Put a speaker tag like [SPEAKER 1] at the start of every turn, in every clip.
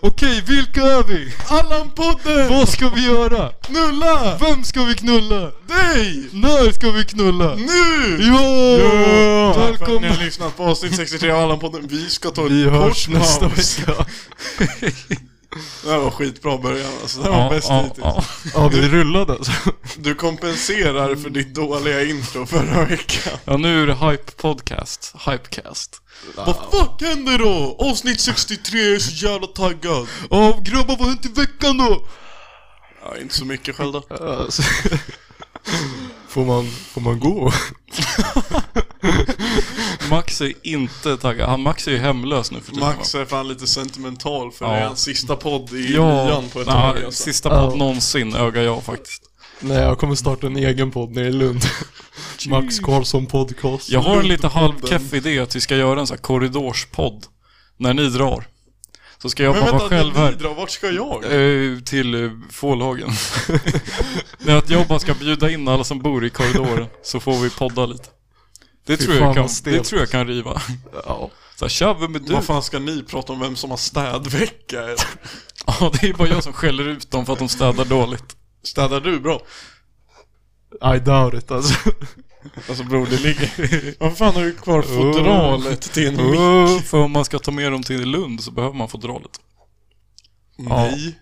[SPEAKER 1] Okej, vilka är vi?
[SPEAKER 2] Allan-podden!
[SPEAKER 1] Vad ska vi göra?
[SPEAKER 2] Knulla!
[SPEAKER 1] Vem ska vi knulla?
[SPEAKER 2] Dig!
[SPEAKER 1] När ska vi knulla?
[SPEAKER 2] Nu!
[SPEAKER 1] Jo!
[SPEAKER 2] Tack för att ni
[SPEAKER 1] Välkomna!
[SPEAKER 2] har lyssnat på avsnitt 63 av Allan-podden. Vi ska ta
[SPEAKER 1] Vi
[SPEAKER 2] en kort
[SPEAKER 1] hörs nästa
[SPEAKER 2] paus.
[SPEAKER 1] vecka.
[SPEAKER 2] Det här var skitbra början alltså. Det här var
[SPEAKER 1] Ja,
[SPEAKER 2] bäst
[SPEAKER 1] ja,
[SPEAKER 2] hittills.
[SPEAKER 1] ja. ja, vi rullade alltså.
[SPEAKER 2] Du kompenserar för ditt dåliga intro förra veckan.
[SPEAKER 1] Ja, nu är det Hype Podcast. Hypecast.
[SPEAKER 2] Vad fuck händer då? Avsnitt 63, jag är så jävla taggad.
[SPEAKER 1] Ja, grabbar vad har hänt i veckan då?
[SPEAKER 2] Ja, inte så mycket själv då.
[SPEAKER 1] Alltså. Får man, får man gå? Max är inte taggad. Han, Max är ju hemlös nu för tiden.
[SPEAKER 2] Max är fan lite sentimental för
[SPEAKER 1] Ja.
[SPEAKER 2] det är hans sista podd i
[SPEAKER 1] Ja,
[SPEAKER 2] nian på ett
[SPEAKER 1] nej,
[SPEAKER 2] tag alltså.
[SPEAKER 1] sista podd någonsin ögar jag faktiskt.
[SPEAKER 3] Nej, jag kommer starta en egen podd nere i Lund. Max Karlsson podcast.
[SPEAKER 1] Jag har en lite halvkeff idé att vi ska göra en sån här korridorspodd. När ni drar. Så ska jag
[SPEAKER 2] Men
[SPEAKER 1] bara
[SPEAKER 2] vänta,
[SPEAKER 1] vara själv
[SPEAKER 2] ni
[SPEAKER 1] här.
[SPEAKER 2] drar, vart ska jag?
[SPEAKER 1] Eh, Till eh, Fålhagen. Nej, att jag bara ska bjuda in alla som bor i korridoren så får vi podda lite. Det, tror
[SPEAKER 3] fan
[SPEAKER 1] jag,
[SPEAKER 3] vad
[SPEAKER 1] kan, det
[SPEAKER 3] stelt.
[SPEAKER 1] tror jag kan riva.
[SPEAKER 3] Ja.
[SPEAKER 1] Så här, tja, vem är du?
[SPEAKER 2] Vad fan ska ni prata om vem som har städvecka? eller?
[SPEAKER 1] Ja, det är bara jag som skäller ut dem för att de städar dåligt.
[SPEAKER 2] Städar du bra?
[SPEAKER 3] I doubt it alltså.
[SPEAKER 2] Alltså bror, det ligger... Vad fan har du kvar fodralet till en mick?
[SPEAKER 1] Oh, för om man ska ta med dem till Lund så behöver man fodralet.
[SPEAKER 2] Nej.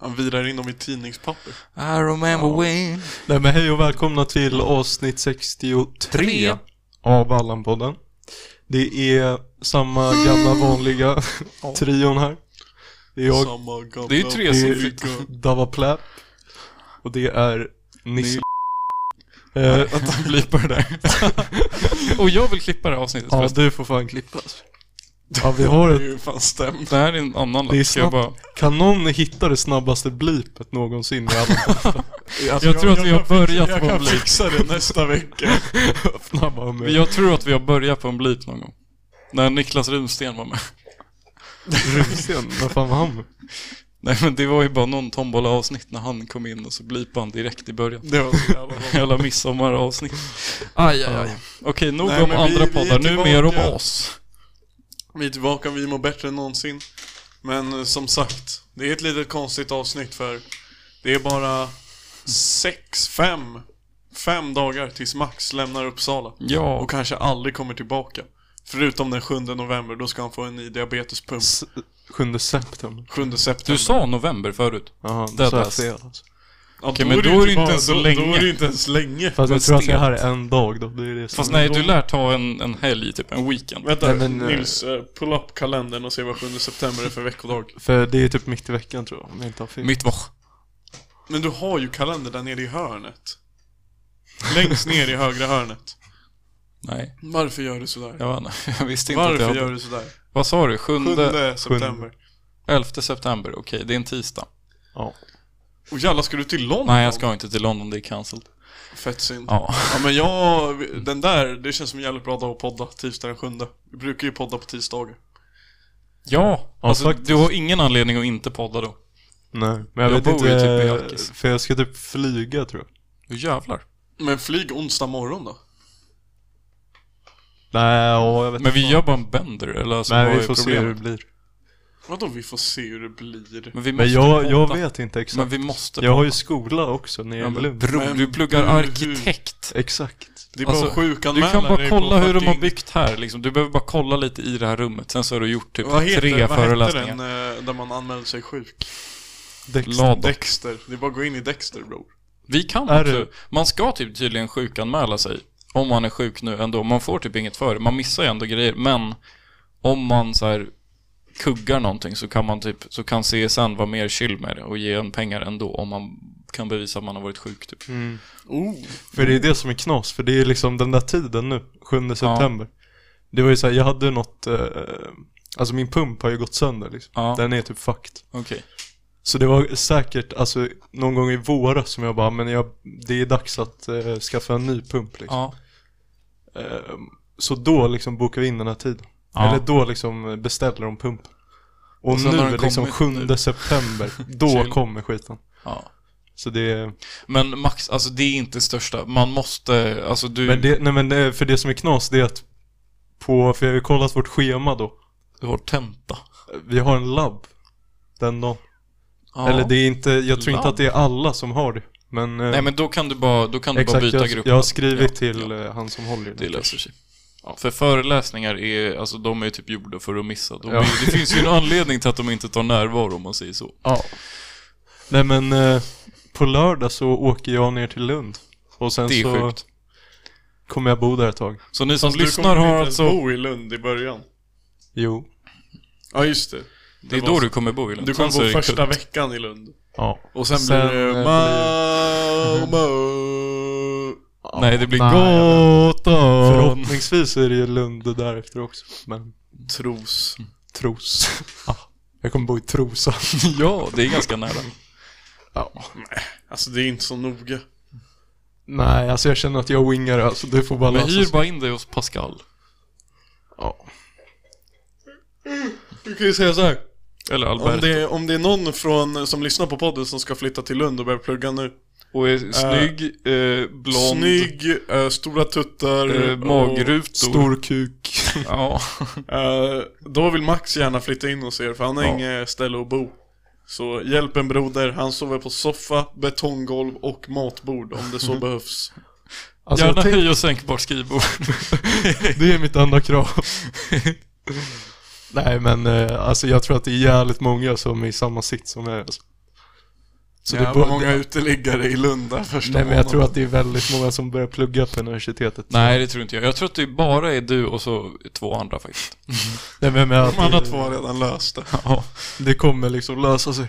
[SPEAKER 2] Han virar in dem i tidningspapper.
[SPEAKER 1] I remember when...
[SPEAKER 3] Nej men hej och välkomna till avsnitt 63 av Allan-podden. Det är samma gamla vanliga trion här. Det är jag,
[SPEAKER 2] Samma gamla...
[SPEAKER 1] Det är ju tre
[SPEAKER 3] det
[SPEAKER 1] som
[SPEAKER 3] är
[SPEAKER 1] fick...
[SPEAKER 3] Dava Pläpp och det är Nisse. Eh,
[SPEAKER 1] Att han blipar det där. Och jag vill klippa det här avsnittet
[SPEAKER 3] ja,
[SPEAKER 1] förresten.
[SPEAKER 3] du får fan klippa alltså. Ja, vi har
[SPEAKER 2] Det är
[SPEAKER 3] ett...
[SPEAKER 2] ju fan stämt.
[SPEAKER 1] Det här är en annan
[SPEAKER 3] Det är
[SPEAKER 1] lapp. Ska jag bara...
[SPEAKER 3] snabbt. Kan någon hitta det snabbaste blipet någonsin i Allan-podden?
[SPEAKER 2] Alltså,
[SPEAKER 1] tror att vi har
[SPEAKER 2] kan fixa-
[SPEAKER 1] börjat
[SPEAKER 2] Jag
[SPEAKER 1] på
[SPEAKER 2] kan
[SPEAKER 1] Blake.
[SPEAKER 2] fixa det nästa vecka.
[SPEAKER 3] Öppna bara med-
[SPEAKER 1] Jag tror att vi har börjat på en blip någon gång. När Niklas Runsten var med.
[SPEAKER 3] Runsten, vad fan var han?
[SPEAKER 1] Nej men det var ju bara någon tombola-avsnitt när han kom in och så blipade han direkt i början.
[SPEAKER 2] Det var så jävla bra.
[SPEAKER 1] Hela midsommaravsnitt. Aj, aj, aj. Okej, nog
[SPEAKER 2] Nej,
[SPEAKER 1] om
[SPEAKER 2] men vi-
[SPEAKER 1] andra
[SPEAKER 2] vi är
[SPEAKER 1] poddar. Nu
[SPEAKER 2] tillbaka.
[SPEAKER 1] mer om oss.
[SPEAKER 2] Vi är tillbaka, vi mår bättre än någonsin. Men eh, som sagt, det är ett litet konstigt avsnitt för det är bara sex, fem, fem dagar tills Max lämnar Uppsala.
[SPEAKER 1] Ja.
[SPEAKER 2] Och kanske aldrig kommer tillbaka. Förutom den 7 november, då ska han få en ny diabetespump.
[SPEAKER 3] S- 7 september.
[SPEAKER 2] 7 september.
[SPEAKER 1] Du sa november förut.
[SPEAKER 3] Ja,
[SPEAKER 1] Det
[SPEAKER 3] det sa
[SPEAKER 1] där.
[SPEAKER 3] jag fel alltså.
[SPEAKER 2] ja,
[SPEAKER 1] Okej, men
[SPEAKER 2] är det
[SPEAKER 1] då
[SPEAKER 2] ju
[SPEAKER 1] är det inte
[SPEAKER 2] bara-
[SPEAKER 1] ens så
[SPEAKER 2] då- Då
[SPEAKER 1] länge.
[SPEAKER 2] är det inte ens länge.
[SPEAKER 3] Fast
[SPEAKER 1] Men
[SPEAKER 3] jag tror att
[SPEAKER 1] stelt.
[SPEAKER 3] det här är en dag då. Det är det som
[SPEAKER 1] Fast nej,
[SPEAKER 3] Mm. då...
[SPEAKER 1] du lär ta en, en helg, typ en weekend.
[SPEAKER 2] Vänta,
[SPEAKER 3] Nej, men, eh,
[SPEAKER 2] Nils, eh, pull up kalendern och se vad 7 september är för veckodag.
[SPEAKER 3] För det är typ mitt i veckan tror jag, om jag inte har fel.
[SPEAKER 1] Mittwoch.
[SPEAKER 2] Men du har ju kalendern där nere i hörnet. Längst ner i högra hörnet.
[SPEAKER 1] Nej,
[SPEAKER 2] Varför gör du sådär?
[SPEAKER 1] jag, vet inte. jag visste inte att jag
[SPEAKER 2] Varför
[SPEAKER 1] hade...
[SPEAKER 2] gör du sådär?
[SPEAKER 1] Vad sa du? Sjunde,
[SPEAKER 2] 7 september.
[SPEAKER 1] 11 september? Okej, det är en tisdag.
[SPEAKER 3] Ja.
[SPEAKER 2] Och jävlar, ska du till London?
[SPEAKER 1] Nej, jag ska inte till London, det är cancelled.
[SPEAKER 2] Fett synd. Ja.
[SPEAKER 1] Ja.
[SPEAKER 2] men jag, den där, det känns som en jävligt bra dag att podda, tisdag den sjunde. Vi brukar ju podda på tisdagar.
[SPEAKER 1] Ja,
[SPEAKER 3] Ja,
[SPEAKER 1] alltså
[SPEAKER 3] faktiskt.
[SPEAKER 1] du har ingen anledning att inte podda då.
[SPEAKER 3] Nej, men jag,
[SPEAKER 1] Jag
[SPEAKER 3] vet
[SPEAKER 1] bor ju
[SPEAKER 3] inte.
[SPEAKER 1] typ i Alkis.
[SPEAKER 3] för jag ska typ flyga tror jag.
[SPEAKER 1] Hur jävlar.
[SPEAKER 2] Men flyg onsdag morgon då.
[SPEAKER 3] Nej, ja, jag vet
[SPEAKER 1] Men vi
[SPEAKER 3] inte.
[SPEAKER 1] gör bara en bender, eller alltså, vad
[SPEAKER 3] Nej,
[SPEAKER 1] är
[SPEAKER 3] vi får se
[SPEAKER 1] problemet?
[SPEAKER 3] hur det blir.
[SPEAKER 2] Vadå vi får se hur det blir?
[SPEAKER 1] Men vi måste
[SPEAKER 3] Men jag, jag
[SPEAKER 1] podda.
[SPEAKER 3] vet inte exakt.
[SPEAKER 1] Men vi måste
[SPEAKER 3] Jag har ju skola också nere
[SPEAKER 1] Ja,
[SPEAKER 3] i
[SPEAKER 1] men
[SPEAKER 3] Lund.
[SPEAKER 1] bro,
[SPEAKER 2] Men
[SPEAKER 1] du pluggar
[SPEAKER 2] du-
[SPEAKER 1] arkitekt.
[SPEAKER 3] Exakt.
[SPEAKER 2] Det är
[SPEAKER 1] Alltså,
[SPEAKER 2] bara
[SPEAKER 1] Du
[SPEAKER 2] sjukanmäla
[SPEAKER 1] kan bara
[SPEAKER 2] dig på
[SPEAKER 1] kolla hur de har
[SPEAKER 2] fucking-
[SPEAKER 1] byggt här liksom. Du behöver bara kolla lite i det här rummet. Sen så har du gjort typ
[SPEAKER 2] Vad heter,
[SPEAKER 1] tre
[SPEAKER 2] vad heter
[SPEAKER 1] föreläsningar.
[SPEAKER 2] den eh, där man anmäler sig sjuk?
[SPEAKER 3] Dex-
[SPEAKER 1] Lado.
[SPEAKER 2] Dexter. Det är bara att gå in i Dexter bror.
[SPEAKER 1] Vi kan
[SPEAKER 3] Är
[SPEAKER 1] också.
[SPEAKER 3] det-
[SPEAKER 1] Man ska typ tydligen sjukanmäla sig. Om man är sjuk nu ändå. Man får typ inget för det. Man missar ju ändå grejer. Men om man så här kuggar någonting så kan man typ, så kan CSN vara mer chill med det och ge en pengar ändå om man kan bevisa att man har varit sjuk typ.
[SPEAKER 3] Mm.
[SPEAKER 2] Oh.
[SPEAKER 3] För det är det som är knas, för det är liksom den där tiden nu, 7 september. Det var ju såhär, jag hade något, eh, alltså min pump har ju gått sönder liksom.
[SPEAKER 1] Ja.
[SPEAKER 3] Den är typ fucked.
[SPEAKER 1] Okej.
[SPEAKER 3] Så det var säkert, alltså någon gång i våras som jag bara, men jag, det är dags att eh, skaffa en ny pump liksom.
[SPEAKER 1] Ja.
[SPEAKER 3] Eh, så då liksom bokar vi in den här tiden.
[SPEAKER 1] Ja.
[SPEAKER 3] Eller då liksom beställer de pumpen. Och,
[SPEAKER 1] Och sen har
[SPEAKER 3] nu
[SPEAKER 1] den
[SPEAKER 3] liksom
[SPEAKER 1] kommit
[SPEAKER 3] 7
[SPEAKER 1] nu.
[SPEAKER 3] september, då
[SPEAKER 1] Chill.
[SPEAKER 3] kommer skiten.
[SPEAKER 1] ja.
[SPEAKER 3] Så det är...
[SPEAKER 1] Men max, alltså det är inte största. Man måste, alltså du,
[SPEAKER 3] Men det, nej men det, för det som är knas det är att på, för jag har ju kollat vårt schema då.
[SPEAKER 1] du har tenta.
[SPEAKER 3] Vi har en labb den dagen.
[SPEAKER 1] Ja.
[SPEAKER 3] Eller det är inte, jag tror inte
[SPEAKER 1] Ladd.
[SPEAKER 3] att det är alla som har det. Men, eh,
[SPEAKER 1] Nej men då kan du bara, då kan du bara
[SPEAKER 3] exakt,
[SPEAKER 1] byta
[SPEAKER 3] jag,
[SPEAKER 1] grupp.
[SPEAKER 3] jag har skrivit
[SPEAKER 1] Ja,
[SPEAKER 3] till
[SPEAKER 1] ja.
[SPEAKER 3] eh, han som håller i
[SPEAKER 1] Det
[SPEAKER 3] den.
[SPEAKER 1] löser sig. För föreläsningar är, alltså de är typ gjorda för att missa. De
[SPEAKER 3] Ja.
[SPEAKER 1] är, det finns ju en anledning till att de inte tar närvaro om man säger så.
[SPEAKER 3] Ja. Nej men eh, på lördag så åker jag ner till Lund. Och sen
[SPEAKER 1] Det är
[SPEAKER 3] så
[SPEAKER 1] sjukt.
[SPEAKER 3] kommer jag bo där ett tag.
[SPEAKER 1] Så ni som
[SPEAKER 2] Du kommer
[SPEAKER 1] lyssnar
[SPEAKER 2] inte
[SPEAKER 1] har
[SPEAKER 2] ens
[SPEAKER 1] alltså...
[SPEAKER 2] bo i Lund i början.
[SPEAKER 3] Jo.
[SPEAKER 2] Ja, just det.
[SPEAKER 1] Det är då du kommer bo i Lund.
[SPEAKER 2] Du
[SPEAKER 1] Sen så
[SPEAKER 2] kommer
[SPEAKER 1] är
[SPEAKER 2] bo
[SPEAKER 1] det
[SPEAKER 2] första
[SPEAKER 1] kul.
[SPEAKER 2] veckan i Lund.
[SPEAKER 3] Ja.
[SPEAKER 2] Och sen,
[SPEAKER 3] Sen,
[SPEAKER 2] blir det
[SPEAKER 3] eh,
[SPEAKER 2] Malmö.
[SPEAKER 1] Nej, det blir
[SPEAKER 3] Nej,
[SPEAKER 1] gatan.
[SPEAKER 3] Förhoppningsvis är det ju Lund därefter också. Men
[SPEAKER 2] Tros.
[SPEAKER 3] Tros. Ja. Jag kommer bo i Trosa.
[SPEAKER 1] Ja, det är ganska nära.
[SPEAKER 3] Ja.
[SPEAKER 2] Alltså det är inte så noga.
[SPEAKER 3] Nej, alltså jag känner att jag wingar det, alltså. Det får bara
[SPEAKER 1] Men
[SPEAKER 3] lösa
[SPEAKER 1] hyr
[SPEAKER 3] sig.
[SPEAKER 1] bara in dig hos Pascal.
[SPEAKER 3] Ja.
[SPEAKER 2] Du kan ju säga så här.
[SPEAKER 1] Eller
[SPEAKER 2] Om
[SPEAKER 1] Albert.
[SPEAKER 2] det, är- om det är någon från, eh, som lyssnar på podden som ska flytta till Lund och börja plugga nu.
[SPEAKER 1] Och är snygg, eh, blond,
[SPEAKER 2] Äh, Snygg, eh, stora tuttar.
[SPEAKER 1] eh, magrutor.
[SPEAKER 3] Stor kuk.
[SPEAKER 1] Ja.
[SPEAKER 2] och, eh, då vill Max gärna flytta in hos er för han har
[SPEAKER 1] Ja.
[SPEAKER 2] inget ställe att bo. Så hjälp en broder, han sover på soffa, betonggolv och matbord om det så behövs.
[SPEAKER 3] Alltså,
[SPEAKER 1] Gärna
[SPEAKER 3] jag tänk,
[SPEAKER 1] höj och sänkbart skrivbord.
[SPEAKER 3] det är mitt enda krav. Nej men eh, alltså jag tror att det är jävligt många som är i samma sitt som jag. Alltså. Så det
[SPEAKER 2] Jävla
[SPEAKER 3] borde,
[SPEAKER 2] många uteliggare i Lund där första
[SPEAKER 3] Nej men jag
[SPEAKER 2] månaden.
[SPEAKER 3] tror att det är väldigt många som börjar plugga på universitetet.
[SPEAKER 1] Nej, det tror inte jag. Jag tror att det bara är du och så två andra faktiskt.
[SPEAKER 3] Nej men jag menar
[SPEAKER 2] De andra
[SPEAKER 3] att
[SPEAKER 2] två har redan löst det.
[SPEAKER 1] Ja.
[SPEAKER 3] det, det kommer liksom lösa sig.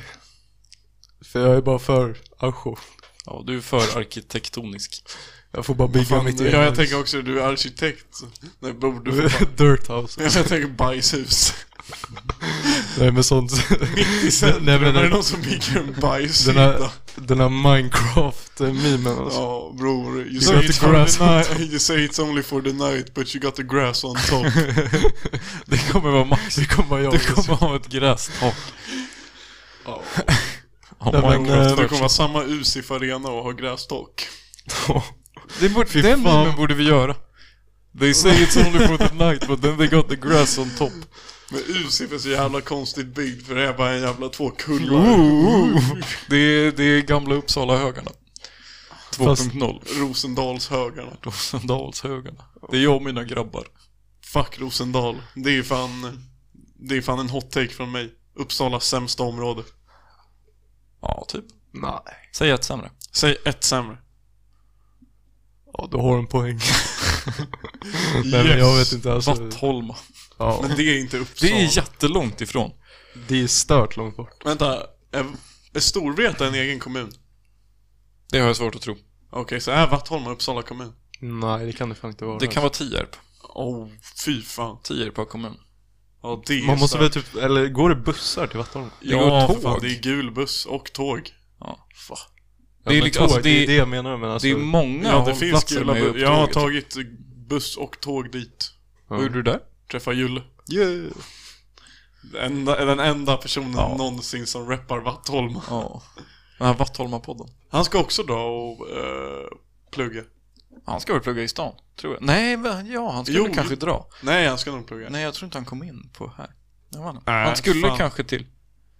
[SPEAKER 3] För jag är bara för ajour.
[SPEAKER 1] Ja, du är för arkitektonisk.
[SPEAKER 3] Jag får bara bygga
[SPEAKER 2] Fan,
[SPEAKER 3] mitt
[SPEAKER 2] ja,
[SPEAKER 3] eget
[SPEAKER 2] jag
[SPEAKER 3] hus.
[SPEAKER 2] tänker också, du är arkitekt. Nej, bor du fan.
[SPEAKER 3] Dirt house.
[SPEAKER 2] Jag tänker bajshus.
[SPEAKER 3] Nej men sånt.
[SPEAKER 2] Mitt i centrum,
[SPEAKER 3] Nej, men
[SPEAKER 2] är det
[SPEAKER 3] den-
[SPEAKER 2] någon som bygger en
[SPEAKER 3] Den
[SPEAKER 2] bajshydda?
[SPEAKER 3] här, den här Minecraft-memen alltså.
[SPEAKER 2] Ja, bror. You
[SPEAKER 3] got
[SPEAKER 2] say,
[SPEAKER 3] the
[SPEAKER 2] it's only
[SPEAKER 3] grass on
[SPEAKER 2] ni- you say it's only for the night, but you got the grass on top.
[SPEAKER 1] Det kommer vara max.
[SPEAKER 3] Det kommer vara jag.
[SPEAKER 1] Du kommer ha ett grästak.
[SPEAKER 2] Ja.
[SPEAKER 1] Oh,
[SPEAKER 3] Nej, men,
[SPEAKER 1] Minecraft
[SPEAKER 2] det
[SPEAKER 3] eh,
[SPEAKER 1] version.
[SPEAKER 2] kommer vara samma us i Farena och ha grästak.
[SPEAKER 1] Det borde,
[SPEAKER 3] Fy
[SPEAKER 1] den
[SPEAKER 3] fan.
[SPEAKER 1] memen borde vi göra. They say it's only for the night but then they got the grass on top.
[SPEAKER 2] Men us är för så jävla konstigt byggd för det är bara en jävla två kullar.
[SPEAKER 1] Ooh. Det, är, det är gamla Uppsala-högarna. 2.0.
[SPEAKER 2] Rosendalshögarna.
[SPEAKER 1] Rosendalshögarna. Det är jag och mina grabbar.
[SPEAKER 2] Fuck Rosendal. Det är fan, det är fan en hot take från mig. Uppsalas sämsta område.
[SPEAKER 1] Ja, typ.
[SPEAKER 3] Nej.
[SPEAKER 1] Säg ett sämre.
[SPEAKER 2] Säg ett sämre.
[SPEAKER 3] Ja, du har en poäng. Nej men jag vet inte alltså.
[SPEAKER 1] Vattholma.
[SPEAKER 3] Ja,
[SPEAKER 2] Men det är inte Uppsala.
[SPEAKER 1] Det är jättelångt ifrån.
[SPEAKER 3] det är stört långt bort.
[SPEAKER 2] Vänta, är, är Storvreta en egen kommun?
[SPEAKER 1] Det har jag svårt att tro.
[SPEAKER 2] Okej, så är Vattholma Uppsala kommun?
[SPEAKER 3] Nej det kan det fan inte vara. Alltså,
[SPEAKER 1] Det kan vara Tierp.
[SPEAKER 2] Oh, fy fan.
[SPEAKER 1] Tierp har kommun.
[SPEAKER 2] Ja, det är
[SPEAKER 3] Man måste
[SPEAKER 2] starkt.
[SPEAKER 3] väl typ, eller går det bussar till Vattholma?
[SPEAKER 1] Det går
[SPEAKER 2] för
[SPEAKER 1] tåg.
[SPEAKER 2] Fan, det är gul buss och tåg.
[SPEAKER 1] Ja.
[SPEAKER 2] Fan.
[SPEAKER 1] Det är
[SPEAKER 3] men
[SPEAKER 1] liksom- alltså,
[SPEAKER 3] tåg,
[SPEAKER 1] det
[SPEAKER 3] det
[SPEAKER 1] är-
[SPEAKER 3] är det jag menar men alltså.
[SPEAKER 1] Det är många
[SPEAKER 2] Ja, det finns
[SPEAKER 1] hållplatser
[SPEAKER 2] gula
[SPEAKER 1] med
[SPEAKER 2] buss. Jag har
[SPEAKER 1] upptåget.
[SPEAKER 2] tagit buss och tåg dit.
[SPEAKER 1] Vad gjorde du där?
[SPEAKER 2] Träffa Julle.
[SPEAKER 3] Yeah.
[SPEAKER 2] Den enda, den enda personen
[SPEAKER 1] Ja.
[SPEAKER 2] någonsin som rappar Vattholma.
[SPEAKER 1] Ja. Den här Vattholma-podden.
[SPEAKER 2] Han ska också dra och eh, plugga.
[SPEAKER 1] Han ska väl plugga i stan, tror jag. Nej, men ja, han skulle
[SPEAKER 2] Jo.
[SPEAKER 1] kanske dra.
[SPEAKER 2] Nej, han ska nog plugga.
[SPEAKER 1] Nej, jag tror inte han kom in på här. Jag vet inte.
[SPEAKER 2] Nej,
[SPEAKER 1] han skulle
[SPEAKER 2] fan.
[SPEAKER 1] kanske till.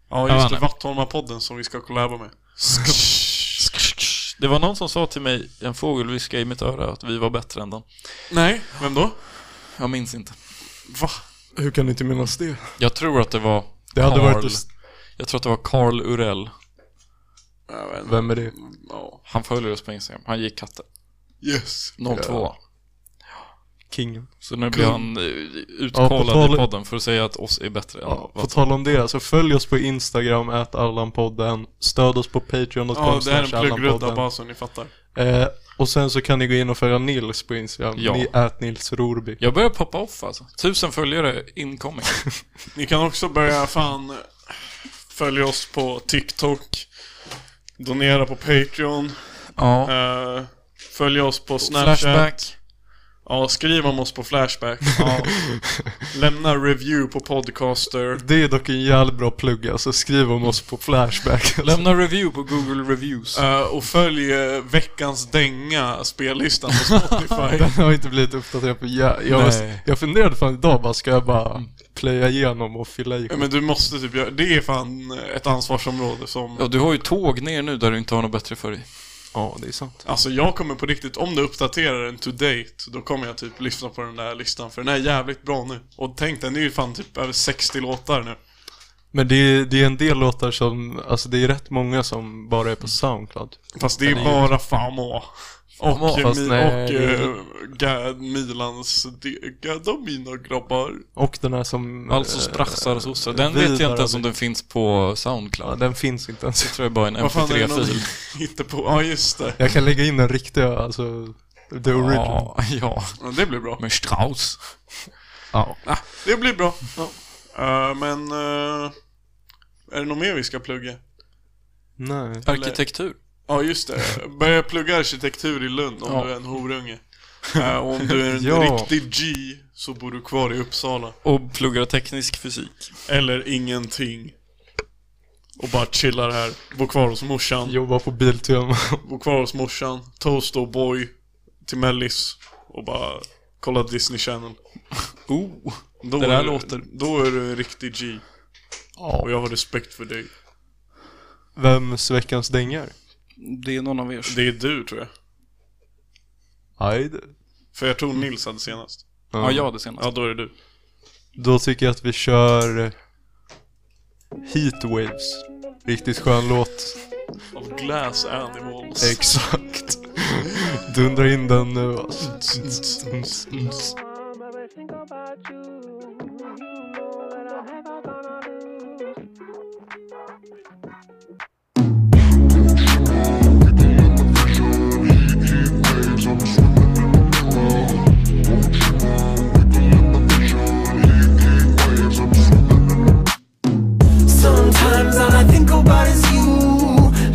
[SPEAKER 2] Ja,
[SPEAKER 1] Jag
[SPEAKER 2] just
[SPEAKER 1] vet
[SPEAKER 2] det.
[SPEAKER 1] inte.
[SPEAKER 2] Vattholma-podden som vi ska kollaba med.
[SPEAKER 1] Det var någon som sa till mig, en fågel viskade i mitt öra att vi var bättre än den.
[SPEAKER 2] Nej, vem då?
[SPEAKER 1] Jag minns inte.
[SPEAKER 2] Va?
[SPEAKER 3] Hur kan du inte minnas det?
[SPEAKER 1] Jag tror att det var
[SPEAKER 3] Det hade
[SPEAKER 1] Carl.
[SPEAKER 3] varit...
[SPEAKER 1] Jag tror att det var Carl Urell.
[SPEAKER 2] Jag vet inte.
[SPEAKER 3] Vem är det?
[SPEAKER 2] Ja.
[SPEAKER 1] Han följer oss på Instagram. Han gick katten.
[SPEAKER 2] Yes.
[SPEAKER 1] 02.
[SPEAKER 3] Kingen.
[SPEAKER 1] Så
[SPEAKER 3] Kung.
[SPEAKER 1] nu blir han eh,
[SPEAKER 3] Ja, på
[SPEAKER 1] utkallad
[SPEAKER 3] tal-
[SPEAKER 1] i podden för att säga att oss är bättre än
[SPEAKER 3] Ja,
[SPEAKER 1] ja,
[SPEAKER 3] på tal om det, alltså följ oss på Instagram, ät Allanpodden. Stöd oss på Patreon.com
[SPEAKER 2] Ja, det här är en
[SPEAKER 3] slash
[SPEAKER 2] pluggrunda
[SPEAKER 3] Allanpodden.
[SPEAKER 2] bara så ni fattar.
[SPEAKER 3] Eh, och sen så kan ni gå in och följa Nils på Instagram.
[SPEAKER 1] Ja.
[SPEAKER 3] Ni ät Nils Rorby.
[SPEAKER 1] Jag börjar poppa off alltså. Tusen följare incoming.
[SPEAKER 2] Ni kan också börja fan följa oss på TikTok, donera på Patreon,
[SPEAKER 1] ja.
[SPEAKER 2] eh, följa oss på Snapchat
[SPEAKER 1] Flashback.
[SPEAKER 2] Ja, skriv om oss på Flashback. Ja. Lämna review på Podcaster.
[SPEAKER 3] Det är dock en jävligt bra plugg alltså. Skriv om oss på Flashback.
[SPEAKER 1] Lämna review på Google Reviews.
[SPEAKER 2] eh, och följ eh, veckans dänga, spellistan på Spotify.
[SPEAKER 3] Den har inte blivit uppdaterad på jag, jag,
[SPEAKER 1] Nej.
[SPEAKER 3] jag funderade fan idag bara, ska jag bara playa igenom och fylla i?
[SPEAKER 2] Ja, Men du måste typ göra, det är fan eh, ett ansvarsområde som...
[SPEAKER 1] Ja, du har ju tåg ner nu där du inte har något bättre för dig.
[SPEAKER 3] Ja, det är sant.
[SPEAKER 2] Alltså jag kommer på riktigt, om du uppdaterar den to date, då kommer jag typ lyssna på den där listan för den är jävligt bra nu. Och tänk den är ju fan typ över 60 låtar nu.
[SPEAKER 3] Men det är, det är en del låtar som, alltså det är rätt många som bara är på Soundcloud.
[SPEAKER 2] Fast det är
[SPEAKER 3] Den är ju-
[SPEAKER 2] bara Famo. Och,
[SPEAKER 1] Famo,
[SPEAKER 3] fast
[SPEAKER 2] mi-
[SPEAKER 3] nej,
[SPEAKER 2] och
[SPEAKER 3] det är-
[SPEAKER 2] eh, Gad Milans Dega, de mina grabbar.
[SPEAKER 3] Och den här som...
[SPEAKER 1] Alltså
[SPEAKER 3] eh,
[SPEAKER 1] strassar och sossar. Den
[SPEAKER 3] vidare-
[SPEAKER 1] vet jag inte ens om den finns på
[SPEAKER 3] Ja,
[SPEAKER 1] Soundcloud.
[SPEAKER 3] den finns inte
[SPEAKER 1] Det
[SPEAKER 3] ens.
[SPEAKER 1] tror jag bara är en
[SPEAKER 2] Vad fan är det någon
[SPEAKER 1] mp3-fil.
[SPEAKER 2] hittar på? Ja just det.
[SPEAKER 3] Jag kan lägga in den riktiga, alltså the original.
[SPEAKER 1] Ja, ja.
[SPEAKER 2] Ja, det blir bra.
[SPEAKER 1] Men Strauss.
[SPEAKER 3] Ja.
[SPEAKER 2] Ah, det blir bra. Ja. Eh, men eh, är det något mer vi ska plugga?
[SPEAKER 3] Nej.
[SPEAKER 1] Arkitektur.
[SPEAKER 2] Ja just det, börja plugga arkitektur i Lund om
[SPEAKER 1] Ja.
[SPEAKER 2] du är en horunge. Eh, och om du är en
[SPEAKER 3] Ja.
[SPEAKER 2] riktig G så bor du kvar i Uppsala.
[SPEAKER 1] Och pluggar teknisk fysik.
[SPEAKER 2] Eller ingenting. Och bara chillar här. Bor kvar hos morsan.
[SPEAKER 3] Jobba på Biltema.
[SPEAKER 2] Bor kvar hos morsan. Toast och boy till mellis. Och bara kolla Disney Channel.
[SPEAKER 1] Oh.
[SPEAKER 2] Då
[SPEAKER 1] Det där
[SPEAKER 2] är, du-
[SPEAKER 1] låter-
[SPEAKER 2] Då är du en riktig G.
[SPEAKER 3] Ja.
[SPEAKER 2] Och jag har respekt för dig.
[SPEAKER 3] Vems veckans dängar?
[SPEAKER 1] Det är någon av er.
[SPEAKER 2] Det är du tror jag.
[SPEAKER 3] Aj det.
[SPEAKER 2] För jag tror Nils hade senast.
[SPEAKER 1] Ja, jag det senaste.
[SPEAKER 2] Ja, då är det du.
[SPEAKER 3] Då tycker jag att vi kör Heatwaves. Riktigt skön låt.
[SPEAKER 2] Av Glass Animals.
[SPEAKER 3] Exakt. Dundra in den nu alltså.
[SPEAKER 4] Mom, every think about you. You know that I'm never gonna lose.
[SPEAKER 5] Sometimes all I think about is you.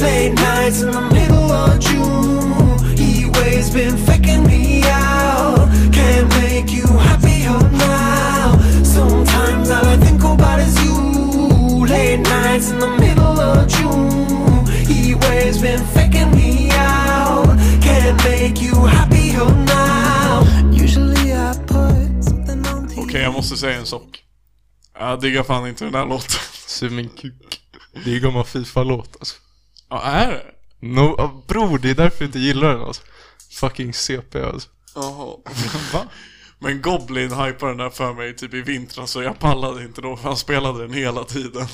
[SPEAKER 5] Late nights in the middle of June. He waves been faking me out. Can't make you happier now. Sometimes all I think about is you. Late nights in the middle of June. He waves been faking me out. Can't make you happier now. Usually I put something on the
[SPEAKER 2] Okej, jag måste säga en sak. Jag diggar fan inte den här låten.
[SPEAKER 3] Sug min kuk. Det är ju gammal Fifa-låt alltså.
[SPEAKER 2] Ja, är det?
[SPEAKER 3] No, ah, bror, det är därför jag inte gillar den alltså. Fucking CP alltså.
[SPEAKER 2] Jaha. Va? Men Goblin hypade den där för mig typ i vintras så jag pallade inte då för han spelade den hela tiden.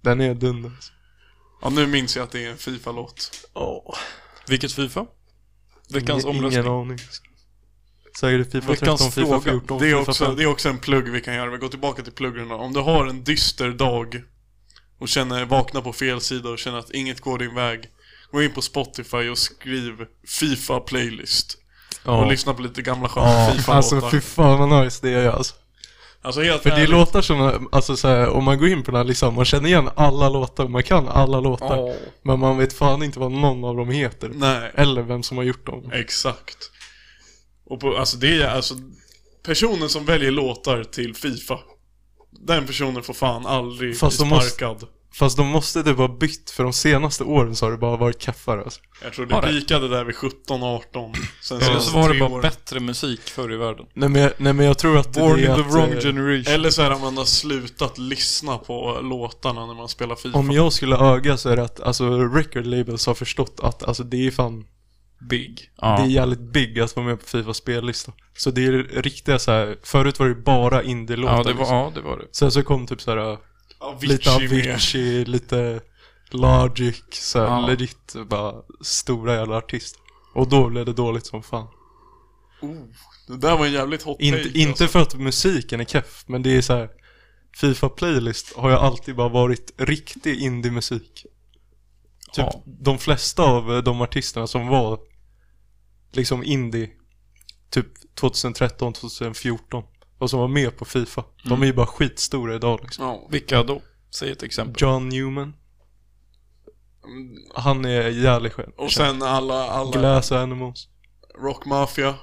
[SPEAKER 3] Den är dunder alltså.
[SPEAKER 2] Ja, nu minns jag att det är en Fifa-låt.
[SPEAKER 3] Oh.
[SPEAKER 1] Vilket Fifa? Veckans
[SPEAKER 3] Ingen
[SPEAKER 1] omröstning.
[SPEAKER 3] aning. alltså. Säkert Fifa
[SPEAKER 1] Veckans
[SPEAKER 3] 13, Fifa
[SPEAKER 1] fråga.
[SPEAKER 3] 14,
[SPEAKER 2] Det är,
[SPEAKER 3] Fifa
[SPEAKER 2] också,
[SPEAKER 3] 15.
[SPEAKER 2] det är också en plugg vi kan göra. Vi går tillbaka till pluggarna. Om du har en dyster dag och känner, vaknar på fel sida och känner att inget går din väg. Gå in på Spotify och skriv Fifa Playlist. Och
[SPEAKER 3] Ja.
[SPEAKER 2] lyssna på lite gamla sköna
[SPEAKER 3] Ja,
[SPEAKER 2] Fifa-låtar.
[SPEAKER 3] liksom- alltså fy fan vad nice det är alltså.
[SPEAKER 2] Alltså helt
[SPEAKER 3] För det är
[SPEAKER 2] ärligt.
[SPEAKER 3] låtar som, alltså så här, om man går in på den här listan, man känner igen alla låtar, man kan alla låtar.
[SPEAKER 1] Ja.
[SPEAKER 3] Men man vet fan inte vad någon av dem heter.
[SPEAKER 2] Nej,
[SPEAKER 3] Eller vem som har gjort dem.
[SPEAKER 2] exakt. Och på, alltså det är alltså Personen som väljer låtar till Fifa Den personen får fan aldrig
[SPEAKER 3] Fast
[SPEAKER 2] bli
[SPEAKER 3] de måste-
[SPEAKER 2] sparkad
[SPEAKER 3] Fast de måste typ ha bytt, för de senaste åren så har det bara varit kaffar alltså.
[SPEAKER 2] Jag tror
[SPEAKER 1] Har
[SPEAKER 2] det
[SPEAKER 1] det?
[SPEAKER 2] pikade där vid 17-18 Sen
[SPEAKER 1] Eller så var det
[SPEAKER 2] tre
[SPEAKER 1] bara
[SPEAKER 2] år.
[SPEAKER 1] bättre musik förr i världen.
[SPEAKER 3] Nej men, jag- nej, men jag tror att
[SPEAKER 1] Born
[SPEAKER 3] det
[SPEAKER 1] in
[SPEAKER 3] är
[SPEAKER 1] the
[SPEAKER 3] att,
[SPEAKER 1] wrong
[SPEAKER 3] eh,
[SPEAKER 1] generation.
[SPEAKER 2] Eller så är det att man har slutat lyssna på låtarna när man spelar Fifa
[SPEAKER 3] Om jag skulle öga så är det att alltså, record labels har förstått att alltså, det är fan
[SPEAKER 1] Big.
[SPEAKER 3] Det är
[SPEAKER 1] Ja.
[SPEAKER 3] jävligt big att vara med på Fifas spellista. Så det är riktiga så här. förut var det ju bara indie-låtar.
[SPEAKER 1] Ja, det var,
[SPEAKER 3] liksom.
[SPEAKER 1] ja, det var det.
[SPEAKER 3] Sen så kom typ så här lite
[SPEAKER 2] Avicii med
[SPEAKER 3] Avicii, lite Logic, så här,
[SPEAKER 1] Ja.
[SPEAKER 3] legit bara stora jävla artister. Och då blev det dåligt som fan.
[SPEAKER 2] Oh, Det där var en jävligt hot
[SPEAKER 3] Inte,
[SPEAKER 2] take
[SPEAKER 3] inte
[SPEAKER 2] alltså.
[SPEAKER 3] för att musiken är keff, men det är så här. Fifa Playlist har ju alltid bara varit riktig indie-musik. Typ
[SPEAKER 1] Ja.
[SPEAKER 3] de flesta av eh, de artisterna som var liksom indie typ 2013, 2014 och som var med på Fifa. De är ju bara skitstora idag liksom.
[SPEAKER 2] ja.
[SPEAKER 1] Vilka då? Säg ett exempel.
[SPEAKER 3] John Newman. Han är jävligt skön.
[SPEAKER 2] Och sen alla, alla
[SPEAKER 3] Glass Animals.
[SPEAKER 2] Rock Mafia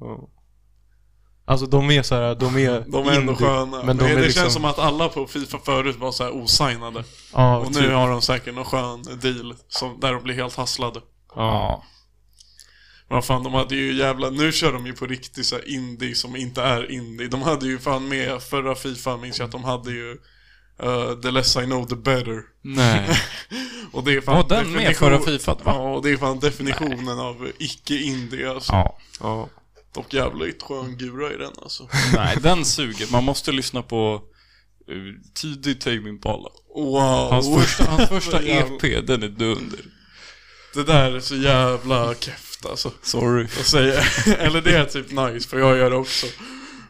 [SPEAKER 3] Ja. Alltså de är så här, de är
[SPEAKER 2] De är ändå
[SPEAKER 3] indie,
[SPEAKER 2] sköna.
[SPEAKER 3] Men de
[SPEAKER 2] det
[SPEAKER 3] är
[SPEAKER 2] det
[SPEAKER 3] liksom,
[SPEAKER 2] känns som att alla på Fifa förut var så här osignade.
[SPEAKER 3] ja,
[SPEAKER 2] Och
[SPEAKER 3] typ,
[SPEAKER 2] nu har de säkert någon skön deal som, där de blir helt hasslade.
[SPEAKER 1] Ja.
[SPEAKER 2] Vad fan, de hade ju jävla... Nu kör de ju på riktigt så här indie som inte är indie. De hade ju fan med, förra Fifa minns jag att de hade ju eh, The less I know the better.
[SPEAKER 1] Nej.
[SPEAKER 2] Och det är fan
[SPEAKER 1] Var den med
[SPEAKER 2] definition-
[SPEAKER 1] förra Fifa? Va?
[SPEAKER 2] Ja, och det är fan definitionen av icke-indie alltså.
[SPEAKER 1] Ja.
[SPEAKER 3] ja.
[SPEAKER 2] Dock jävligt skön gura i den alltså.
[SPEAKER 1] Nej, den suger. Man måste lyssna på eh, tidig Tame Impala.
[SPEAKER 2] Wow!
[SPEAKER 1] Hans första, hans första
[SPEAKER 2] Jävlar.
[SPEAKER 1] EP, den är dunder.
[SPEAKER 2] Det där är så jävla keft alltså.
[SPEAKER 1] Sorry.
[SPEAKER 2] Jag säger, eller det är typ nice, för jag gör det också.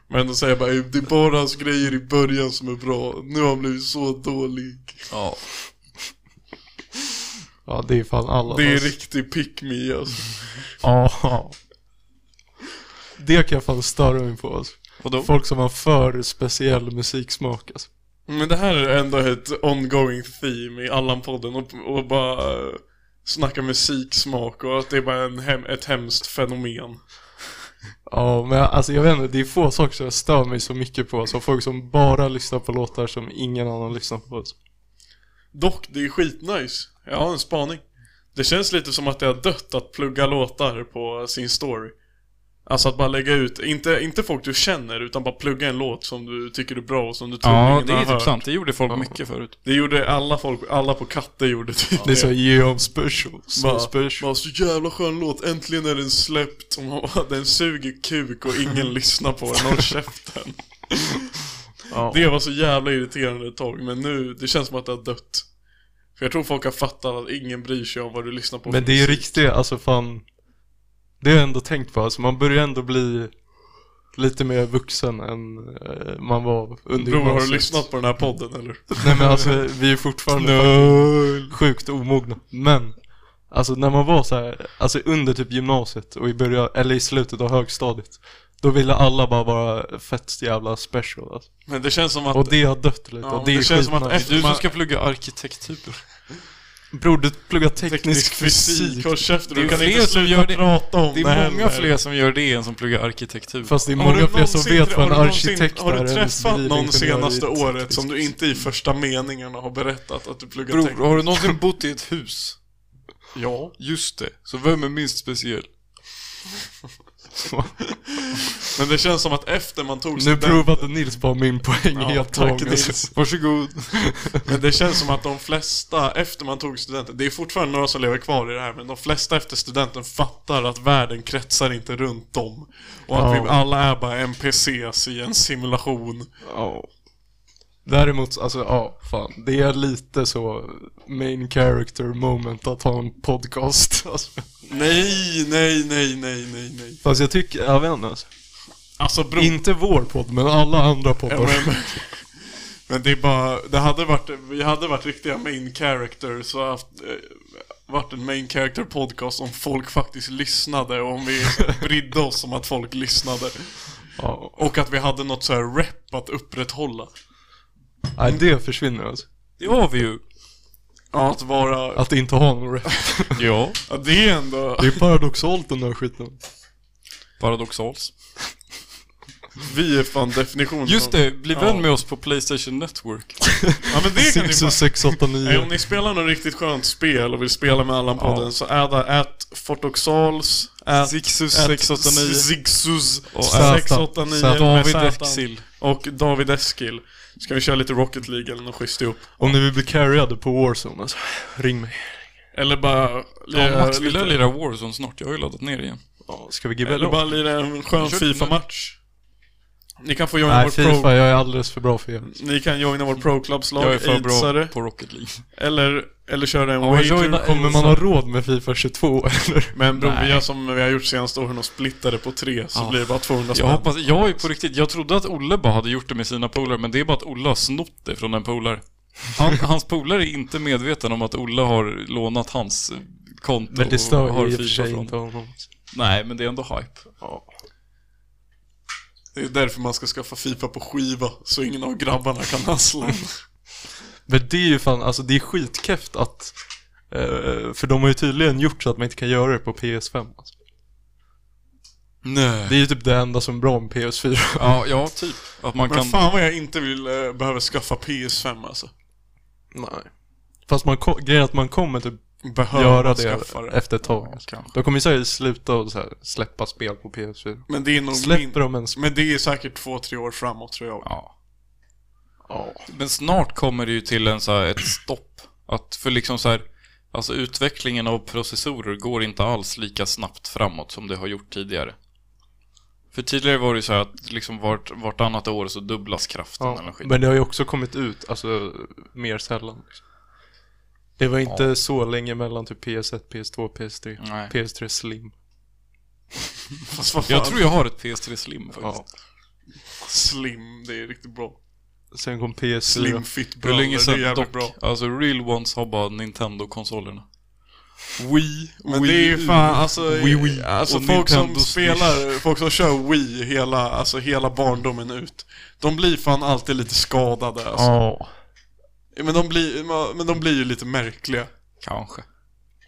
[SPEAKER 2] Men då säger jag bara, det är bara hans grejer i början som är bra. Nu har han blivit så dålig.
[SPEAKER 1] Ja.
[SPEAKER 3] ja, det är fan alla.
[SPEAKER 2] Det är
[SPEAKER 3] alltså.
[SPEAKER 2] riktig pick me alltså.
[SPEAKER 3] Ja. Det kan jag fan störa mig på alltså.
[SPEAKER 1] Vadå?
[SPEAKER 3] Folk som har för speciell musiksmak alltså.
[SPEAKER 2] Men det här är ändå ett ongoing theme i Allan-podden och, och bara uh, snacka musiksmak och att det är bara en hem, ett hemskt fenomen.
[SPEAKER 3] Ja, men jag- alltså jag vet inte, det är få saker som jag stör mig så mycket på. Alltså folk som bara lyssnar på låtar som ingen annan lyssnar på. Alltså.
[SPEAKER 2] Dock, det är skitnice. Jag har en spaning. Det känns lite som att det har dött att plugga låtar på sin story. Alltså att bara lägga ut, inte, inte folk du känner, utan bara plugga en låt som du tycker är bra och som du troligen
[SPEAKER 1] Ja, det
[SPEAKER 2] har
[SPEAKER 1] är typ
[SPEAKER 2] hört.
[SPEAKER 1] sant. Det gjorde folk mycket förut.
[SPEAKER 2] Det gjorde alla folk, alla på Katte gjorde typ
[SPEAKER 3] Det är så Geom special, so
[SPEAKER 2] Bara,
[SPEAKER 3] special.
[SPEAKER 2] bara, så jävla skön låt, äntligen är den släppt. Och man bara, den suger kuk och ingen lyssnar på den, håll käften.
[SPEAKER 3] Ja.
[SPEAKER 2] Det var så jävla irriterande ett tag, men nu, det känns som att det har dött. För jag tror folk har fattat att ingen bryr sig om vad du lyssnar på.
[SPEAKER 3] Men
[SPEAKER 2] för
[SPEAKER 3] det är ju
[SPEAKER 2] musik.
[SPEAKER 3] riktigt, alltså fan. Det har jag ändå tänkt på, alltså man börjar ändå bli lite mer vuxen än eh, man var under
[SPEAKER 2] Bror, har du
[SPEAKER 3] gymnasiet.
[SPEAKER 2] lyssnat på den här podden eller?
[SPEAKER 3] Nej men alltså vi är fortfarande fucking sjukt omogna. Men alltså när man var så här, alltså under typ gymnasiet och i början, eller i slutet av högstadiet. Då ville alla bara vara fett jävla special alltså.
[SPEAKER 2] Men det känns som att...
[SPEAKER 3] Och det har dött lite
[SPEAKER 2] Ja,
[SPEAKER 3] och det,
[SPEAKER 2] det
[SPEAKER 3] är
[SPEAKER 2] känns som att
[SPEAKER 3] skitnice.
[SPEAKER 2] efter-
[SPEAKER 1] Du som
[SPEAKER 2] Man-
[SPEAKER 1] ska plugga arkitektur.
[SPEAKER 3] Bror du pluggar teknisk,
[SPEAKER 2] teknisk fysik,
[SPEAKER 3] fysik.
[SPEAKER 2] håll käften,
[SPEAKER 1] Det är
[SPEAKER 2] du kan
[SPEAKER 1] fler
[SPEAKER 2] inte
[SPEAKER 1] som
[SPEAKER 2] sluta
[SPEAKER 1] gör det.
[SPEAKER 2] prata om
[SPEAKER 1] Det
[SPEAKER 2] det
[SPEAKER 1] är många
[SPEAKER 2] heller.
[SPEAKER 1] fler som gör det än som pluggar arkitektur.
[SPEAKER 3] Fast det är
[SPEAKER 2] Har du
[SPEAKER 3] många fler som
[SPEAKER 2] någonsin-
[SPEAKER 3] vet vad en
[SPEAKER 2] har du någonsin-
[SPEAKER 3] arkitekt är.
[SPEAKER 2] Har
[SPEAKER 3] än
[SPEAKER 2] du
[SPEAKER 3] en
[SPEAKER 2] träffat någon
[SPEAKER 3] civilingenjör
[SPEAKER 2] senaste
[SPEAKER 3] i
[SPEAKER 2] året
[SPEAKER 3] teknisk
[SPEAKER 2] som du inte i första meningarna har berättat att du pluggar
[SPEAKER 1] Bror,
[SPEAKER 2] teknik?
[SPEAKER 1] har du någonsin bott i ett hus?
[SPEAKER 2] Ja.
[SPEAKER 1] Just det. Så vem är minst speciell?
[SPEAKER 2] Men det känns som att efter man tog
[SPEAKER 3] Nu
[SPEAKER 2] studenten...
[SPEAKER 3] provade Nils bara min poäng
[SPEAKER 2] Ja,
[SPEAKER 3] helt
[SPEAKER 2] tack,
[SPEAKER 3] tagen.
[SPEAKER 2] Nils.
[SPEAKER 3] alltså.
[SPEAKER 1] Varsågod.
[SPEAKER 2] Men det känns som att de flesta efter man tog studenten, det är fortfarande några som lever kvar i det här, men de flesta efter studenten fattar att världen kretsar inte runt dem. Och att
[SPEAKER 3] Ja.
[SPEAKER 2] vi alla är bara NPCs i en simulation.
[SPEAKER 3] Ja. Däremot, alltså ja, fan. Det är lite så main character moment att ha en podcast. Alltså.
[SPEAKER 2] Nej, nej, nej, nej, nej, nej.
[SPEAKER 3] Fast jag tycker, jag vet inte. Alltså.
[SPEAKER 2] Alltså bror.
[SPEAKER 3] Inte vår podd, men alla andra
[SPEAKER 2] Ja,
[SPEAKER 3] poddar.
[SPEAKER 2] men, men det är bara, det hade varit, vi hade varit riktiga main characters och haft, eh, varit en main character podcast om folk faktiskt lyssnade och om vi brydde oss om att folk lyssnade.
[SPEAKER 3] Ja.
[SPEAKER 2] Och att vi hade något så här rep att upprätthålla.
[SPEAKER 3] Nej, det försvinner alltså.
[SPEAKER 1] Det har vi ju.
[SPEAKER 2] Ja, att vara...
[SPEAKER 3] Att inte ha någon rap.
[SPEAKER 1] Ja.
[SPEAKER 2] Ja, det är ändå...
[SPEAKER 3] Det är paradoxalt den här skiten.
[SPEAKER 1] Paradoxals.
[SPEAKER 2] Vi är fan definitionen
[SPEAKER 1] Just
[SPEAKER 2] av-
[SPEAKER 1] det, bli vän med oss på Playstation Network.
[SPEAKER 2] Ja, men det kan ni fan...
[SPEAKER 3] 68689.
[SPEAKER 2] Nej, om ni spelar något riktigt skönt spel och vill spela med Allan-podden så är det att Fortoxals, att
[SPEAKER 1] Zixus
[SPEAKER 2] At
[SPEAKER 1] 689
[SPEAKER 2] Zixus
[SPEAKER 1] Och
[SPEAKER 3] Zäta.
[SPEAKER 2] 689
[SPEAKER 3] Zäta.
[SPEAKER 2] med
[SPEAKER 1] David
[SPEAKER 2] Zätan.
[SPEAKER 1] Exil.
[SPEAKER 2] Och David Eskil. Ska vi köra lite Rocket League eller något schysst ihop?
[SPEAKER 3] Om ni vill bli carryade på Warzone alltså, ring mig.
[SPEAKER 2] Eller bara
[SPEAKER 1] Ja,
[SPEAKER 2] lira,
[SPEAKER 1] Max vill
[SPEAKER 2] lite,
[SPEAKER 1] jag lira Warzone snart, jag har ju laddat ner igen.
[SPEAKER 3] Ja, ska vi gibba
[SPEAKER 2] eller bara lira en skön
[SPEAKER 1] Kör-
[SPEAKER 2] FIFA-match. Ni kan få joina
[SPEAKER 3] Nej,
[SPEAKER 2] vår
[SPEAKER 3] Fifa,
[SPEAKER 2] pro...
[SPEAKER 3] jag är alldeles för bra för er.
[SPEAKER 2] Ni kan joina vår pro
[SPEAKER 1] Jag är
[SPEAKER 2] clubslag
[SPEAKER 1] för bra
[SPEAKER 2] aidsare.
[SPEAKER 1] på Rocket League.
[SPEAKER 2] Eller, eller köra en
[SPEAKER 1] Ja, joina-
[SPEAKER 2] wager.
[SPEAKER 3] Kommer man ha råd med Fifa 22 eller?
[SPEAKER 2] Men bror,
[SPEAKER 1] Nej.
[SPEAKER 2] vi gör som vi har gjort senaste åren och splittade på tre så
[SPEAKER 1] Ja.
[SPEAKER 2] blir det bara 200
[SPEAKER 1] Jag
[SPEAKER 2] spänn.
[SPEAKER 1] hoppas, jag är på riktigt, jag trodde att Olle bara hade gjort det med sina polare, men det är bara att Olle har snott det från en polare. Han, hans polare är inte medveten om att Olle har lånat hans konto
[SPEAKER 3] Men det
[SPEAKER 1] och
[SPEAKER 3] stör
[SPEAKER 1] har
[SPEAKER 3] ju i och för
[SPEAKER 1] Fifa
[SPEAKER 3] sig
[SPEAKER 1] från
[SPEAKER 3] inte honom.
[SPEAKER 1] Nej, men det är ändå hype.
[SPEAKER 2] Det är därför man ska skaffa FIFA på skiva, så ingen av grabbarna kan hassla.
[SPEAKER 3] Men det är ju fan, alltså det är skitkeft att eh, för de har ju tydligen gjort så att man inte kan göra det på PS5 alltså.
[SPEAKER 1] Nej.
[SPEAKER 3] Det är ju typ det enda som är bra med PS4.
[SPEAKER 1] Ja, ja, typ. Att man
[SPEAKER 2] Men
[SPEAKER 1] kan...
[SPEAKER 2] fan vad jag inte vill eh, behöva skaffa PS5 alltså.
[SPEAKER 3] Nej. Fast man, ko- grejen är att man kommer typ
[SPEAKER 2] Behöva
[SPEAKER 3] göra det
[SPEAKER 2] skaffa det.
[SPEAKER 3] efter ett tag. alltså.
[SPEAKER 1] kanske.
[SPEAKER 3] de kommer ju säkert sluta och så här släppa spel på PS4.
[SPEAKER 2] Men det är nog min...
[SPEAKER 3] Släpper de ens...
[SPEAKER 2] Men det är säkert två, tre år framåt tror jag.
[SPEAKER 1] Ja.
[SPEAKER 3] Ja.
[SPEAKER 1] Men snart kommer det ju till en så här, ett stopp. Att för liksom så här, alltså utvecklingen av processorer går inte alls lika snabbt framåt som det har gjort tidigare. För tidigare var det ju så här att liksom vart, vartannat år så dubblas kraften eller
[SPEAKER 3] ja.
[SPEAKER 1] något skit.
[SPEAKER 3] Men det har ju också kommit ut, alltså mer sällan. liksom. Det var inte så länge mellan typ PS1, PS2, PS3.
[SPEAKER 1] Nej.
[SPEAKER 3] PS3 Slim.
[SPEAKER 2] Fast vad fan,
[SPEAKER 1] Jag tror jag har ett PS3 Slim faktiskt.
[SPEAKER 3] Ja.
[SPEAKER 2] slim, det är riktigt bra.
[SPEAKER 3] Sen kom PS4.
[SPEAKER 2] Slim fit
[SPEAKER 1] Hur
[SPEAKER 2] brallor, det
[SPEAKER 1] länge
[SPEAKER 2] är
[SPEAKER 1] sedan
[SPEAKER 2] jävligt
[SPEAKER 1] dock?
[SPEAKER 2] bra.
[SPEAKER 1] Alltså real ones har bara Nintendo-konsolerna.
[SPEAKER 2] Wii, Men
[SPEAKER 1] Wii
[SPEAKER 2] det är ju fan alltså,
[SPEAKER 1] Wii, Wii.
[SPEAKER 2] alltså
[SPEAKER 1] Och
[SPEAKER 2] folk som
[SPEAKER 1] Nintendo Switch.
[SPEAKER 2] spelar, folk som kör Wii hela, alltså hela barndomen ut. De blir fan alltid lite skadade alltså.
[SPEAKER 3] Ja.
[SPEAKER 2] Men, de blir, men de blir ju lite märkliga.
[SPEAKER 1] Kanske.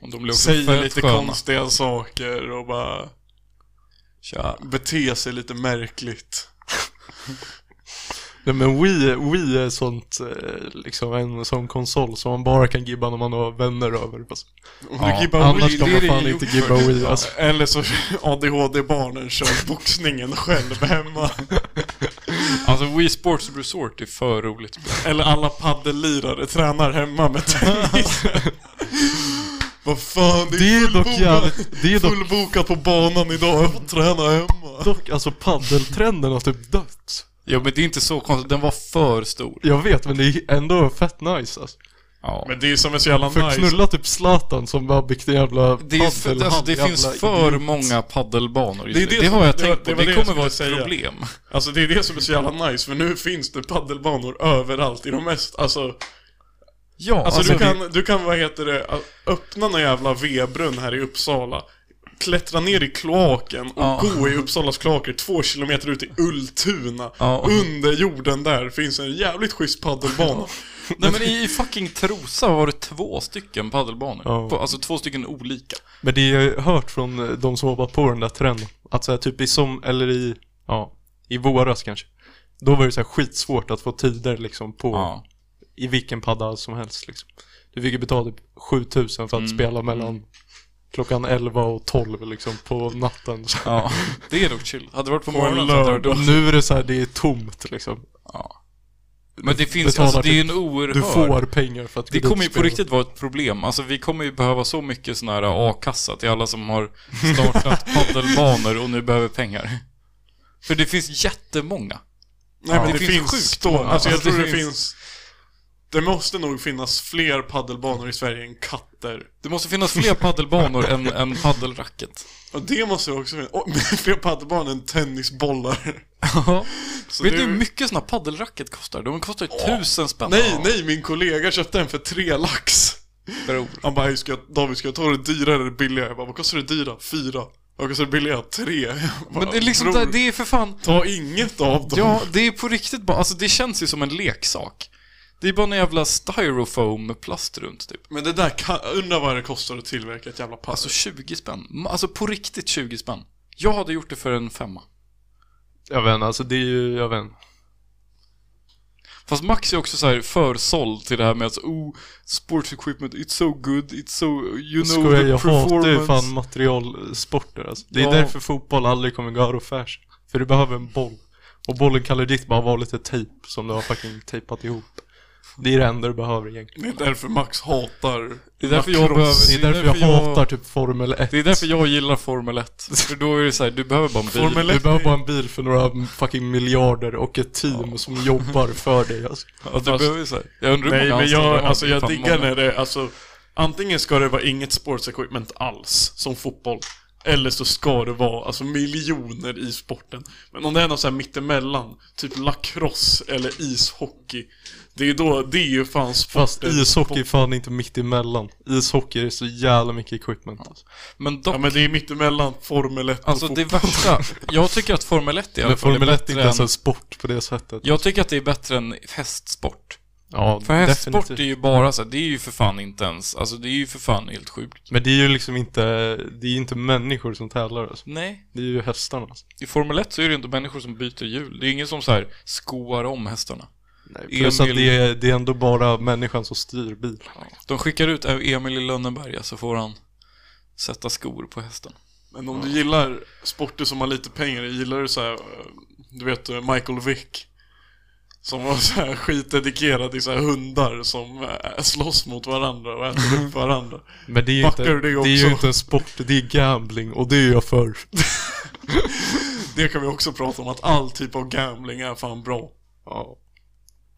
[SPEAKER 1] Och de blir också
[SPEAKER 2] Säger
[SPEAKER 1] fett
[SPEAKER 2] lite
[SPEAKER 1] sköna.
[SPEAKER 2] konstiga saker och bara
[SPEAKER 1] Tja.
[SPEAKER 2] beter sig lite märkligt.
[SPEAKER 3] Nej men Wii, Wii är sånt, eh, liksom en sån konsol som man bara kan gibba när man har vänner över. Alltså.
[SPEAKER 2] Om
[SPEAKER 1] Ja,
[SPEAKER 2] du gibbar
[SPEAKER 3] Annars
[SPEAKER 2] Wii,
[SPEAKER 3] kan
[SPEAKER 2] det
[SPEAKER 3] man
[SPEAKER 2] är
[SPEAKER 3] fan
[SPEAKER 2] det
[SPEAKER 3] inte
[SPEAKER 2] ju-
[SPEAKER 3] gibba Wii alltså.
[SPEAKER 2] Eller så ADHD-barnen kör boxningen själv hemma.
[SPEAKER 1] Alltså Wii Sports Resort är för roligt spel.
[SPEAKER 2] Eller alla paddellirare tränar hemma med tennis. Vad fan, det är,
[SPEAKER 3] Det är dock
[SPEAKER 2] fullbokat-
[SPEAKER 3] jävligt- det är dock-
[SPEAKER 2] fullbokat på banan idag. Jag får träna hemma.
[SPEAKER 3] Dock, alltså paddeltrenden har typ dött.
[SPEAKER 1] Ja men det är inte så konstigt, den var för stor.
[SPEAKER 3] Jag vet, men det är ändå fett nice alltså.
[SPEAKER 1] Ja.
[SPEAKER 2] Men det är som är så jävla
[SPEAKER 3] För knulla typ Zlatan som bara byggt en jävla
[SPEAKER 1] Det, är för,
[SPEAKER 3] paddelhand,
[SPEAKER 1] alltså, det
[SPEAKER 3] jävla
[SPEAKER 1] finns för
[SPEAKER 3] idiot.
[SPEAKER 1] många paddelbanor just
[SPEAKER 2] Det är
[SPEAKER 1] det,
[SPEAKER 2] det
[SPEAKER 1] det
[SPEAKER 2] som-
[SPEAKER 1] har jag
[SPEAKER 2] det var-
[SPEAKER 1] tänkt
[SPEAKER 2] det
[SPEAKER 1] på. Det,
[SPEAKER 2] var det jag
[SPEAKER 1] kommer vara ett
[SPEAKER 2] skulle säga.
[SPEAKER 1] problem.
[SPEAKER 2] Alltså det är det som är så jävla nice, för nu finns det paddelbanor överallt i de mest, alltså
[SPEAKER 1] Ja,
[SPEAKER 2] Alltså,
[SPEAKER 1] alltså,
[SPEAKER 2] du, kan, du kan, vad heter det, öppna någon jävla vedbrunn här i Uppsala Klättra ner i kloaken och
[SPEAKER 1] Ja.
[SPEAKER 2] gå i Uppsalas kloaker två kilometer ut i Ultuna
[SPEAKER 1] Ja.
[SPEAKER 2] Under jorden där finns en jävligt schysst paddelbana
[SPEAKER 1] Nej men i, i fucking Trosa var det två stycken paddelbanor.
[SPEAKER 3] Ja.
[SPEAKER 1] På- Alltså två stycken olika.
[SPEAKER 3] Men det jag har hört från eh, de som hoppat på den där trenden, att så här, typ i som, eller i, ja, i våras kanske. Då var det så här skitsvårt att få tider liksom på,
[SPEAKER 1] Ja.
[SPEAKER 3] i vilken padda som helst liksom. Du fick ju betala typ 7000 för att spela mellan klockan 11 och 12 liksom på natten. Så.
[SPEAKER 1] ja. Det är dock chill. Hade det varit på
[SPEAKER 2] en
[SPEAKER 1] morgonen så hade det varit
[SPEAKER 2] lördag.
[SPEAKER 1] dumt.
[SPEAKER 3] Och nu är det så här, det är tomt liksom.
[SPEAKER 1] Men det finns,
[SPEAKER 3] betalar
[SPEAKER 1] alltså det är
[SPEAKER 3] typ-
[SPEAKER 1] en oerhörd...
[SPEAKER 3] Du får pengar för att gå
[SPEAKER 1] Det
[SPEAKER 3] dit och
[SPEAKER 1] kommer ju på
[SPEAKER 3] spela.
[SPEAKER 1] riktigt vara ett problem. Alltså vi kommer ju behöva så mycket sån här äh, a-kassa till alla som har startat paddelbanor och nu behöver pengar. För det finns jättemånga.
[SPEAKER 2] Nej men
[SPEAKER 1] Ja.
[SPEAKER 2] det,
[SPEAKER 1] Det finns
[SPEAKER 2] finns,
[SPEAKER 1] sjukt
[SPEAKER 2] då,
[SPEAKER 1] många.
[SPEAKER 2] alltså jag
[SPEAKER 1] Alltså, det
[SPEAKER 2] tror det
[SPEAKER 1] finns-
[SPEAKER 2] finns Det måste nog finnas fler paddelbanor i Sverige än katter
[SPEAKER 1] Det måste finnas fler paddelbanor än, än paddelracket.
[SPEAKER 2] Och det måste också finnas, oh, fler paddelbanor än tennisbollar
[SPEAKER 1] Ja.
[SPEAKER 2] Så
[SPEAKER 1] Vet
[SPEAKER 2] det-
[SPEAKER 1] du hur mycket såna paddelracket kostar? De kostar ju tusen spänn.
[SPEAKER 2] Nej, nej, min kollega köpte en för tre lax
[SPEAKER 1] Bror.
[SPEAKER 2] Han bara, "Hej, ska jag, David ska jag ta det dyra eller det billiga? Jag bara, vad kostar det dyra? Fyra. Vad kostar det billiga? Tre. Jag Bara,
[SPEAKER 1] Men det är liksom,
[SPEAKER 2] "Bror,
[SPEAKER 1] det är för fan...
[SPEAKER 2] Ta inget av dem.
[SPEAKER 1] Ja, det är på riktigt bara, alltså det känns ju som en leksak. Det är bara en jävla styrofoam med plast runt typ.
[SPEAKER 2] Men det där, kan, undrar vad det kostar att tillverka ett jävla pass.
[SPEAKER 1] Alltså 20 spänn. Ma- Alltså på riktigt 20 spänn. Jag hade gjort det för en femma.
[SPEAKER 3] Jag vet inte, alltså det är ju, jag vet inte.
[SPEAKER 1] Fast Max är också så här försåld till det här med att oh, sports equipment, it's so good, it's so, you know
[SPEAKER 3] Skojar,
[SPEAKER 1] the
[SPEAKER 3] jag hatar ju
[SPEAKER 1] performance.
[SPEAKER 3] fan materialsporter alltså. Det är
[SPEAKER 1] Ja.
[SPEAKER 3] därför fotboll aldrig kommer gå out of fashion. För du behöver en boll. Och bollen kan legit bara vara lite tejp som du har fucking tejpat ihop. Det är det enda du behöver egentligen.
[SPEAKER 2] Det är därför Max hatar
[SPEAKER 1] Det är därför jag
[SPEAKER 2] Macross.
[SPEAKER 1] behöver-
[SPEAKER 3] Det är därför jag hatar typ Formel 1.
[SPEAKER 1] Det är därför jag gillar Formel 1. För då är det så här, du behöver bara en bil.
[SPEAKER 2] Formel
[SPEAKER 3] Du
[SPEAKER 2] 1
[SPEAKER 3] behöver bara en bil för några fucking miljarder och ett team som jobbar för dig alltså.
[SPEAKER 1] Alltså, du behöver så här. Jag undrar hur
[SPEAKER 2] Nej,
[SPEAKER 1] många
[SPEAKER 2] men
[SPEAKER 1] anställda de
[SPEAKER 2] jag,
[SPEAKER 1] har.
[SPEAKER 2] alltså,
[SPEAKER 1] Det är
[SPEAKER 2] jag
[SPEAKER 1] fan
[SPEAKER 2] diggar
[SPEAKER 1] många.
[SPEAKER 2] när det, alltså Antingen ska det vara inget sports equipment alls, som fotboll Eller så ska det vara, alltså miljoner i sporten Men om det är något så här mittemellan, typ lacrosse eller ishockey Det är då, det är ju fan sporten
[SPEAKER 3] Fast ishockey är fan inte mitt emellan. Ishockey är så jävla mycket equipment alltså.
[SPEAKER 1] Men dock,
[SPEAKER 2] Ja men det är mittemellan Formel 1
[SPEAKER 1] alltså
[SPEAKER 2] och
[SPEAKER 1] det
[SPEAKER 2] fotboll
[SPEAKER 1] värsta. Jag tycker att Formel 1 i alla
[SPEAKER 3] Men
[SPEAKER 1] fall
[SPEAKER 3] Formel 1 är inte ens
[SPEAKER 1] än,
[SPEAKER 3] en sport på det sättet.
[SPEAKER 1] Jag tycker att det är bättre än hästsport.
[SPEAKER 3] Ja,
[SPEAKER 1] För hästsport
[SPEAKER 3] definitivt.
[SPEAKER 1] är ju bara så här, det är ju för fan inte ens, alltså det är ju för fan helt sjukt.
[SPEAKER 3] Men det är ju liksom inte, det är ju inte människor som tävlar alltså.
[SPEAKER 1] Nej.
[SPEAKER 3] Det är ju hästarna. Alltså.
[SPEAKER 1] I Formel 1 så är det ju inte människor som byter hjul. Det är ingen som så här skoar om hästarna.
[SPEAKER 3] Plus
[SPEAKER 1] Emil-
[SPEAKER 3] att det är, det är ändå bara människan som styr bilen.
[SPEAKER 1] De skickar ut Emil i Lönneberga så får han sätta skor på hästen.
[SPEAKER 2] Men om du gillar sporter som har lite pengar, gillar du så här, eh, du vet eh, Michael Vick? Som var så här skitdedikerad i så här hundar som eh, slåss mot varandra och äter upp varandra.
[SPEAKER 3] Men det är ju
[SPEAKER 2] Backar
[SPEAKER 3] inte,
[SPEAKER 2] du det
[SPEAKER 3] det är
[SPEAKER 2] också?
[SPEAKER 3] ju inte en sport, det är gambling och det är jag för.
[SPEAKER 2] Det kan vi också prata om, att all typ av gambling är fan bra.
[SPEAKER 3] Ja.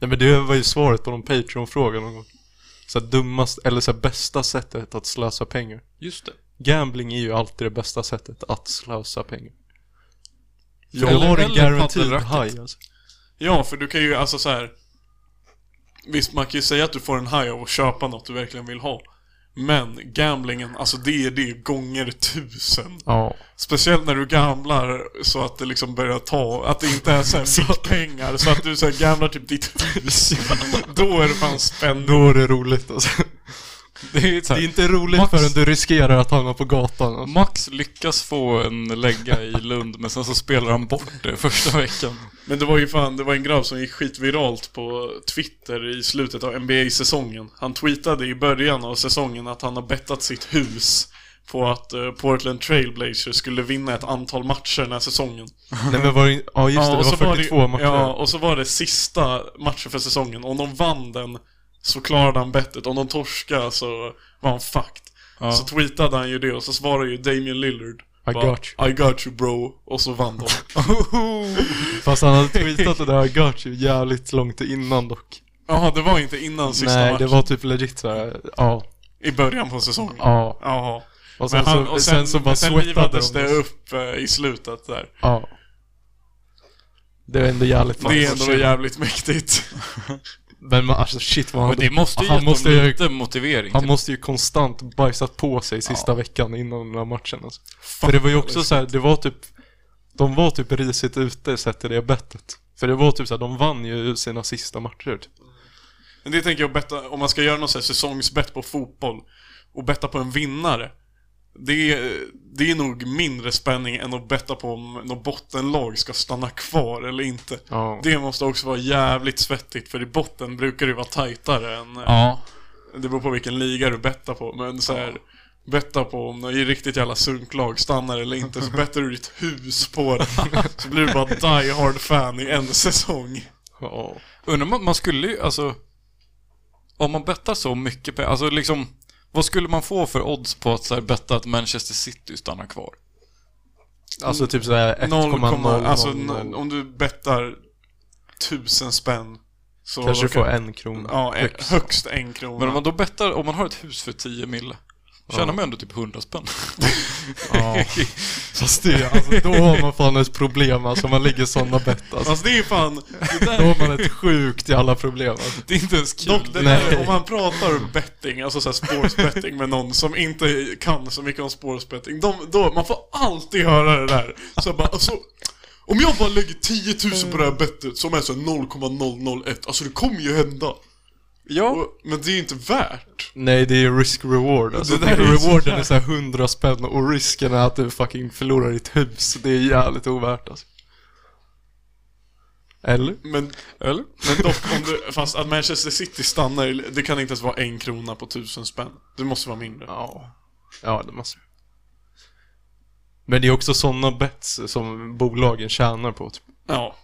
[SPEAKER 3] Nej men det var ju svaret på någon Patreon-fråga någon gång. Så här, dummast, eller så här, bästa sättet att slösa pengar.
[SPEAKER 1] Just det.
[SPEAKER 3] Gambling är ju alltid det bästa sättet att slösa pengar. Jag
[SPEAKER 1] Eller-
[SPEAKER 3] har en
[SPEAKER 1] eller
[SPEAKER 3] garanterad
[SPEAKER 1] paddelracket.
[SPEAKER 3] haj alltså.
[SPEAKER 2] Ja, för du kan ju alltså så här. Visst, man kan ju säga att du får en haj av att köpa något du verkligen vill ha. Men gamblingen, alltså det är det gånger tusen.
[SPEAKER 3] Ja.
[SPEAKER 2] Speciellt när du gamlar så att det liksom börjar ta, att det inte är såhär pengar så att du såhär gamlar typ ditt hus. Då är det fan spännande.
[SPEAKER 3] Då är det roligt alltså.
[SPEAKER 1] Det är, ju så
[SPEAKER 3] Det
[SPEAKER 1] här,
[SPEAKER 3] är inte roligt
[SPEAKER 1] Max-
[SPEAKER 3] förrän du riskerar att hamna på gatan. Alltså.
[SPEAKER 1] Max lyckas få en lägga i Lund men sen så spelar han bort det första veckan.
[SPEAKER 2] Men det var ju fan, det var en grabb som gick skitviralt på Twitter i slutet av NBA-säsongen. Han tweetade i början av säsongen att han har bettat sitt hus på att eh, Portland Trailblazers skulle vinna ett antal matcher den här säsongen.
[SPEAKER 3] Nej men var det, ja just det,
[SPEAKER 2] och
[SPEAKER 3] det
[SPEAKER 2] så
[SPEAKER 3] var 42 matcher.
[SPEAKER 2] Ja, och så var det sista matchen för säsongen. Om de vann den så klarade han bettet. Om de torskade så var han fucked.
[SPEAKER 1] Ja.
[SPEAKER 2] Så tweetade han ju det och så svarade ju Damian Lillard.
[SPEAKER 3] I
[SPEAKER 2] bara,
[SPEAKER 3] got
[SPEAKER 2] I got you bro. Och så vann de.
[SPEAKER 3] Fast han hade tweetat det där I got you jävligt långt innan dock.
[SPEAKER 2] Jaha, det var inte innan sista
[SPEAKER 3] Nej,
[SPEAKER 2] matchen.
[SPEAKER 3] det var typ legit såhär, ja,
[SPEAKER 2] I början på säsongen.
[SPEAKER 3] ja.
[SPEAKER 2] Jaha.
[SPEAKER 3] Och sen,
[SPEAKER 2] Men han,
[SPEAKER 3] så,
[SPEAKER 2] och
[SPEAKER 3] sen, så bara
[SPEAKER 2] sen
[SPEAKER 3] svettade
[SPEAKER 2] livades
[SPEAKER 3] de.
[SPEAKER 2] det upp eh, i slutet där.
[SPEAKER 3] Ja. Det var ändå jävligt
[SPEAKER 2] det är
[SPEAKER 3] nice.
[SPEAKER 2] ändå jävligt mäktigt.
[SPEAKER 3] Men man- alltså shit vad han,
[SPEAKER 1] Men det måste ju
[SPEAKER 3] han,
[SPEAKER 1] gett
[SPEAKER 3] måste
[SPEAKER 1] dem
[SPEAKER 3] ju,
[SPEAKER 1] lite motivering.
[SPEAKER 3] han
[SPEAKER 1] till-
[SPEAKER 3] måste ju konstant bajsat på sig sista veckan innan den här matchen alltså. För det var ju också så här, det var typ De var typ risigt ute sett till det bettet. För det var typ så här, de vann ju sina sista matcher typ.
[SPEAKER 2] Men det tänker jag betta, om man ska göra någon sån här säsongsbett på fotboll och betta på en vinnare. Det är, det är nog mindre spänning än att betta på om något bottenlag ska stanna kvar eller inte.
[SPEAKER 3] Ja.
[SPEAKER 2] Det måste också vara jävligt svettigt för i botten brukar det vara tajtare än... eh,
[SPEAKER 1] Ja.
[SPEAKER 2] Det beror på vilken liga du bettar på men så här, Betta på om något riktigt jävla sunklag stannar eller inte så bettar du ditt hus på det. Så blir du bara die hard fan i en säsong.
[SPEAKER 3] Ja.
[SPEAKER 1] Undrar man, man skulle ju, alltså... Om man bettar så mycket pengar, alltså liksom... Vad skulle man få för odds på att så här, betta att Manchester City stannar kvar?
[SPEAKER 3] Alltså typ såhär
[SPEAKER 2] 0,0
[SPEAKER 3] 1,0
[SPEAKER 2] Alltså n- om du bettar tusen spänn så
[SPEAKER 3] Kanske du
[SPEAKER 2] kan-
[SPEAKER 3] får en krona.
[SPEAKER 2] Ja, en, högst en krona.
[SPEAKER 1] Men om man då bettar, om man har ett hus för 10 mille, tjänar man ändå typ 100 spänn.
[SPEAKER 3] Ja. Fast det, alltså då har man fan ett problem alltså, man ligger sådana bett alltså.
[SPEAKER 2] Alltså det är ju fan, det
[SPEAKER 3] Då
[SPEAKER 2] där,
[SPEAKER 3] har man ett sjukt jävla problem alltså.
[SPEAKER 1] Det är inte ens kul.
[SPEAKER 2] dock det
[SPEAKER 3] Nej.
[SPEAKER 2] där, om man pratar betting, alltså såhär sportsbetting med någon som inte kan så mycket om sportsbetting, de, då, man får alltid höra det där. Så bara, alltså, om jag bara lägger 10 000 på det här
[SPEAKER 1] Mm.
[SPEAKER 2] bettet som är så 0,001, alltså det kommer ju hända.
[SPEAKER 1] Ja.
[SPEAKER 2] Och, men det är ju inte värt.
[SPEAKER 3] Nej det är risk-reward alltså.
[SPEAKER 2] Det där är ju så
[SPEAKER 3] Rewarden är såhär 100 spänn och risken är att du fucking förlorar ditt hus. Det är jävligt ovärt alltså. Eller?
[SPEAKER 2] Men
[SPEAKER 1] Eller?
[SPEAKER 2] Men dock, om du, fast att Manchester City stannar, i- det kan inte ens vara en krona på tusen spänn. Det måste vara mindre.
[SPEAKER 3] Ja. Ja, det måste Men det är också sådana bets som bolagen tjänar på. Typ.
[SPEAKER 2] Ja.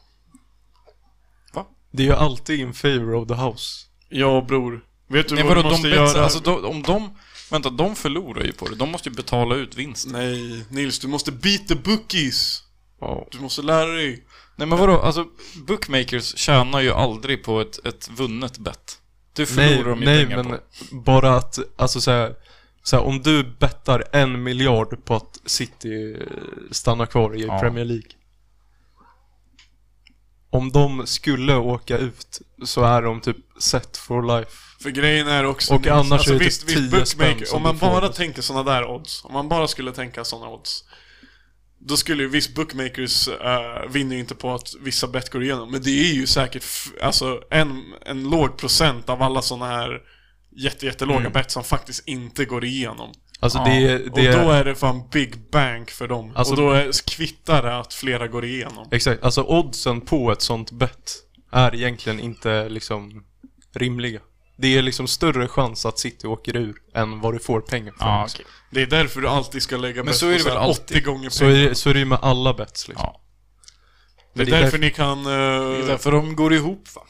[SPEAKER 3] Det är ju alltid in favor of the house.
[SPEAKER 2] Ja, bror. Vet du
[SPEAKER 1] Nej
[SPEAKER 2] vad
[SPEAKER 1] vadå,
[SPEAKER 2] du måste
[SPEAKER 1] de
[SPEAKER 2] göra?
[SPEAKER 1] bets, alltså de, om de... Vänta, de förlorar ju på det. De måste ju betala ut vinsten.
[SPEAKER 2] Nej, Nils, du måste beat the bookies!
[SPEAKER 3] Ja.
[SPEAKER 2] Du måste lära dig.
[SPEAKER 1] Nej men vadå, alltså bookmakers tjänar ju aldrig på ett, ett vunnet bett. Det förlorar
[SPEAKER 3] Nej,
[SPEAKER 1] de ju
[SPEAKER 3] nej
[SPEAKER 1] pengar
[SPEAKER 3] men
[SPEAKER 1] på.
[SPEAKER 3] bara att, alltså så här, så här, om du bettar en miljard på att City eh, stannar kvar i
[SPEAKER 1] Ja.
[SPEAKER 3] Premier League. Om de skulle åka ut så är de typ set for life.
[SPEAKER 2] För grejen är också...
[SPEAKER 3] Och annars
[SPEAKER 2] alltså,
[SPEAKER 3] är det
[SPEAKER 2] visst,
[SPEAKER 3] typ
[SPEAKER 2] visst,
[SPEAKER 3] 10 spänn
[SPEAKER 2] bookmaker,
[SPEAKER 3] som
[SPEAKER 2] Om man
[SPEAKER 3] du får.
[SPEAKER 2] bara tänker sådana där odds, om man bara skulle tänka sådana odds. Då skulle ju visst bookmakers eh, vinner ju inte på att vissa bet går igenom. Men det är ju säkert f- alltså en, en låg procent av alla sådana här jätte, jättelåga bet som faktiskt inte går igenom.
[SPEAKER 3] Alltså det är, Mm. det
[SPEAKER 2] och då
[SPEAKER 3] är,
[SPEAKER 2] är det fan big bank för dem.
[SPEAKER 3] Alltså-
[SPEAKER 2] och då är, kvittar det att flera går igenom.
[SPEAKER 3] exakt, alltså oddsen på ett sånt bet är egentligen inte liksom rimliga. Det är liksom större chans att City åker ur än vad du får pengar för.
[SPEAKER 1] Ja,
[SPEAKER 3] liksom.
[SPEAKER 1] okej.
[SPEAKER 2] Det är därför du alltid ska lägga bet
[SPEAKER 1] så
[SPEAKER 2] på
[SPEAKER 1] är det
[SPEAKER 2] så här
[SPEAKER 1] väl alltid.
[SPEAKER 2] 80 gånger
[SPEAKER 3] så, är, det- så är det ju med alla bets liksom.
[SPEAKER 1] ja.
[SPEAKER 2] Det är
[SPEAKER 3] det är
[SPEAKER 2] därför
[SPEAKER 3] därför-
[SPEAKER 2] ni kan... eh,
[SPEAKER 1] Det är därför de går ihop va?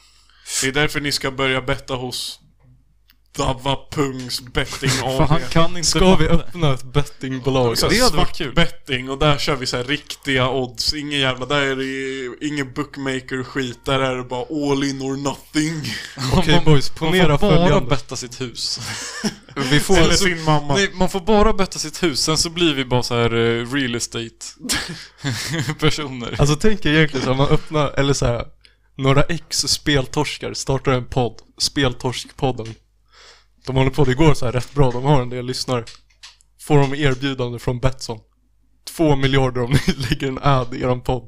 [SPEAKER 2] det är därför ni ska börja betta hos Davapungs betting
[SPEAKER 1] För han
[SPEAKER 2] AB.
[SPEAKER 1] kan inte
[SPEAKER 3] Ska vi öppna ett bettingbolag?
[SPEAKER 2] Så här
[SPEAKER 1] Det hade varit
[SPEAKER 2] svart
[SPEAKER 1] kul.
[SPEAKER 2] betting och där kör vi så här riktiga odds. Ingen jävla... Där är det ingen bookmaker-skit. Där är det bara all in or nothing.
[SPEAKER 3] Okej boys, ponera
[SPEAKER 1] man får bara
[SPEAKER 3] följande.
[SPEAKER 1] betta sitt hus.
[SPEAKER 3] Vi får...
[SPEAKER 2] Eller sin mamma.
[SPEAKER 1] Nej, man får bara betta sitt hus, sen så blir vi bara så här eh, real estate personer.
[SPEAKER 3] Alltså tänk er egentligen så här, man öppnar, eller så här, några ex speltorskar startar en podd, Speltorskpodden. De håller på, det går så här rätt bra, de har en del lyssnare. Får de erbjudande från Betsson. Två miljarder om ni lägger en ad i eran podd.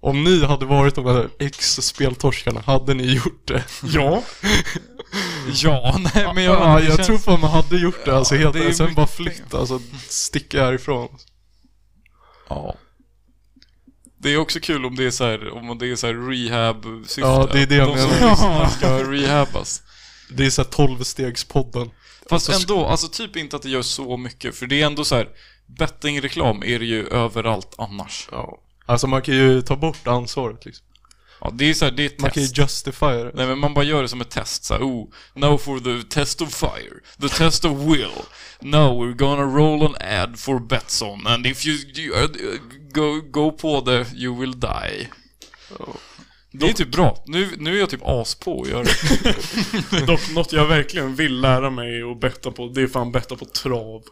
[SPEAKER 3] Om ni hade varit de här ex speltorskarna, hade ni gjort det?
[SPEAKER 2] Ja.
[SPEAKER 1] Ja, nej men jag,
[SPEAKER 3] ja,
[SPEAKER 1] det
[SPEAKER 3] jag
[SPEAKER 1] känns-
[SPEAKER 3] tror fan man hade gjort det alltså helt
[SPEAKER 1] det är
[SPEAKER 3] Sen
[SPEAKER 1] mycket
[SPEAKER 3] bara flytta, alltså sticka härifrån.
[SPEAKER 1] Ja. Det är också kul om det är så här, om det är så här rehab-syfte.
[SPEAKER 3] Ja, det är det jag
[SPEAKER 1] De som
[SPEAKER 3] menar.
[SPEAKER 1] lyssnar ska rehabas.
[SPEAKER 3] Det är så här 12-stegspodden.
[SPEAKER 1] Fast ändå, alltså typ inte att det gör så mycket, för det är ändå så här bettingreklam är det ju överallt annars.
[SPEAKER 3] Ja. Alltså man kan ju ta bort ansvaret liksom.
[SPEAKER 1] Ja, det är så här, det är ett
[SPEAKER 3] Man kan ju
[SPEAKER 1] test.
[SPEAKER 3] justifiera det.
[SPEAKER 1] Nej men man bara gör det som ett test så här, oh, now for the test of fire, the test of will. Now we're gonna roll an ad for Betsson and if you, you uh, go, go på det, you will die. Det är typ bra. Nu, nu är jag typ as på att göra det.
[SPEAKER 2] Dock något jag verkligen vill lära mig och betta på, det är fan betta på trav.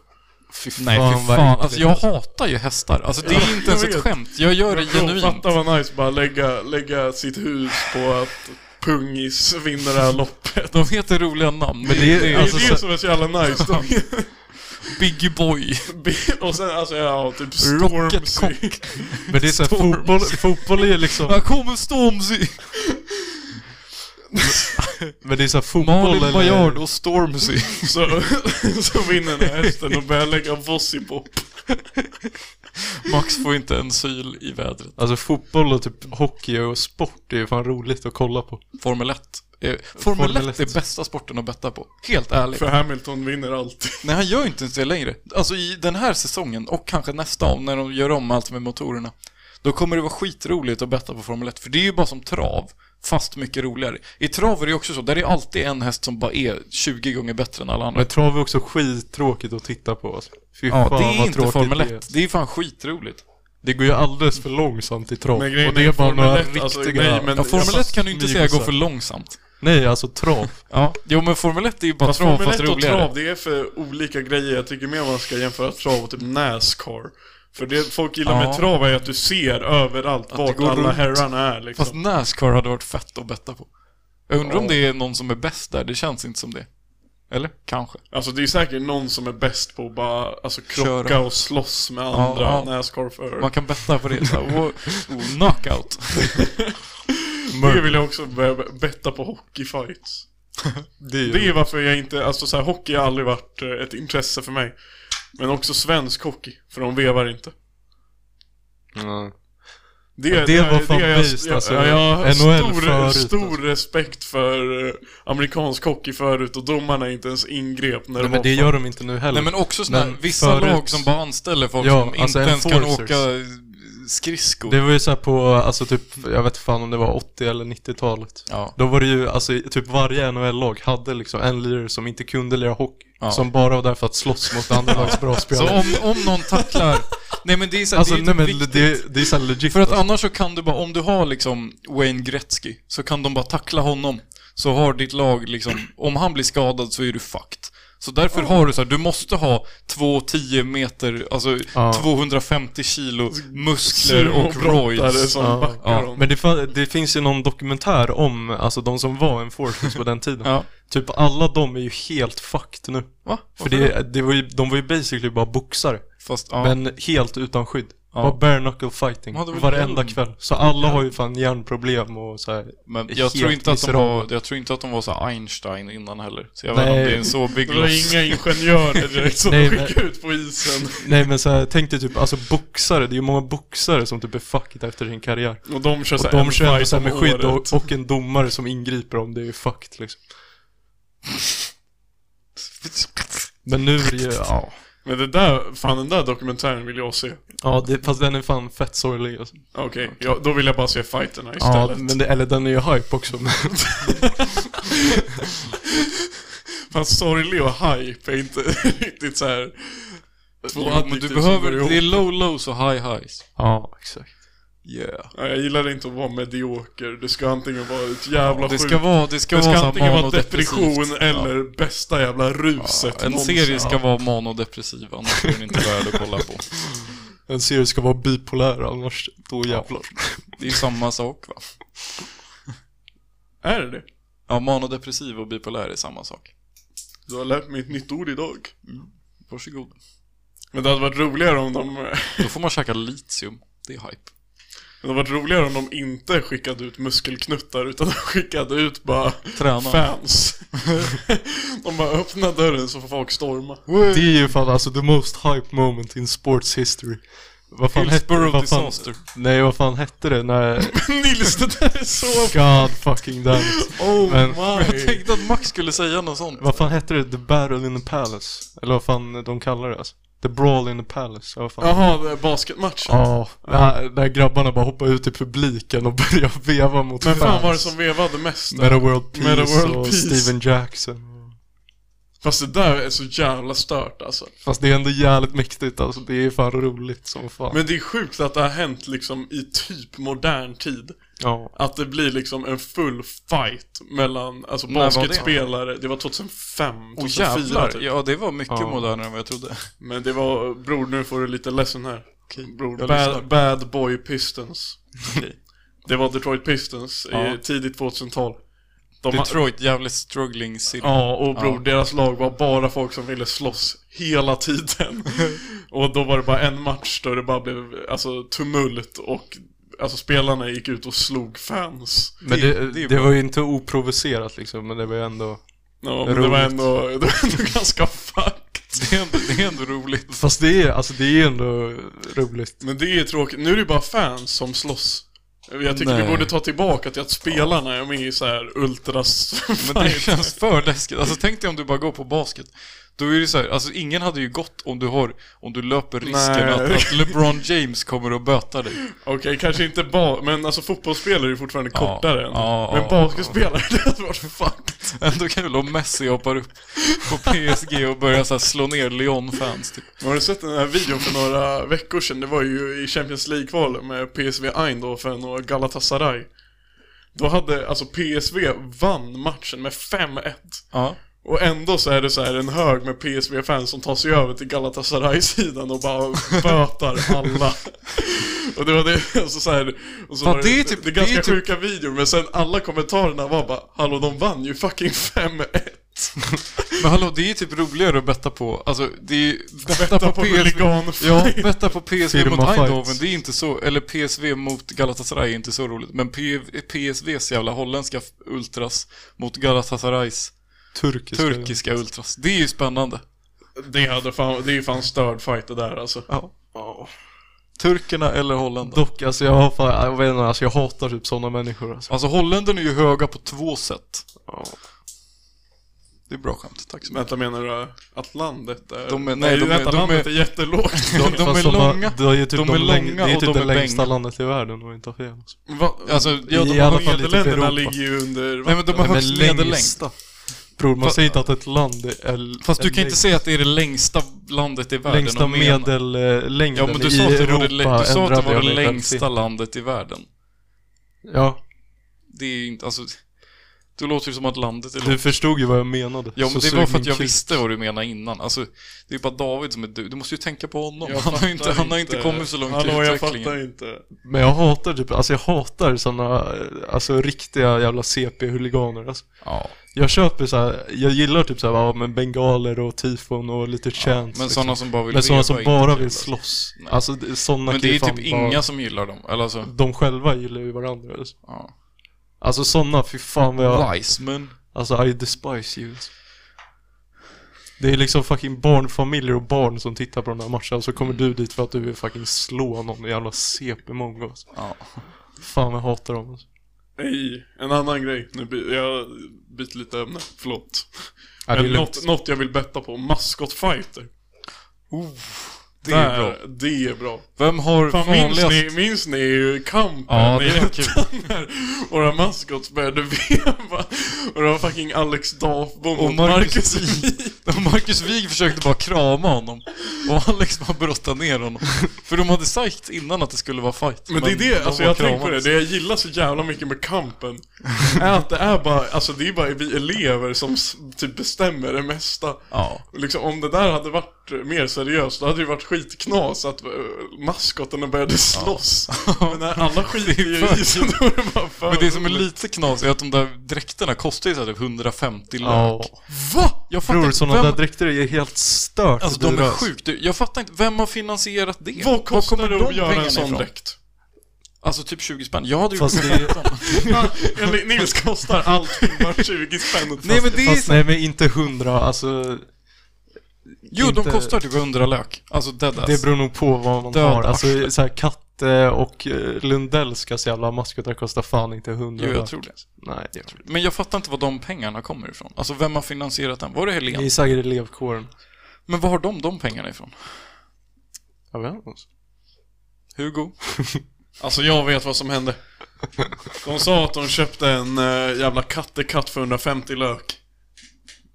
[SPEAKER 1] Nej
[SPEAKER 3] fan,
[SPEAKER 1] fy
[SPEAKER 3] vad
[SPEAKER 1] fan.
[SPEAKER 3] äckligt.
[SPEAKER 1] Alltså jag hatar ju hästar. Alltså det är inte ens
[SPEAKER 2] jag
[SPEAKER 1] ett
[SPEAKER 2] vet.
[SPEAKER 1] skämt. Jag gör det genuint.
[SPEAKER 2] Fatta vad nice bara lägga, lägga sitt hus på att Pungis vinner det här loppet.
[SPEAKER 1] De heter roliga namn. Men
[SPEAKER 3] det
[SPEAKER 1] det
[SPEAKER 3] är-
[SPEAKER 1] är, det är
[SPEAKER 3] alltså,
[SPEAKER 2] det är
[SPEAKER 3] så-
[SPEAKER 2] det som är så jävla nice. De-
[SPEAKER 1] Biggie Boy.
[SPEAKER 2] och sen alltså ja, typ Stormzy.
[SPEAKER 3] Men det är såhär, fotboll, fotboll är liksom...
[SPEAKER 1] Här kommer Stormzy.
[SPEAKER 3] Men det är såhär, fotboll
[SPEAKER 1] Malin Baryard
[SPEAKER 3] eller...
[SPEAKER 1] och Stormzy.
[SPEAKER 2] Så, så vinner den här hästen och börjar lägga Vossipop.
[SPEAKER 1] Max får inte en syl i vädret.
[SPEAKER 3] Alltså fotboll och typ hockey och sport är ju fan roligt att kolla på.
[SPEAKER 1] Formel 1. Eh, Formel,
[SPEAKER 3] Formel
[SPEAKER 1] 1
[SPEAKER 3] ett.
[SPEAKER 1] är bästa sporten att betta på. Helt ärligt.
[SPEAKER 2] För Hamilton vinner alltid.
[SPEAKER 1] Nej, han gör ju inte ens det längre. Alltså i den här säsongen och kanske nästa om när de gör om allt med motorerna. Då kommer det vara skitroligt att betta på Formel 1. För det är ju bara som trav. Fast mycket roligare. I trav är det ju också så. Där är alltid en häst som bara är 20 gånger bättre än alla andra.
[SPEAKER 3] Men trav är också skittråkigt att titta på alltså. Fy
[SPEAKER 1] ja, det
[SPEAKER 3] fan
[SPEAKER 1] är
[SPEAKER 3] vad
[SPEAKER 1] inte
[SPEAKER 3] tråkigt
[SPEAKER 1] Formel
[SPEAKER 3] det är.
[SPEAKER 1] 1. Det är fan skitroligt.
[SPEAKER 3] Det går ju alldeles för långsamt i trav.
[SPEAKER 2] Men
[SPEAKER 3] Och
[SPEAKER 2] grejen
[SPEAKER 3] det
[SPEAKER 2] är,
[SPEAKER 3] är bara
[SPEAKER 2] Formel
[SPEAKER 3] några
[SPEAKER 2] 1,
[SPEAKER 3] riktiga...
[SPEAKER 2] alltså, nej, men-
[SPEAKER 1] Ja, Formel 1 kan du inte säga går
[SPEAKER 3] Nygosar.
[SPEAKER 1] för långsamt.
[SPEAKER 3] Nej, alltså trav.
[SPEAKER 1] Ja, jo men Formel 1 är ju bara
[SPEAKER 2] Fast
[SPEAKER 1] trav
[SPEAKER 2] Formel
[SPEAKER 1] fast
[SPEAKER 2] 1 och
[SPEAKER 1] roligare.
[SPEAKER 2] trav, det är för olika grejer. Jag tycker mer man ska jämföra trav och typ Nascar. För det folk gillar
[SPEAKER 1] Ja.
[SPEAKER 2] med trav är att du ser överallt vart
[SPEAKER 1] går
[SPEAKER 2] alla
[SPEAKER 1] runt.
[SPEAKER 2] herrarna är liksom.
[SPEAKER 1] Fast Nascar hade varit fett att betta på. Jag undrar om det är någon som är bäst där, det känns inte som det. Eller? Kanske.
[SPEAKER 2] Alltså det är säkert någon som är bäst på att bara alltså, krocka
[SPEAKER 1] Köra.
[SPEAKER 2] och slåss med andra
[SPEAKER 1] ja.
[SPEAKER 2] Nascar-förare.
[SPEAKER 1] Man kan betta på det såhär, oh, oh, knockout.
[SPEAKER 2] Det vill jag också börja betta på hockeyfights.
[SPEAKER 3] Det är ju...
[SPEAKER 2] Det är varför jag inte, alltså så här, hockey har aldrig varit eh, ett intresse för mig. Men också svensk hockey, för de vevar inte.
[SPEAKER 3] Ja.
[SPEAKER 2] Det,
[SPEAKER 3] Ja, det var fan beast,
[SPEAKER 2] jag,
[SPEAKER 3] alltså.
[SPEAKER 2] jag, jag har
[SPEAKER 3] NHL
[SPEAKER 2] stor,
[SPEAKER 3] förut,
[SPEAKER 2] stor
[SPEAKER 3] alltså.
[SPEAKER 2] respekt för eh, amerikansk hockey förut och domarna inte ens ingrep när
[SPEAKER 3] Nej,
[SPEAKER 2] det
[SPEAKER 3] men
[SPEAKER 2] var
[SPEAKER 3] det
[SPEAKER 2] fan-
[SPEAKER 3] gör de inte nu heller.
[SPEAKER 1] Nej men också sådana här,
[SPEAKER 3] Men
[SPEAKER 1] vissa
[SPEAKER 3] förut-
[SPEAKER 1] lag som bara anställer folk
[SPEAKER 3] Ja,
[SPEAKER 1] som
[SPEAKER 3] alltså
[SPEAKER 1] inte ens kan
[SPEAKER 3] enforcers.
[SPEAKER 1] åka skridskor.
[SPEAKER 3] Det var ju såhär på, alltså typ, jag vet fan om det var 80 eller 90-talet.
[SPEAKER 1] Ja.
[SPEAKER 3] Då var det ju, alltså typ varje NHL-lag hade liksom en lirare som inte kunde lira hockey.
[SPEAKER 1] Ja.
[SPEAKER 3] Som bara var där för att slåss mot andra lags bra
[SPEAKER 1] Så
[SPEAKER 3] spelare.
[SPEAKER 1] om, om någon tacklar... nej men det är såhär,
[SPEAKER 3] alltså
[SPEAKER 1] det är
[SPEAKER 3] nej
[SPEAKER 1] typ
[SPEAKER 3] men
[SPEAKER 1] viktigt.
[SPEAKER 3] det, det är såhär legit.
[SPEAKER 1] För att
[SPEAKER 3] alltså.
[SPEAKER 1] annars så kan du bara, om du har liksom Wayne Gretzky, så kan de bara tackla honom. Så har ditt lag liksom, om han blir skadad så är du fucked. Så därför har du så här, du måste ha två 10 meter, alltså
[SPEAKER 3] Ja.
[SPEAKER 1] 250 kilo muskler och
[SPEAKER 2] Sumobrottare
[SPEAKER 1] roids.
[SPEAKER 2] som
[SPEAKER 3] Ja.
[SPEAKER 2] backar
[SPEAKER 1] Ja,
[SPEAKER 2] dem.
[SPEAKER 3] alltså. Men det, fan- det finns ju någon dokumentär om, alltså de som var enforcers på den tiden.
[SPEAKER 1] Ja.
[SPEAKER 3] Typ alla de är ju helt fucked nu.
[SPEAKER 1] Va?
[SPEAKER 3] För det, det var ju, de var ju basically bara boxare.
[SPEAKER 1] Fast, ja.
[SPEAKER 3] Men helt utan skydd. Bara
[SPEAKER 1] Ja,
[SPEAKER 3] bare knuckle fighting
[SPEAKER 1] Ja, det var
[SPEAKER 3] varenda
[SPEAKER 1] lugn.
[SPEAKER 3] kväll. Så alla har ju fan hjärnproblem och så här.
[SPEAKER 1] men jag
[SPEAKER 3] helt
[SPEAKER 1] tror, inte att de var,
[SPEAKER 3] miserabel.
[SPEAKER 1] jag tror inte att de var så här Einstein innan heller. Så jag vet inte om
[SPEAKER 3] Nej.
[SPEAKER 1] det är en så big
[SPEAKER 2] Det var
[SPEAKER 1] loss.
[SPEAKER 2] inga ingenjörer direkt som de
[SPEAKER 3] Nej, men-
[SPEAKER 2] skickade ut på isen.
[SPEAKER 3] Nej men så här, tänk dig typ, alltså boxare, det är ju många boxare som typ är fucked efter sin karriär.
[SPEAKER 2] Och de kör
[SPEAKER 3] Och
[SPEAKER 2] såhär
[SPEAKER 3] de kör ändå så här med skydd och, och en domare som ingriper om det är fucked liksom. Men nu är det ju, ja.
[SPEAKER 2] Men det där, fan den där dokumentären vill jag se.
[SPEAKER 3] Ja, det, fast den är fan fett sorglig alltså.
[SPEAKER 2] Okej, ja, då vill jag bara se fighterna
[SPEAKER 3] Ja,
[SPEAKER 2] istället.
[SPEAKER 3] men det, eller den är ju hype också. men-
[SPEAKER 2] Fan sorglig och hype är inte riktigt så här. Två
[SPEAKER 1] Ja, men
[SPEAKER 2] adjektiv som
[SPEAKER 1] du behöver,
[SPEAKER 2] går ihop.
[SPEAKER 1] det är low lows och high highs.
[SPEAKER 3] ja, exakt.
[SPEAKER 1] Yeah.
[SPEAKER 2] Ja, jag gillar inte att vara medioker. Det ska antingen vara ett jävla
[SPEAKER 1] Det ska
[SPEAKER 2] sjukt-
[SPEAKER 1] vara, det ska
[SPEAKER 2] det ska
[SPEAKER 1] vara så här
[SPEAKER 2] antingen vara
[SPEAKER 1] manodepressivt.
[SPEAKER 2] depression
[SPEAKER 1] Ja.
[SPEAKER 2] eller bästa jävla ruset
[SPEAKER 1] Ja, en
[SPEAKER 2] någonsin.
[SPEAKER 1] serie ska vara manodepressiv, annars är den inte värd att kolla på.
[SPEAKER 3] En serie ska vara bipolär annars, då jävlar.
[SPEAKER 1] Det är samma sak va?
[SPEAKER 2] Är det det?
[SPEAKER 1] Ja, manodepressiv och bipolär är samma sak.
[SPEAKER 2] Du har lärt mig ett nytt ord idag.
[SPEAKER 1] Varsågod.
[SPEAKER 2] Men det hade varit roligare om de...
[SPEAKER 1] Då får man käka litium. Det är hype.
[SPEAKER 2] Det hade varit roligare om de inte skickade ut muskelknuttar utan de skickade ut bara
[SPEAKER 1] Träna.
[SPEAKER 2] fans. de bara öppna dörren så får folk storma.
[SPEAKER 3] Det är ju fan alltså the most hype moment in sports history. Vad fan hette
[SPEAKER 1] Hillsborough
[SPEAKER 3] vad fan,
[SPEAKER 1] disaster.
[SPEAKER 3] Nej, vad fan hette det när...
[SPEAKER 2] Nils, det där är så...
[SPEAKER 3] God fucking damn it.
[SPEAKER 2] Oh
[SPEAKER 3] Men-
[SPEAKER 1] Jag
[SPEAKER 2] my.
[SPEAKER 1] tänkte att Max skulle säga något sånt.
[SPEAKER 3] Vad fan hette det? The Battle in the Palace? Eller vad fan de kallar det alltså? The Brawl in the Palace? Ja, vad fan.
[SPEAKER 2] Jaha, det är basketmatchen.
[SPEAKER 3] Ja, där, där grabbarna bara hoppar ut i publiken och börjar veva mot
[SPEAKER 2] Men fan
[SPEAKER 3] fans.
[SPEAKER 2] var det som vevade mest där?
[SPEAKER 3] Meta World Peace
[SPEAKER 2] Meta World
[SPEAKER 3] och
[SPEAKER 2] Peace.
[SPEAKER 3] Steven Jackson.
[SPEAKER 2] Fast det där är så jävla stört alltså.
[SPEAKER 3] Fast det är ändå jävligt mäktigt alltså, det är fan roligt som fan.
[SPEAKER 2] Men det är sjukt att det har hänt liksom i typ modern tid.
[SPEAKER 3] ja.
[SPEAKER 2] Att det blir liksom en full fight mellan, alltså
[SPEAKER 1] När var det?
[SPEAKER 2] basketspelare, det? var 2005,
[SPEAKER 1] Åh
[SPEAKER 2] 2004
[SPEAKER 1] jävlar.
[SPEAKER 2] typ.
[SPEAKER 1] Ja, det var mycket
[SPEAKER 3] Ja.
[SPEAKER 1] modernare än vad jag trodde.
[SPEAKER 2] Men det var, bror nu får du lite ledsen här. Bror,
[SPEAKER 1] jag lyssnar.
[SPEAKER 2] bad, bad Boy Pistons. det var Detroit Pistons i tidigt 2000-tal. De ha-
[SPEAKER 1] Detroit, jävligt struggling city.
[SPEAKER 2] Ja, och bror,
[SPEAKER 1] Ja.
[SPEAKER 2] deras lag var bara folk som ville slåss hela tiden. och då var det bara en match där det bara blev alltså, tumult och alltså, spelarna gick ut och slog fans.
[SPEAKER 3] Men det, det,
[SPEAKER 1] det är
[SPEAKER 3] var ju inte oprovocerat liksom, men det var ju ändå...
[SPEAKER 2] Ja, men det var
[SPEAKER 3] Roligt.
[SPEAKER 2] ändå, det var ändå ganska fucked.
[SPEAKER 1] Det är ändå, det är ändå roligt.
[SPEAKER 3] Fast det är, alltså det är ändå roligt.
[SPEAKER 2] Men det är tråkigt, nu är det ju bara fans som slåss. Jag tycker
[SPEAKER 1] Nej.
[SPEAKER 2] vi borde ta tillbaka till att spelarna är med i så här ultras
[SPEAKER 1] Men det känns för läskigt. Alltså tänk dig om du bara går på basket. Då är det så här, alltså ingen hade ju gått om du har, om du löper risken
[SPEAKER 2] Nej.
[SPEAKER 1] att, att LeBron James kommer och böta dig.
[SPEAKER 2] Okej, kanske inte ba... Men alltså fotbollsspelare är ju fortfarande
[SPEAKER 1] Ja.
[SPEAKER 2] kortare än...
[SPEAKER 1] Ja,
[SPEAKER 2] men
[SPEAKER 1] ja,
[SPEAKER 2] basketspelare, det hade varit fucked.
[SPEAKER 1] Ändå kul om Messi hoppar upp på PSG och börjar så här slå ner Lyon-fans typ.
[SPEAKER 2] Har du sett den här videon för några veckor sedan? Det var ju i Champions League-kvalet med PSV Eindhoven och Galatasaray. Då hade, alltså PSV vann matchen med 5-1.
[SPEAKER 1] Ja.
[SPEAKER 2] Och ändå så är det så här en hög med PSV-fans som tar sig över till Galatasaray-sidan och bara bötar alla. och det var det, alltså så här, och så
[SPEAKER 1] Fan,
[SPEAKER 2] var
[SPEAKER 1] det är typ-
[SPEAKER 2] det är
[SPEAKER 1] det är
[SPEAKER 2] ganska
[SPEAKER 1] typ-
[SPEAKER 2] sjuka videor, men sen alla kommentarerna var bara Hallå de vann ju fucking 5-1.
[SPEAKER 1] Men hallå, det är ju typ roligare att betta på, alltså det är ju, betta, på, PSG.
[SPEAKER 2] huligan-
[SPEAKER 1] Ja, betta på PSV mot
[SPEAKER 3] Firma fights.
[SPEAKER 1] Eindhoven, det är inte så, eller PSV mot Galatasaray är inte så roligt. Men P- PSVs jävla holländska f- ultras mot Galatasarays
[SPEAKER 3] Turkiska.
[SPEAKER 1] turkiska ultras. Det är ju spännande.
[SPEAKER 2] Det, hade fan, det är ju fan störd fight det där alltså.
[SPEAKER 1] Ja. Turkerna eller holländarna?
[SPEAKER 3] Dock, alltså jag har fan, jag vet inte, alltså jag hatar typ sådana människor alltså.
[SPEAKER 1] Alltså holländarna är ju höga på två sätt.
[SPEAKER 3] Ja.
[SPEAKER 1] Det är bra skämt, tack så mycket.
[SPEAKER 2] Vänta menar du att landet är...
[SPEAKER 1] De är-
[SPEAKER 2] nej,
[SPEAKER 1] nej, de är-
[SPEAKER 2] vänta,
[SPEAKER 1] de är-
[SPEAKER 2] landet är, jättelågt.
[SPEAKER 1] De, de
[SPEAKER 3] Fast
[SPEAKER 1] är
[SPEAKER 3] har-
[SPEAKER 1] långa.
[SPEAKER 3] det är ju typ
[SPEAKER 1] De
[SPEAKER 3] de,
[SPEAKER 1] är
[SPEAKER 3] läng-
[SPEAKER 1] långa
[SPEAKER 3] Det är
[SPEAKER 1] och
[SPEAKER 3] typ
[SPEAKER 1] de
[SPEAKER 3] det
[SPEAKER 1] är
[SPEAKER 3] längsta
[SPEAKER 1] bäng.
[SPEAKER 3] landet i världen om jag inte har fel. Alltså.
[SPEAKER 2] Va?
[SPEAKER 1] Alltså, ja, de
[SPEAKER 3] I alla fall
[SPEAKER 1] har
[SPEAKER 3] lite
[SPEAKER 2] Nederländerna
[SPEAKER 3] Europa.
[SPEAKER 2] ligger ju under...
[SPEAKER 1] Nej men de har
[SPEAKER 3] Nej, men
[SPEAKER 1] högst medellängd.
[SPEAKER 3] längsta. Bror, man
[SPEAKER 1] Fast-
[SPEAKER 3] säger inte att ett land är...
[SPEAKER 1] Fast
[SPEAKER 3] är
[SPEAKER 1] du kan inte
[SPEAKER 3] längst-
[SPEAKER 1] säga att det är det längsta landet i världen
[SPEAKER 3] Längsta
[SPEAKER 1] att mena.
[SPEAKER 3] medellängden
[SPEAKER 1] Ja men du
[SPEAKER 3] i
[SPEAKER 1] sa att det var
[SPEAKER 3] Europa
[SPEAKER 1] det, lä- du sa att det,
[SPEAKER 3] ändrade
[SPEAKER 1] var
[SPEAKER 3] jag
[SPEAKER 1] det
[SPEAKER 3] mig själv till.
[SPEAKER 1] längsta landet i världen.
[SPEAKER 3] Ja,
[SPEAKER 1] Det är ju inte, alltså... Det låter ju som att landet är långt.
[SPEAKER 3] Du förstod ju vad jag menade.
[SPEAKER 1] Ja, men
[SPEAKER 3] Så
[SPEAKER 1] det
[SPEAKER 3] sug
[SPEAKER 1] var för att
[SPEAKER 3] min
[SPEAKER 1] jag
[SPEAKER 3] kuk.
[SPEAKER 1] visste vad du menade innan. Alltså, det är bara David som är du. Du måste ju tänka på honom.
[SPEAKER 2] Jag
[SPEAKER 1] Han har,
[SPEAKER 2] fattar
[SPEAKER 1] ju inte, han har inte kommit så långt
[SPEAKER 2] Hallå,
[SPEAKER 1] i
[SPEAKER 2] jag
[SPEAKER 1] utvecklingen.
[SPEAKER 2] fattar inte.
[SPEAKER 3] Men jag hatar typ, alltså jag hatar såna, alltså riktiga jävla CP-huliganer alltså.
[SPEAKER 1] Ja,
[SPEAKER 3] Jag köper så här, jag gillar typ så här, ja, men bengaler och tifon och lite chants
[SPEAKER 1] men
[SPEAKER 3] liksom.
[SPEAKER 1] sådana som bara vill
[SPEAKER 3] men såna
[SPEAKER 1] leva
[SPEAKER 3] som
[SPEAKER 1] är
[SPEAKER 3] bara
[SPEAKER 1] inte
[SPEAKER 3] vill
[SPEAKER 1] så jävla-
[SPEAKER 3] slåss. Alltså det- såna
[SPEAKER 1] Men
[SPEAKER 3] kan
[SPEAKER 1] det
[SPEAKER 3] ju
[SPEAKER 1] är typ
[SPEAKER 3] fan
[SPEAKER 1] inga som gillar dem. Eller alltså,
[SPEAKER 3] bara, de själva gillar ju varandra alltså.
[SPEAKER 1] ja.
[SPEAKER 3] Alltså såna, fy fan vad jag,
[SPEAKER 1] Wiseman.
[SPEAKER 3] alltså I despise you alltså. Det är liksom fucking barnfamiljer och barn som tittar på den här matchen och så kommer
[SPEAKER 1] Mm.
[SPEAKER 3] du dit för att du vill fucking slå någon jävla CP-mongo alltså.
[SPEAKER 1] Ja.
[SPEAKER 3] Fan jag hatar dem alltså.
[SPEAKER 2] Nej, en annan grej. Nu by- jag byter lite ämne, förlåt.
[SPEAKER 3] Ja, det är
[SPEAKER 2] Men
[SPEAKER 3] lugnt.
[SPEAKER 2] något, något jag vill betta på, maskotfighter.
[SPEAKER 1] Oh, Det är bra.
[SPEAKER 2] Det är bra.
[SPEAKER 1] Vem har
[SPEAKER 2] Fan, minns,
[SPEAKER 1] vanligast...
[SPEAKER 2] ni, minns ni ju kampen?
[SPEAKER 1] Ja, det
[SPEAKER 2] i
[SPEAKER 1] var kul.
[SPEAKER 2] ettan när Våra maskots började veva. Och det var fucking Alex Dafbom
[SPEAKER 1] Och
[SPEAKER 2] mot
[SPEAKER 1] Marcus
[SPEAKER 2] Marcus
[SPEAKER 1] Wig. Och Marcus Wig försökte bara krama honom. Och Alex bara brottade ner honom. För de hade sagt innan att det skulle vara fight.
[SPEAKER 2] Men det är det,
[SPEAKER 1] de
[SPEAKER 2] alltså
[SPEAKER 1] var
[SPEAKER 2] jag tänker på det,
[SPEAKER 1] kramade.
[SPEAKER 2] det jag gillar så jävla mycket med kampen är att det är bara, alltså det är bara vi elever som s- typ bestämmer det mesta.
[SPEAKER 1] Ja.
[SPEAKER 2] Liksom, om det där hade varit mer seriöst, då hade det ju varit skitknas att uh, maskotarna började slåss. Men när alla skiter ju
[SPEAKER 1] för
[SPEAKER 2] i så då är det bara för
[SPEAKER 1] Men det som är lite knas är att de där dräkterna kostar ju så här typ 150 lök.
[SPEAKER 3] Ja.
[SPEAKER 1] Va? Jag fattar
[SPEAKER 3] Bror,
[SPEAKER 1] inte.
[SPEAKER 3] sådana
[SPEAKER 1] Vem...
[SPEAKER 3] där dräkter är helt stört
[SPEAKER 1] Alltså de är
[SPEAKER 3] dyra.
[SPEAKER 1] sjukt dyr. Jag fattar inte. Vem har finansierat det?
[SPEAKER 2] Vad kostar
[SPEAKER 1] kommer
[SPEAKER 2] det
[SPEAKER 1] de
[SPEAKER 2] att göra
[SPEAKER 1] pengarna
[SPEAKER 2] en sån
[SPEAKER 1] ifrån?
[SPEAKER 2] dräkt?
[SPEAKER 1] Alltså typ 20 spänn. Jag hade ju
[SPEAKER 3] Fast
[SPEAKER 1] gjort
[SPEAKER 3] det är...
[SPEAKER 2] Enligt Nils kostar allting bara 20 spänn.
[SPEAKER 1] Nej men det är
[SPEAKER 3] Fast nej men inte hundra, alltså
[SPEAKER 1] Jo, de
[SPEAKER 3] inte-
[SPEAKER 1] kostar typ 100 lök. Alltså deadass.
[SPEAKER 3] det beror nog på vad man
[SPEAKER 1] Död
[SPEAKER 3] har. Alltså
[SPEAKER 1] arsle.
[SPEAKER 3] så här, Katte och eh, Lundellskas jävla maskotar kostar fan inte hundra.
[SPEAKER 1] Jo, jag
[SPEAKER 3] lök.
[SPEAKER 1] tror det.
[SPEAKER 3] Nej, jag tror det.
[SPEAKER 1] Men jag fattar inte var de pengarna kommer ifrån. Alltså vem har finansierat den? Var det
[SPEAKER 3] Det är
[SPEAKER 1] Helen?
[SPEAKER 3] säkert elevkåren.
[SPEAKER 1] Men var har de de pengarna ifrån?
[SPEAKER 3] Jag vet inte.
[SPEAKER 1] Hugo?
[SPEAKER 2] Alltså jag vet vad som hände. De sa att de köpte en eh, jävla kattekatt för 150 lök.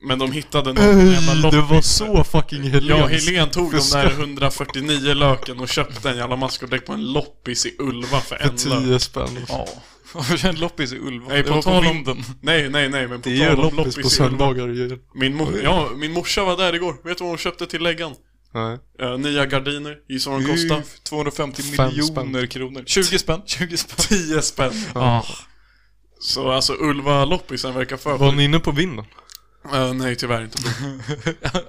[SPEAKER 2] Men de hittade någon jävla
[SPEAKER 3] Ey,
[SPEAKER 2] lopp-
[SPEAKER 3] det var så fucking helenskt.
[SPEAKER 2] Ja, Helen tog de
[SPEAKER 3] Fuska.
[SPEAKER 2] där 149 löken och köpte en jävla maskotdäck på en loppis i Ulva för en lök.
[SPEAKER 3] Tio spänn.
[SPEAKER 1] Ja. En loppis i Ulva.
[SPEAKER 2] Nej,
[SPEAKER 1] det
[SPEAKER 2] på
[SPEAKER 1] var på
[SPEAKER 2] tal om-
[SPEAKER 1] vinden.
[SPEAKER 2] Nej, nej, nej, men på
[SPEAKER 3] Det är
[SPEAKER 2] tal om
[SPEAKER 3] loppis
[SPEAKER 2] loppis
[SPEAKER 3] på
[SPEAKER 2] i Ulva.
[SPEAKER 3] söndagar ju.
[SPEAKER 2] Min, mor- ja, min morsa var där igår. Vet du vad hon köpte till läggan?
[SPEAKER 3] Nej.
[SPEAKER 2] Eh, nya gardiner. Gissa vad de kostade?
[SPEAKER 1] Kostar 250
[SPEAKER 3] Fem
[SPEAKER 1] miljoner kronor. 20 spänn. 20 spänn.
[SPEAKER 2] 10 spänn.
[SPEAKER 1] Ah.
[SPEAKER 2] Så alltså Ulva-loppisen verkar för...
[SPEAKER 3] Var ni inne på vinden?
[SPEAKER 2] Eh, nej, tyvärr inte.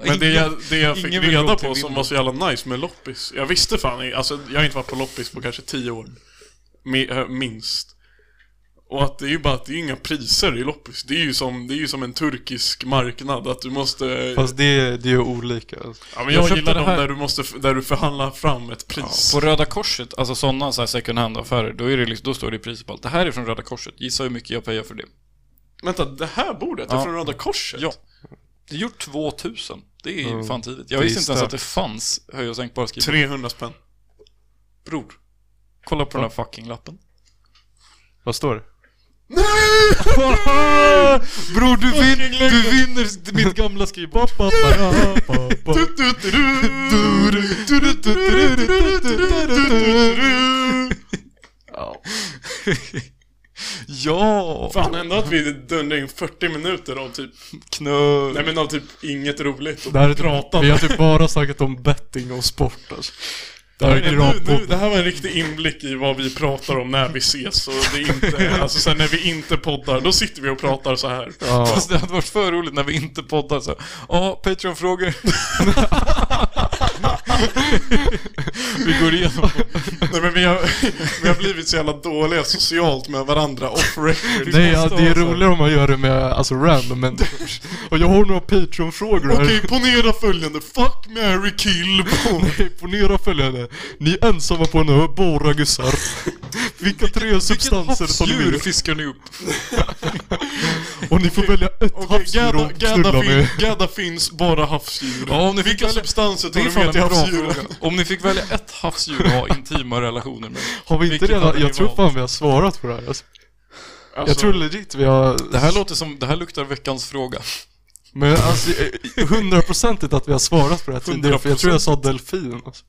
[SPEAKER 2] Men det jag, det jag fick
[SPEAKER 1] ingen vill gå
[SPEAKER 2] reda
[SPEAKER 1] till
[SPEAKER 2] på som
[SPEAKER 1] Vimmerby.
[SPEAKER 2] var så jävla nice med loppis Jag visste fan alltså jag har inte varit på loppis på kanske tio år Mi- eh, Minst Och att det är ju bara att det är inga priser i loppis Det är ju som, det är ju som en turkisk marknad Att du måste
[SPEAKER 3] Fast det, det är ju olika. alltså.
[SPEAKER 2] Ja men
[SPEAKER 1] jag
[SPEAKER 2] jag,
[SPEAKER 1] köpte
[SPEAKER 2] gillar
[SPEAKER 1] det
[SPEAKER 2] dem
[SPEAKER 1] här.
[SPEAKER 2] där du måste, f- där du förhandlar fram ett pris
[SPEAKER 1] På Röda Korset, alltså sådana så här second hand-affärer, då, är det liksom, då står det i priset på allt. Det här är från Röda Korset, gissa hur mycket jag pajar för det.
[SPEAKER 2] Vänta, det här bordet är
[SPEAKER 1] Ja.
[SPEAKER 2] från Röda Korset?
[SPEAKER 1] Ja. Det är gjort 2000. Det är
[SPEAKER 3] Mm.
[SPEAKER 1] fan tidigt. Jag
[SPEAKER 3] Det är
[SPEAKER 1] visste inte ens
[SPEAKER 3] stört.
[SPEAKER 1] att det fanns höj och sänkbara skrivbord.
[SPEAKER 2] 300 spänn
[SPEAKER 1] Bror. Kolla på den här fucking lappen.
[SPEAKER 3] Vad står det?
[SPEAKER 1] Bror du, vin, du vinner mitt gamla skrivbord.
[SPEAKER 3] Ja.
[SPEAKER 1] ja!
[SPEAKER 2] Fan ändå att vi dundrade in 40 minuter av typ
[SPEAKER 1] Knö.
[SPEAKER 2] Nej men av typ inget roligt och
[SPEAKER 3] Det här är
[SPEAKER 2] prata
[SPEAKER 3] typ, vi har typ bara snackat om betting och sport alltså. Det här är
[SPEAKER 2] Nej, nu, nu,
[SPEAKER 3] gravpodden.
[SPEAKER 2] det här var en riktig inblick i vad vi pratar om när vi ses och det är inte, alltså sen när vi inte poddar, då sitter vi och pratar så här.
[SPEAKER 3] Ja.
[SPEAKER 1] Fast det hade varit för roligt när vi inte poddar så. Ja, Patreon-frågor. vi går igenom.
[SPEAKER 2] Nej men vi har, vi har blivit så jävla dåliga socialt med varandra off record.
[SPEAKER 3] Nej, ja, det är
[SPEAKER 2] Okej,
[SPEAKER 3] roligare om man gör det med alltså random människor. Och jag har några Patreon-frågor här.
[SPEAKER 2] ponera följande, fuck, marry, kill, boom.
[SPEAKER 3] Nej, Ponera följande. Ni är ensamma på en ö, bara gussar. Vilka tre substanser tar ni
[SPEAKER 1] Djur
[SPEAKER 3] med?
[SPEAKER 1] fiskar ni upp.
[SPEAKER 3] Och ni får välja ett
[SPEAKER 2] Okej,
[SPEAKER 3] havsdjur
[SPEAKER 2] gadda,
[SPEAKER 3] att
[SPEAKER 2] gadda,
[SPEAKER 3] knulla
[SPEAKER 2] fin,
[SPEAKER 3] med.
[SPEAKER 2] gadda finns bara havsdjur.
[SPEAKER 1] Ja, om ni fick
[SPEAKER 2] Vilka
[SPEAKER 1] välja-
[SPEAKER 2] substanser tar
[SPEAKER 1] Det är
[SPEAKER 2] du
[SPEAKER 1] fan
[SPEAKER 2] med
[SPEAKER 1] en
[SPEAKER 2] till
[SPEAKER 1] bra
[SPEAKER 2] havsdjuren?
[SPEAKER 1] fråga. Om ni fick välja ett havsdjur att ha intima relationer med.
[SPEAKER 3] Har vi inte
[SPEAKER 1] Vilket hade
[SPEAKER 3] redan...
[SPEAKER 1] ni
[SPEAKER 3] Jag tror
[SPEAKER 1] valt?
[SPEAKER 3] fan vi har svarat på det här alltså.
[SPEAKER 2] Alltså,
[SPEAKER 1] Alltså-
[SPEAKER 3] Jag tror legit vi har...
[SPEAKER 1] Det här låter som, det här luktar veckans fråga.
[SPEAKER 3] Men alltså, eh, hundraprocentigt att vi har svarat på det här tidigare, för jag tror jag sa delfin. Alltså.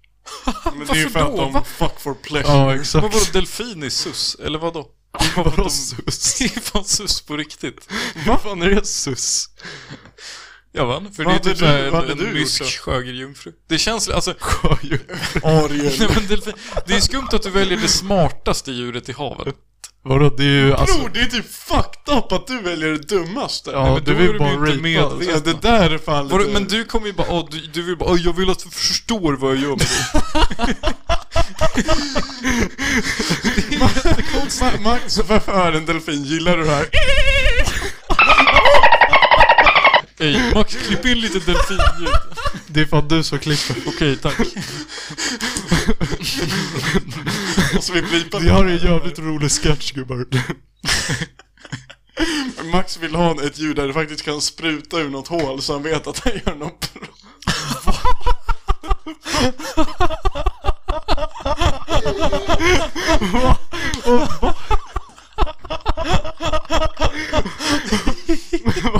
[SPEAKER 2] Men det är ju
[SPEAKER 1] Varför
[SPEAKER 2] för att
[SPEAKER 1] då?
[SPEAKER 2] de
[SPEAKER 1] Va?
[SPEAKER 2] fuck for pleasure.
[SPEAKER 3] Ja,
[SPEAKER 1] Men vadå,
[SPEAKER 3] exakt.
[SPEAKER 1] delfin i sus? Eller vadå? Vadå
[SPEAKER 3] sus?
[SPEAKER 1] Det är fan sus på riktigt.
[SPEAKER 3] Vad fan är det sus?
[SPEAKER 1] Jag vann, för
[SPEAKER 2] Vad
[SPEAKER 1] det är
[SPEAKER 2] hade
[SPEAKER 1] typ
[SPEAKER 2] du-
[SPEAKER 1] såhär
[SPEAKER 2] vad hade
[SPEAKER 1] en,
[SPEAKER 2] du
[SPEAKER 1] en
[SPEAKER 2] gjort
[SPEAKER 1] rysk
[SPEAKER 2] då?
[SPEAKER 1] sjögerjungfru. Det känns, alltså, nej,
[SPEAKER 2] Ariel.
[SPEAKER 1] men delfin, det är skumt att du väljer det smartaste djuret i havet.
[SPEAKER 3] Vadå det är ju alltså...
[SPEAKER 2] Bror, det är typ fucked up att du väljer det dummaste.
[SPEAKER 3] Ja,
[SPEAKER 1] men
[SPEAKER 3] du
[SPEAKER 1] då är
[SPEAKER 3] vill
[SPEAKER 1] de
[SPEAKER 3] bara alltså.
[SPEAKER 1] ju inte
[SPEAKER 3] rapa.
[SPEAKER 1] medvetna.
[SPEAKER 2] Ja, det där är fan
[SPEAKER 1] Vadå,
[SPEAKER 2] lite...
[SPEAKER 1] men du kommer ju bara, åh, du, du vill bara, åh, jag vill att du förstår vad jag gör med dig.
[SPEAKER 2] Ma- Max, varför är en delfin? Gillar du det här?
[SPEAKER 1] Ey, Max, klipp in lite delfinljud.
[SPEAKER 3] Det är fan du som klipper.
[SPEAKER 1] Okej, tack.
[SPEAKER 2] Och så vi blipar
[SPEAKER 3] Det här är en jävligt rolig sketch gubbar.
[SPEAKER 2] Max vill ha ett ljud där det faktiskt kan spruta ur något hål så han vet att han gör något bra.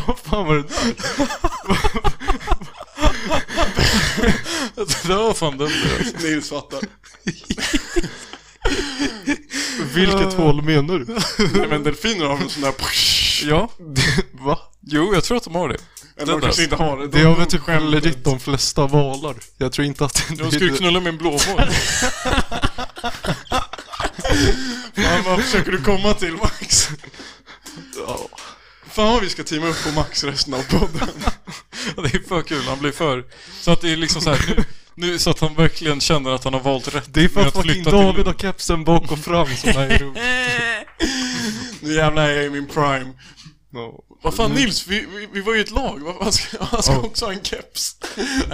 [SPEAKER 3] Vad fan var det där?
[SPEAKER 1] Det där var fan den där.
[SPEAKER 2] Nils fattar.
[SPEAKER 3] Vilket hål menar du?
[SPEAKER 2] Nej, men delfiner har väl sån där...
[SPEAKER 1] Ja,
[SPEAKER 3] Va?
[SPEAKER 1] jo, jag tror att de har det.
[SPEAKER 2] Eller de kanske inte har det.
[SPEAKER 3] Det har väl
[SPEAKER 2] de
[SPEAKER 3] typ
[SPEAKER 2] skäller
[SPEAKER 3] legit
[SPEAKER 2] ut.
[SPEAKER 3] de flesta valar. Jag tror inte att det
[SPEAKER 1] De skulle knulla med en blåval.
[SPEAKER 2] Fan, vad försöker du komma till Max? Fan vad vi ska teama upp på Max resten av podden.
[SPEAKER 1] Ja, Det är för kul, han blir för... Så att det är liksom så här, nu, nu så att han verkligen känner att han har valt rätt.
[SPEAKER 3] Det är för
[SPEAKER 1] med
[SPEAKER 3] att
[SPEAKER 1] att
[SPEAKER 3] fucking
[SPEAKER 1] flytta till
[SPEAKER 3] David
[SPEAKER 1] Lund.
[SPEAKER 3] har kepsen bak och fram som är roligt.
[SPEAKER 2] Nu jävlar är jag i min prime.
[SPEAKER 3] No.
[SPEAKER 2] Vad fan
[SPEAKER 3] Mm.
[SPEAKER 2] Nils, vi, vi, vi var ju ett lag. Vad fan ska, han ska
[SPEAKER 3] Oh.
[SPEAKER 2] också ha en keps.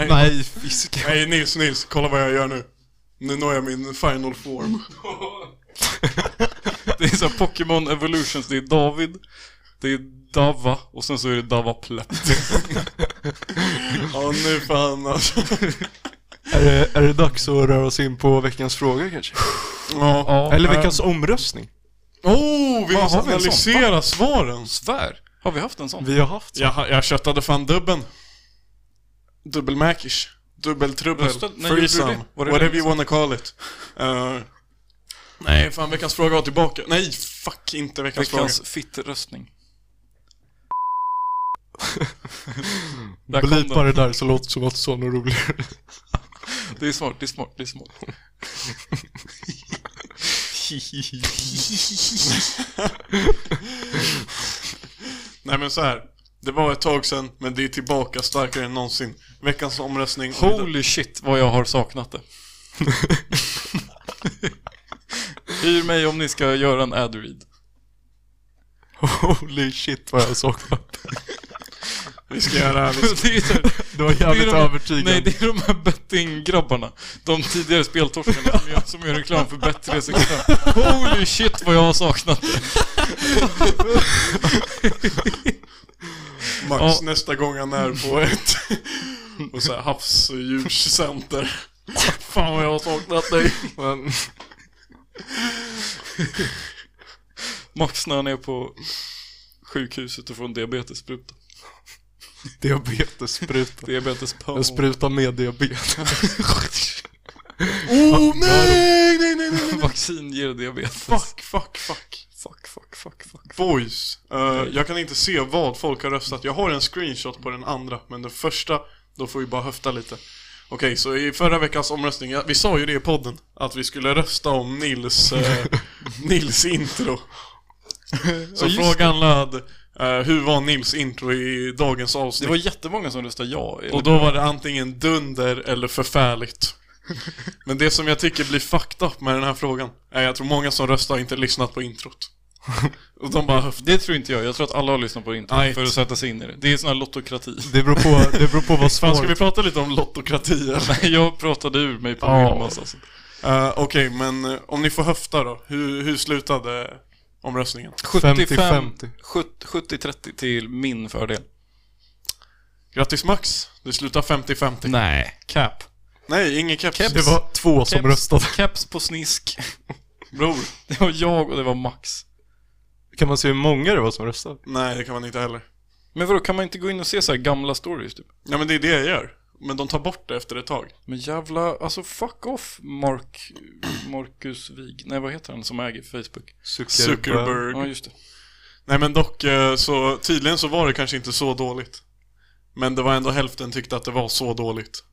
[SPEAKER 3] Nej, fiska.
[SPEAKER 2] Nej Nils, Nils, kolla vad jag gör nu. Nu når jag min final form.
[SPEAKER 1] Det är så här Pokémon Evolutions, det är David, det är Dava och sen så är det Dava Plätt.
[SPEAKER 2] Ja nu fan alltså.
[SPEAKER 3] Är det, är det dags att röra oss in på veckans fråga kanske?
[SPEAKER 2] Ja.
[SPEAKER 3] Eller
[SPEAKER 1] Ehm.
[SPEAKER 3] veckans omröstning?
[SPEAKER 2] Oh, vi
[SPEAKER 1] Vad,
[SPEAKER 2] måste
[SPEAKER 1] har Eh, vi en sån?
[SPEAKER 2] analysera svaren.
[SPEAKER 1] Svär! Har vi haft en sån?
[SPEAKER 3] Vi har haft
[SPEAKER 2] Jag, jag köttade fan dubben. Dubbelmäkish. Dubbeltrubbel.
[SPEAKER 1] Röstade- när gjorde du
[SPEAKER 2] Threesome.
[SPEAKER 1] det? Var det
[SPEAKER 2] Whatever
[SPEAKER 1] länge
[SPEAKER 2] you wanna call it. Eh, nej, fan veckans fråga var tillbaka. Nej, fuck inte veckans,
[SPEAKER 1] Veckans
[SPEAKER 2] fråga.
[SPEAKER 1] fittröstning. Där kom
[SPEAKER 3] Blipa
[SPEAKER 1] den.
[SPEAKER 3] det där så låter det som att sån är roligare.
[SPEAKER 1] Det är smart, det är smart, det är smart.
[SPEAKER 2] Nej men så här. Det var ett tag sedan, men det är tillbaka starkare än någonsin. Veckans omröstning.
[SPEAKER 1] Holy shit vad jag har saknat det. Hyr mig om ni ska göra en ad-read.
[SPEAKER 3] Holy shit vad jag saknat.
[SPEAKER 2] Vi ska göra... Vi ska,
[SPEAKER 1] Det är ju så här-
[SPEAKER 3] Det var jävligt
[SPEAKER 1] de-
[SPEAKER 3] övertygande.
[SPEAKER 1] Nej, det är de här bettinggrabbarna. De tidigare speltorskarna som gör, som gör reklam för Bet365. Holy shit vad jag har saknat det.
[SPEAKER 2] Max
[SPEAKER 1] Ja.
[SPEAKER 2] nästa gång han är på ett och så här, havsdjurscenter.
[SPEAKER 1] Fan vad jag har saknat dig.
[SPEAKER 3] Men,
[SPEAKER 1] Max när han är på sjukhuset och får en diabetesspruta.
[SPEAKER 3] diabetesspruta.
[SPEAKER 1] Diabetes på.
[SPEAKER 3] Jag sprutar med diabetes.
[SPEAKER 2] Oh nej, nej, nej, nej, nej.
[SPEAKER 1] Vaccin ger diabetes.
[SPEAKER 2] Fuck, fuck, fuck.
[SPEAKER 1] Fuck, fuck, fuck, fuck.
[SPEAKER 2] Voice. Eh, jag kan inte se vad folk har röstat. Jag har en screenshot på den andra, men den första, då får vi bara höfta lite. Okej, så i förra veckans omröstning, ja, vi sa ju det i podden, att vi skulle rösta om Nils, eh, Nils intro. Så frågan löd, eh, hur var Nils intro i dagens
[SPEAKER 1] Det
[SPEAKER 2] avsnitt?
[SPEAKER 1] var jättemånga som röstade ja.
[SPEAKER 2] Och då var det antingen dunder eller förfärligt. Men det som jag tycker blir fucked up med den här frågan är jag tror många som röstar har inte lyssnat på introt. Och de bara höftar.
[SPEAKER 1] Det tror inte jag. Jag tror att alla har lyssnat på
[SPEAKER 2] Nej.
[SPEAKER 1] introt för att sätta sig in i det. Det är sån här lottokrati.
[SPEAKER 3] Det beror på, det beror på vad
[SPEAKER 2] Fan, ska vi
[SPEAKER 3] svaret...
[SPEAKER 2] prata lite om lottokrati eller?
[SPEAKER 1] Nej, jag pratade ur mig på
[SPEAKER 3] Ja.
[SPEAKER 1] Wilmas alltså.
[SPEAKER 2] Eh, Okej, men eh, om ni får höfta då. Hur, hur slutade omröstningen?
[SPEAKER 1] 75,
[SPEAKER 3] 50-50.
[SPEAKER 1] 70-30 till min fördel.
[SPEAKER 2] Grattis Max, det slutar 50-50.
[SPEAKER 1] Nej. Cap.
[SPEAKER 2] Nej, ingen keps.
[SPEAKER 1] Keps.
[SPEAKER 3] Det var två som
[SPEAKER 1] Caps-
[SPEAKER 3] röstade.
[SPEAKER 1] Caps på snisk.
[SPEAKER 2] Bror.
[SPEAKER 1] Det var jag och det var Max.
[SPEAKER 3] Kan man se hur många det var som röstade?
[SPEAKER 2] Nej, det kan man inte heller.
[SPEAKER 1] Men vadå, kan man inte gå in och se så här gamla stories typ?
[SPEAKER 2] Ja men det är det jag gör. men de tar bort det efter ett tag.
[SPEAKER 1] Men jävla, alltså fuck off Mark, Marcus Wig. Nej vad heter han som äger Facebook?
[SPEAKER 2] Zuckerberg.
[SPEAKER 1] Ja just det.
[SPEAKER 2] Nej men dock, eh, så tydligen så var det kanske inte så dåligt. Men det var ändå hälften tyckte att det var så dåligt.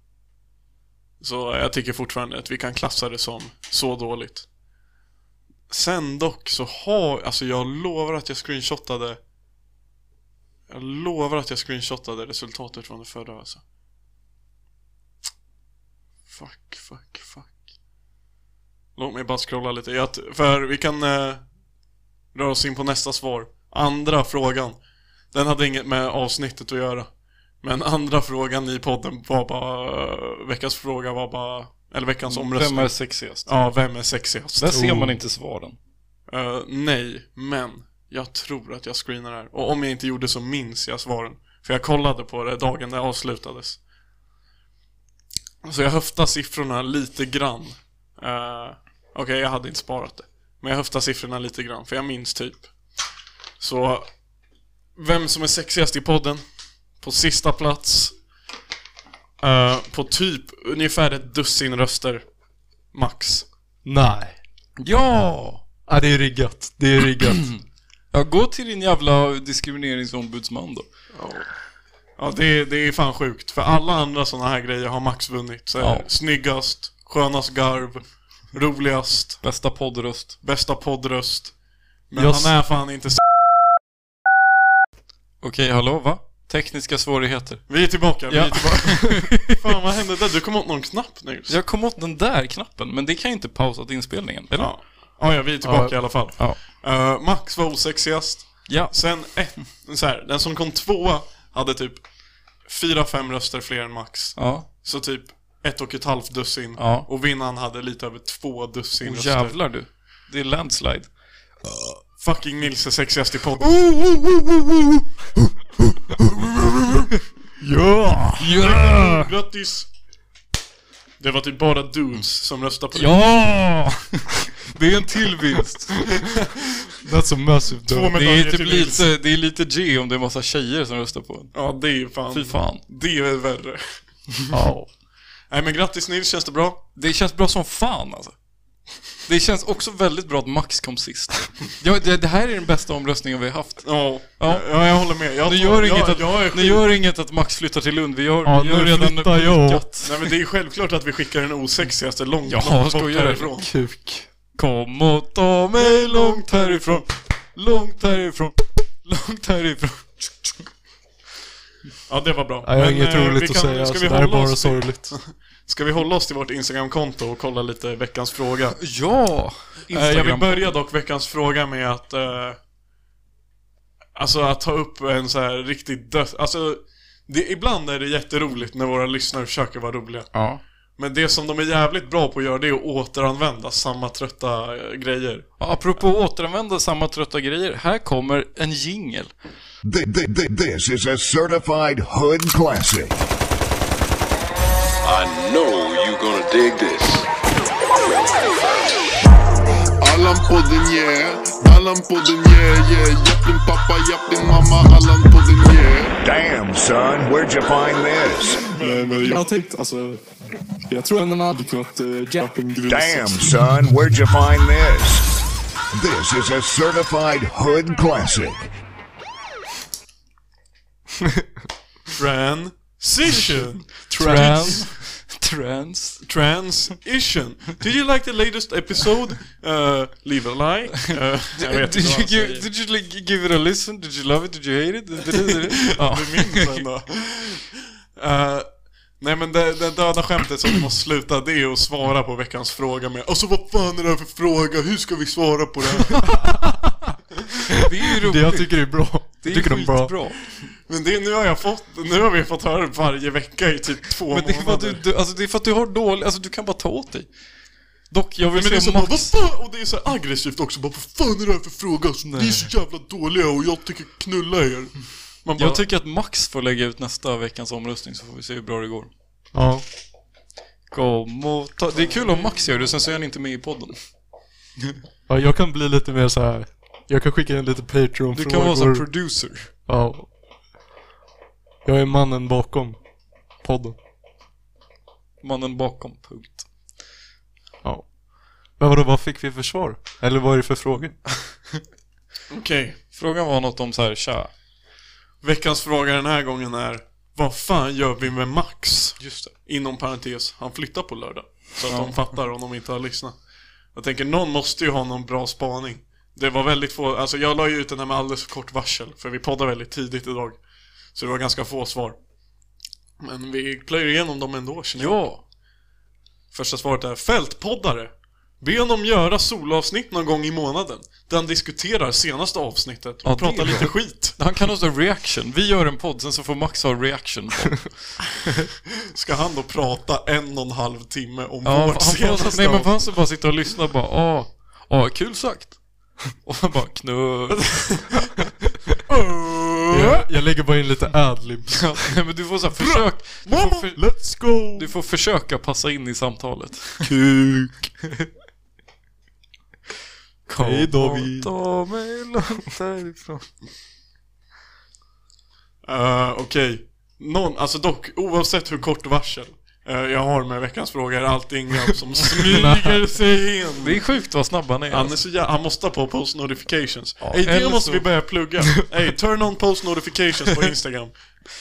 [SPEAKER 2] Så jag tycker fortfarande att vi kan klassa det som så dåligt. Sen dock så har, alltså jag lovar att jag screenshotade Jag lovar att jag screenshotade resultatet från det förra alltså. Fuck, fuck, fuck. Låt mig bara scrolla lite. Jag, t- för vi kan eh, rör oss in på nästa svar. Andra frågan. Den hade inget med avsnittet att göra. Men andra frågan i podden var bara... Veckans fråga var bara... Eller veckans omröstning.
[SPEAKER 1] Vem är sexigast?
[SPEAKER 2] Ja, vem är sexigast?
[SPEAKER 1] Där ser man inte svaren.
[SPEAKER 2] Eh, nej, men jag tror att jag screenar här. Och om jag inte gjorde så minns jag svaren. För jag kollade på det dagen det avslutades. Så jag höftar siffrorna lite grann. Eh, Okej, jag hade inte sparat det. Men jag höftar siffrorna lite grann, för jag minns typ. Så, vem som är sexigast i podden? På sista plats. eh, på typ ungefär ett dussin röster. Max.
[SPEAKER 3] Nej.
[SPEAKER 1] Ja!
[SPEAKER 3] Ja, det är riggat. Det är riggat.
[SPEAKER 1] Ja, gå till din jävla diskrimineringsombudsman då.
[SPEAKER 2] Ja, det, det är fan sjukt. För alla andra sådana här grejer har Max vunnit. Så här,
[SPEAKER 1] Ja.
[SPEAKER 2] Snyggast, skönast garv, roligast,
[SPEAKER 1] Bästa poddröst.
[SPEAKER 2] bästa poddröst. Men
[SPEAKER 3] Jag
[SPEAKER 2] han är fan inte s-
[SPEAKER 1] Okej, hallå va? Tekniska svårigheter.
[SPEAKER 2] Vi är tillbaka, vi
[SPEAKER 1] Ja.
[SPEAKER 2] är tillbaka. fan vad hände där? Du kom åt någon knapp nu.
[SPEAKER 1] Jag kom åt den där knappen, men det kan ju inte pausat inspelningen, eller?
[SPEAKER 2] Ja. Ja, ja, vi är tillbaka
[SPEAKER 3] Ja.
[SPEAKER 2] i alla fall.
[SPEAKER 1] Ja.
[SPEAKER 2] Eh, Max var osexigast.
[SPEAKER 1] Ja.
[SPEAKER 2] Sen, eh, så här, den som kom tvåa hade typ fyra, fem röster fler än Max.
[SPEAKER 1] Ja.
[SPEAKER 2] Så typ ett och ett halvt dussin.
[SPEAKER 1] Ja.
[SPEAKER 2] Och vinnaren hade lite över två dussin
[SPEAKER 1] Och jävlar du. Det är landslide.
[SPEAKER 2] Fucking Nils är sexigast i podden.
[SPEAKER 3] ja!
[SPEAKER 1] Yeah!
[SPEAKER 2] Grattis! Det var typ bara dudes som röstade på dig.
[SPEAKER 1] Ja! Det är en till vinst.
[SPEAKER 3] That's a massive
[SPEAKER 2] Två
[SPEAKER 3] dub.
[SPEAKER 1] Det är,
[SPEAKER 2] medaljer
[SPEAKER 1] typ
[SPEAKER 2] till Nils.
[SPEAKER 1] lite, det är lite G om det är en massa tjejer som röstar på en.
[SPEAKER 2] Ja, det är ju fan.
[SPEAKER 1] Fy fan.
[SPEAKER 2] Det är värre.
[SPEAKER 1] Ja.
[SPEAKER 2] Nej men grattis Nils, känns det bra?
[SPEAKER 1] Det känns bra som fan alltså. Det känns också väldigt bra att Max kom sist. Ja, det, det här är den bästa omröstningen vi har haft.
[SPEAKER 2] Ja.
[SPEAKER 1] Ja.
[SPEAKER 2] Ja, jag håller med. Jag
[SPEAKER 1] Nu
[SPEAKER 2] tar-
[SPEAKER 1] gör,
[SPEAKER 2] jag,
[SPEAKER 1] inget att,
[SPEAKER 2] jag är
[SPEAKER 1] nu
[SPEAKER 2] sjuk.
[SPEAKER 1] gör inget att Max flyttar till Lund, vi gör,
[SPEAKER 3] Ja,
[SPEAKER 1] vi gör
[SPEAKER 3] nu
[SPEAKER 1] redan
[SPEAKER 3] flyttar jag.
[SPEAKER 1] bokat.
[SPEAKER 2] Nej men det är ju självklart att vi skickar den osexigaste långt,
[SPEAKER 1] Ja,
[SPEAKER 2] långt bort
[SPEAKER 1] skojar du?
[SPEAKER 2] härifrån.
[SPEAKER 3] Kuk.
[SPEAKER 1] Kom och ta mig långt härifrån, långt härifrån, långt härifrån.
[SPEAKER 2] Ja, det var bra.
[SPEAKER 3] Ja, jag har inget
[SPEAKER 2] eh,
[SPEAKER 3] roligt
[SPEAKER 2] vi
[SPEAKER 3] att
[SPEAKER 2] kan-
[SPEAKER 3] säga.
[SPEAKER 2] Ska
[SPEAKER 3] Alltså,
[SPEAKER 2] vi,
[SPEAKER 3] det här är
[SPEAKER 2] hålla
[SPEAKER 3] bara
[SPEAKER 2] oss till,
[SPEAKER 3] sorgligt.
[SPEAKER 2] ska vi hålla oss till vårt Instagram-konto och kolla lite veckans fråga? Eh,
[SPEAKER 1] Ja!
[SPEAKER 2] Jag vill
[SPEAKER 1] Instagram.
[SPEAKER 2] börja dock veckans fråga med att eh, Alltså att ta upp en så här riktigt död Alltså det, Ibland är det jätteroligt när våra lyssnare försöker vara roliga
[SPEAKER 1] Ja.
[SPEAKER 2] Men det som de är jävligt bra på att göra det är att återanvända samma trötta eh, grejer
[SPEAKER 1] Apropå återanvända samma trötta grejer, här kommer en jingel.
[SPEAKER 6] Th- th- th- This is a certified hood classic.
[SPEAKER 7] I know you're gonna dig this. Allan podden yeah, Allan podden yeah, yeah. Japp din pappa, japp din mamma, Allan podden yeah.
[SPEAKER 6] Damn, son, where'd you find this?
[SPEAKER 8] Men, men jag har tänkt, alltså... Jag tror ändå man hade kunnat uh, göra en grund.
[SPEAKER 6] Damn, son, where'd you find this? This is a certified hood classic.
[SPEAKER 2] Transition
[SPEAKER 1] Trans. Trans.
[SPEAKER 2] Transition Did you like the latest episode? Uh, leave a like Eh, Jag vet
[SPEAKER 1] Did
[SPEAKER 2] inte vad
[SPEAKER 1] you,
[SPEAKER 2] han
[SPEAKER 1] give,
[SPEAKER 2] säger.
[SPEAKER 1] did you like, give it a listen? Did you love it? Did you hate it? ja.
[SPEAKER 2] Du minns ändå. Eh, nej men det, det döda skämtet som vi måste sluta det är att svara på veckans fråga med Alltså vad fan är det här för fråga? Hur ska vi svara på det här?
[SPEAKER 1] Det är ju roligt.
[SPEAKER 3] Det jag tycker det är bra.
[SPEAKER 1] Det är
[SPEAKER 3] tycker de är bra.
[SPEAKER 1] skitbra.
[SPEAKER 2] Men det, nu har jag fått, nu har vi fått höra det varje vecka i typ två
[SPEAKER 1] Men det är, för att
[SPEAKER 2] månader.
[SPEAKER 1] du, du, alltså det är för att du har dålig, alltså du kan bara ta åt dig. Dock, jag vill
[SPEAKER 2] men det är
[SPEAKER 1] se
[SPEAKER 2] så bara, vad
[SPEAKER 1] Max.
[SPEAKER 2] fan? Och det är så här aggressivt också, bara, vad fan är det här för fråga? Alltså, ni är så jävla dåliga och jag tycker knulla er. Man bara,
[SPEAKER 1] Jag tycker att Max får lägga ut nästa veckans omröstning så får vi se hur bra det går.
[SPEAKER 3] Ja.
[SPEAKER 1] Kom och ta. Det är kul om Max gör det, sen så är han inte med i podden.
[SPEAKER 3] ja. Jag kan bli lite mer så här. Jag kan skicka in lite Patreon-frågor.
[SPEAKER 1] Du kan vara som producer.
[SPEAKER 3] Ja. Jag är mannen bakom podden.
[SPEAKER 1] Mannen bakom, punkt.
[SPEAKER 3] Ja. Men vadå, vad fick vi för svar? Eller vad är det för frågor?
[SPEAKER 2] Okej,
[SPEAKER 1] Frågan var något om så här, tja.
[SPEAKER 2] veckans fråga den här gången är Vad fan gör vi med Max? Just det. Inom parentes, han flyttar på lördag. Så att de fattar om de inte har lyssnat. Jag tänker, någon måste ju ha någon bra spaning. Det var väldigt få, alltså jag la ju ut den här med alldeles för kort varsel, för vi poddar väldigt tidigt idag. Så det var ganska få svar. Men vi plöjer igenom dem ändå, känner jag. Ja! Första svaret är Fältpoddare! Be honom göra solavsnitt någon gång i månaden. Där han diskuterar senaste avsnittet och
[SPEAKER 1] Ja, det
[SPEAKER 2] pratar
[SPEAKER 1] är bra.
[SPEAKER 2] lite skit.
[SPEAKER 1] Han kan också reaction. Vi gör en podd, sen så får Max ha reaction. på.
[SPEAKER 2] Ska han då prata en och en halv timme om
[SPEAKER 1] Ja,
[SPEAKER 2] vårt
[SPEAKER 1] han får,
[SPEAKER 2] senaste
[SPEAKER 1] nej men
[SPEAKER 2] avsnitt?
[SPEAKER 1] han ska bara sitta och lyssna och bara, ah, ah, kul sagt. Och han bara, knull.
[SPEAKER 3] Jag, jag lägger bara in lite adlibs.
[SPEAKER 1] Ja, nej, men du får så här, försök. Du får, för,
[SPEAKER 3] Let's go!
[SPEAKER 1] du får försöka passa in i samtalet.
[SPEAKER 3] Kuk! Hej,
[SPEAKER 1] Kom och
[SPEAKER 3] David.
[SPEAKER 1] Ta mig långt härifrån.
[SPEAKER 2] Eh, Okej. Någon, alltså dock, oavsett hur kort varsel eh, jag har med veckans fråga är det alltid en grabb som smyger sig in.
[SPEAKER 1] Det är sjukt vad snabb han är.
[SPEAKER 2] Han, är så jä- han måste ha på post notifications.
[SPEAKER 1] Ja,
[SPEAKER 2] Ey, det
[SPEAKER 1] eller
[SPEAKER 2] måste
[SPEAKER 1] så-
[SPEAKER 2] vi börja plugga. Ey, turn on post notifications på Instagram.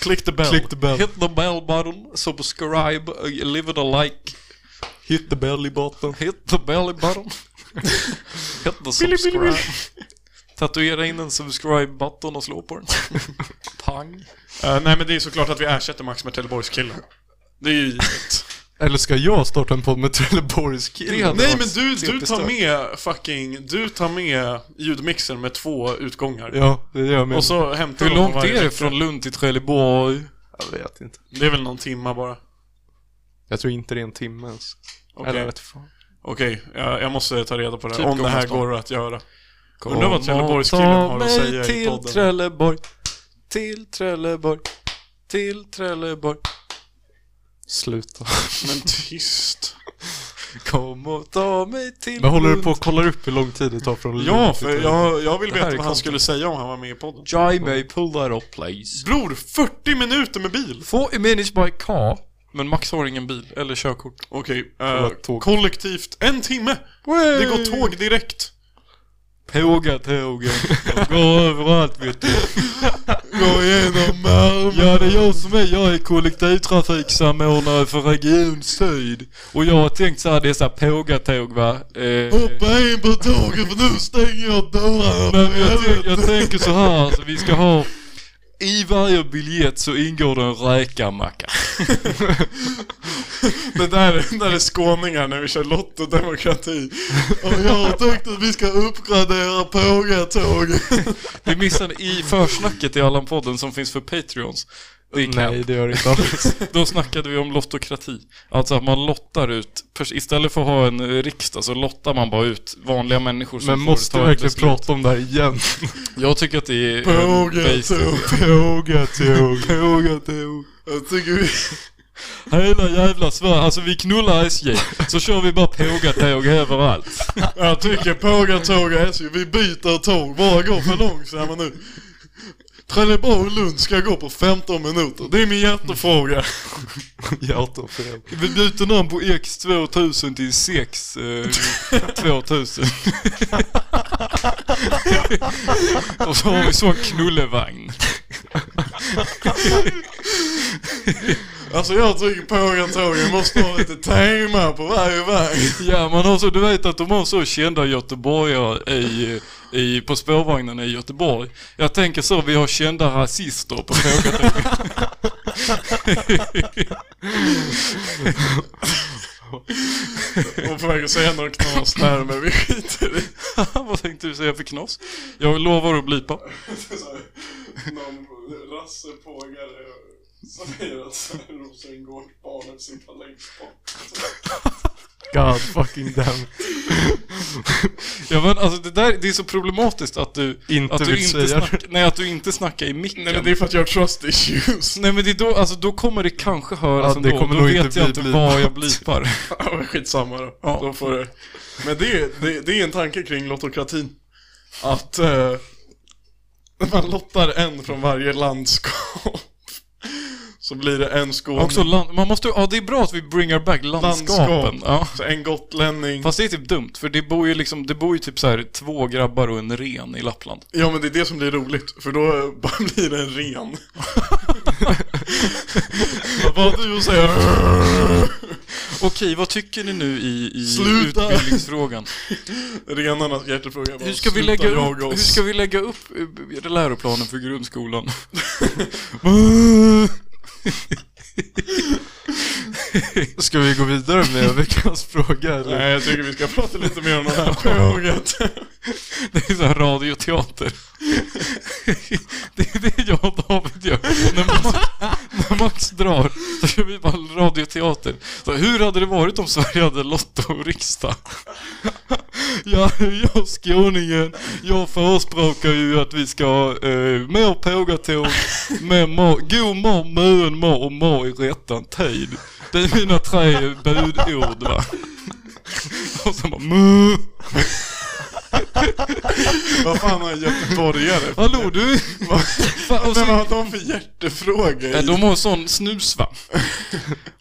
[SPEAKER 2] Click the bell.
[SPEAKER 3] Click the bell.
[SPEAKER 1] Hit the bell button, subscribe, uh, leave it a like,
[SPEAKER 3] Hit the belly button.
[SPEAKER 1] hit the belly button. hit the subscribe. Tatuera in en subscribe button och slå på den. Pang.
[SPEAKER 2] Eh, nej men det är såklart att vi ersätter Max med Trelleborgskillen. Det är ju givet.
[SPEAKER 3] Eller ska jag starta en podd med Trelleborgskillen?
[SPEAKER 2] Nej men du, du tar
[SPEAKER 1] jättestört.
[SPEAKER 2] med fucking, du tar med ljudmixen med två utgångar.
[SPEAKER 3] Ja, det gör jag med.
[SPEAKER 2] Och så hämtar
[SPEAKER 1] Hur
[SPEAKER 2] de
[SPEAKER 1] långt
[SPEAKER 2] varje
[SPEAKER 1] är det
[SPEAKER 2] vecka.
[SPEAKER 1] från Lund till Trelleborg?
[SPEAKER 3] Jag vet inte.
[SPEAKER 2] Det är väl någon timma bara.
[SPEAKER 3] Jag tror inte det är en timme ens.
[SPEAKER 2] Okej,
[SPEAKER 3] Eller vet fan.
[SPEAKER 2] Okej, jag, jag måste ta reda på det här.
[SPEAKER 1] Typ
[SPEAKER 2] Om det här
[SPEAKER 1] Gångestan.
[SPEAKER 2] går att göra. Undrar vad Trelleborgskillen
[SPEAKER 3] Kom och
[SPEAKER 2] har
[SPEAKER 3] ta
[SPEAKER 2] att säga
[SPEAKER 3] mig
[SPEAKER 2] i
[SPEAKER 3] till
[SPEAKER 2] podden.
[SPEAKER 3] Trelleborg, till Trelleborg, till Trelleborg. Sluta.
[SPEAKER 2] Men tyst.
[SPEAKER 1] Kom och ta mig till
[SPEAKER 3] Men håller du
[SPEAKER 1] Lund.
[SPEAKER 3] på och kollar upp hur lång tid det tar från
[SPEAKER 2] Ja, för jag, jag vill
[SPEAKER 1] här
[SPEAKER 2] veta vad
[SPEAKER 1] är
[SPEAKER 2] han
[SPEAKER 1] content.
[SPEAKER 2] skulle säga om han var med i podden.
[SPEAKER 1] Drive me, pull that up please.
[SPEAKER 2] Bror, 40 minuter med bil!
[SPEAKER 1] 40 minutes by car. Men Max har ingen bil eller körkort.
[SPEAKER 2] Okej,
[SPEAKER 3] var
[SPEAKER 2] eh,
[SPEAKER 3] ett tåg.
[SPEAKER 2] kollektivt. En timme! Det går tåg direkt.
[SPEAKER 1] Påga tågen. Gå överallt vet du.
[SPEAKER 2] Gå igenom Malmö.
[SPEAKER 1] Ja, det är jag som är. Jag är kollektivtrafiksamordnare för Region Syd. Och jag har tänkt så här, dessa pågatåg va. Eh,
[SPEAKER 2] Hoppa in på tåget för nu stänger jag
[SPEAKER 1] Nej, men
[SPEAKER 2] dörrarna.
[SPEAKER 1] jag, tänk, jag tänker så här, alltså, vi ska ha... I varje biljett så ingår det en räkamacka.
[SPEAKER 2] Det där, det där är skåningar när vi kör lottodemokrati. Och jag har tänkt att vi ska uppgradera pågatåget.
[SPEAKER 1] Det missade i försnacket i Allan-podden som finns för Patreons. Det är
[SPEAKER 3] Nej,
[SPEAKER 1] camp.
[SPEAKER 3] det gör det inte alls.
[SPEAKER 1] Då snackade vi om lottokrati. Alltså att man lottar ut, pers- istället för att ha en eh, riksdag så lottar man bara ut vanliga människor som
[SPEAKER 3] Men
[SPEAKER 1] får
[SPEAKER 3] måste
[SPEAKER 1] ta
[SPEAKER 3] vi
[SPEAKER 1] ett
[SPEAKER 3] verkligen
[SPEAKER 1] beslut.
[SPEAKER 3] prata om det här igen?
[SPEAKER 1] Jag tycker att det är...
[SPEAKER 2] Pågatåg.
[SPEAKER 3] Pågatåg.
[SPEAKER 1] Pågatåg.
[SPEAKER 2] Jag tycker vi...
[SPEAKER 1] Hela jävla Sverige, alltså vi knullar SJ, så kör vi bara pågatåg överallt.
[SPEAKER 2] Jag tycker pågatåg och SJ, vi byter tåg. Bara går för långsamma nu. Trelleborg-Lund ska gå på 15 minuter. Det är min hjärtefråga.
[SPEAKER 3] Jag tar fel.
[SPEAKER 1] Vi byter namn på X2000 till 6 eh, 2000. Och så har vi sån knullevagn.
[SPEAKER 2] Alltså jag tycker pågatågen måste ha lite tema på varje väg.
[SPEAKER 1] Ja, man har så, du vet att de har så kända göteborgare i, i, på spårvagnen i Göteborg. Jag tänker så, vi har kända rasister på frågan.
[SPEAKER 2] Hon försöker säga något knas där men vi skiter i
[SPEAKER 1] Vad tänkte du säga för knas? Jag lovar att blipa.
[SPEAKER 2] det. Någon rassepågare som säger att Rosengård-barnet sitter längst bort.
[SPEAKER 3] God fucking damn.
[SPEAKER 1] Ja, men alltså det där, det är så problematiskt att du
[SPEAKER 3] Inte
[SPEAKER 1] att du
[SPEAKER 3] vill säga det.
[SPEAKER 1] snack, Nej, att du inte snackar i micken.
[SPEAKER 2] Nej men det är för att jag har trust issues.
[SPEAKER 1] Nej men det är då, alltså då kommer det kanske höras
[SPEAKER 3] Ja, det
[SPEAKER 1] ändå.
[SPEAKER 3] kommer
[SPEAKER 1] då
[SPEAKER 3] nog
[SPEAKER 1] vet
[SPEAKER 3] inte
[SPEAKER 1] jag
[SPEAKER 3] bli
[SPEAKER 1] inte vad jag
[SPEAKER 3] blipat.
[SPEAKER 1] blipar.
[SPEAKER 2] Ja men skitsamma då. Då får det. Men det är, det, det är en tanke kring lottokratin. Att eh, man lottar en från varje landskap. Så blir det en skåning.
[SPEAKER 1] Också land, man måste, ja det är bra att vi bringar back landskapen. Ja.
[SPEAKER 2] Så en gotlänning.
[SPEAKER 1] Fast det är typ dumt, för det bor ju liksom, det bor ju typ så här två grabbar och en ren i Lappland.
[SPEAKER 2] Ja men det är det som blir roligt, för då eh, bara blir det en ren. Vad du och säga?
[SPEAKER 1] Okej, vad tycker ni nu i, i
[SPEAKER 2] Sluta!
[SPEAKER 1] utbildningsfrågan?
[SPEAKER 2] Renarnas hjärtefråga bara,
[SPEAKER 1] Hur ska, vi
[SPEAKER 2] "Sluta
[SPEAKER 1] lägga upp,
[SPEAKER 2] jaga
[SPEAKER 1] hur
[SPEAKER 2] oss."
[SPEAKER 1] ska vi lägga upp eh, läroplanen för grundskolan?
[SPEAKER 3] Ska vi gå vidare med veckans fråga eller?
[SPEAKER 2] Nej jag tycker vi ska prata lite mer om det här sjöåret.
[SPEAKER 1] Det är så här radioteater. Det är det jag och David gör. När Max, när Max drar, då kör vi bara radioteater. Så hur hade det varit om Sverige hade Lotto och riksdag? Ja, jag skåningen, jag förespråkar ju att vi ska ha eh, mer pågatåg med ma- god ma, mön ma och ma i rättan tid. Det är mina tre budord va. Och så bara mö.
[SPEAKER 2] Vad fan har en göteborgare?
[SPEAKER 1] Hallå du! Fan, och
[SPEAKER 2] Men vad har
[SPEAKER 1] så,
[SPEAKER 2] de för hjärtefrågor?
[SPEAKER 1] Nej, Äh, de har sån snus va?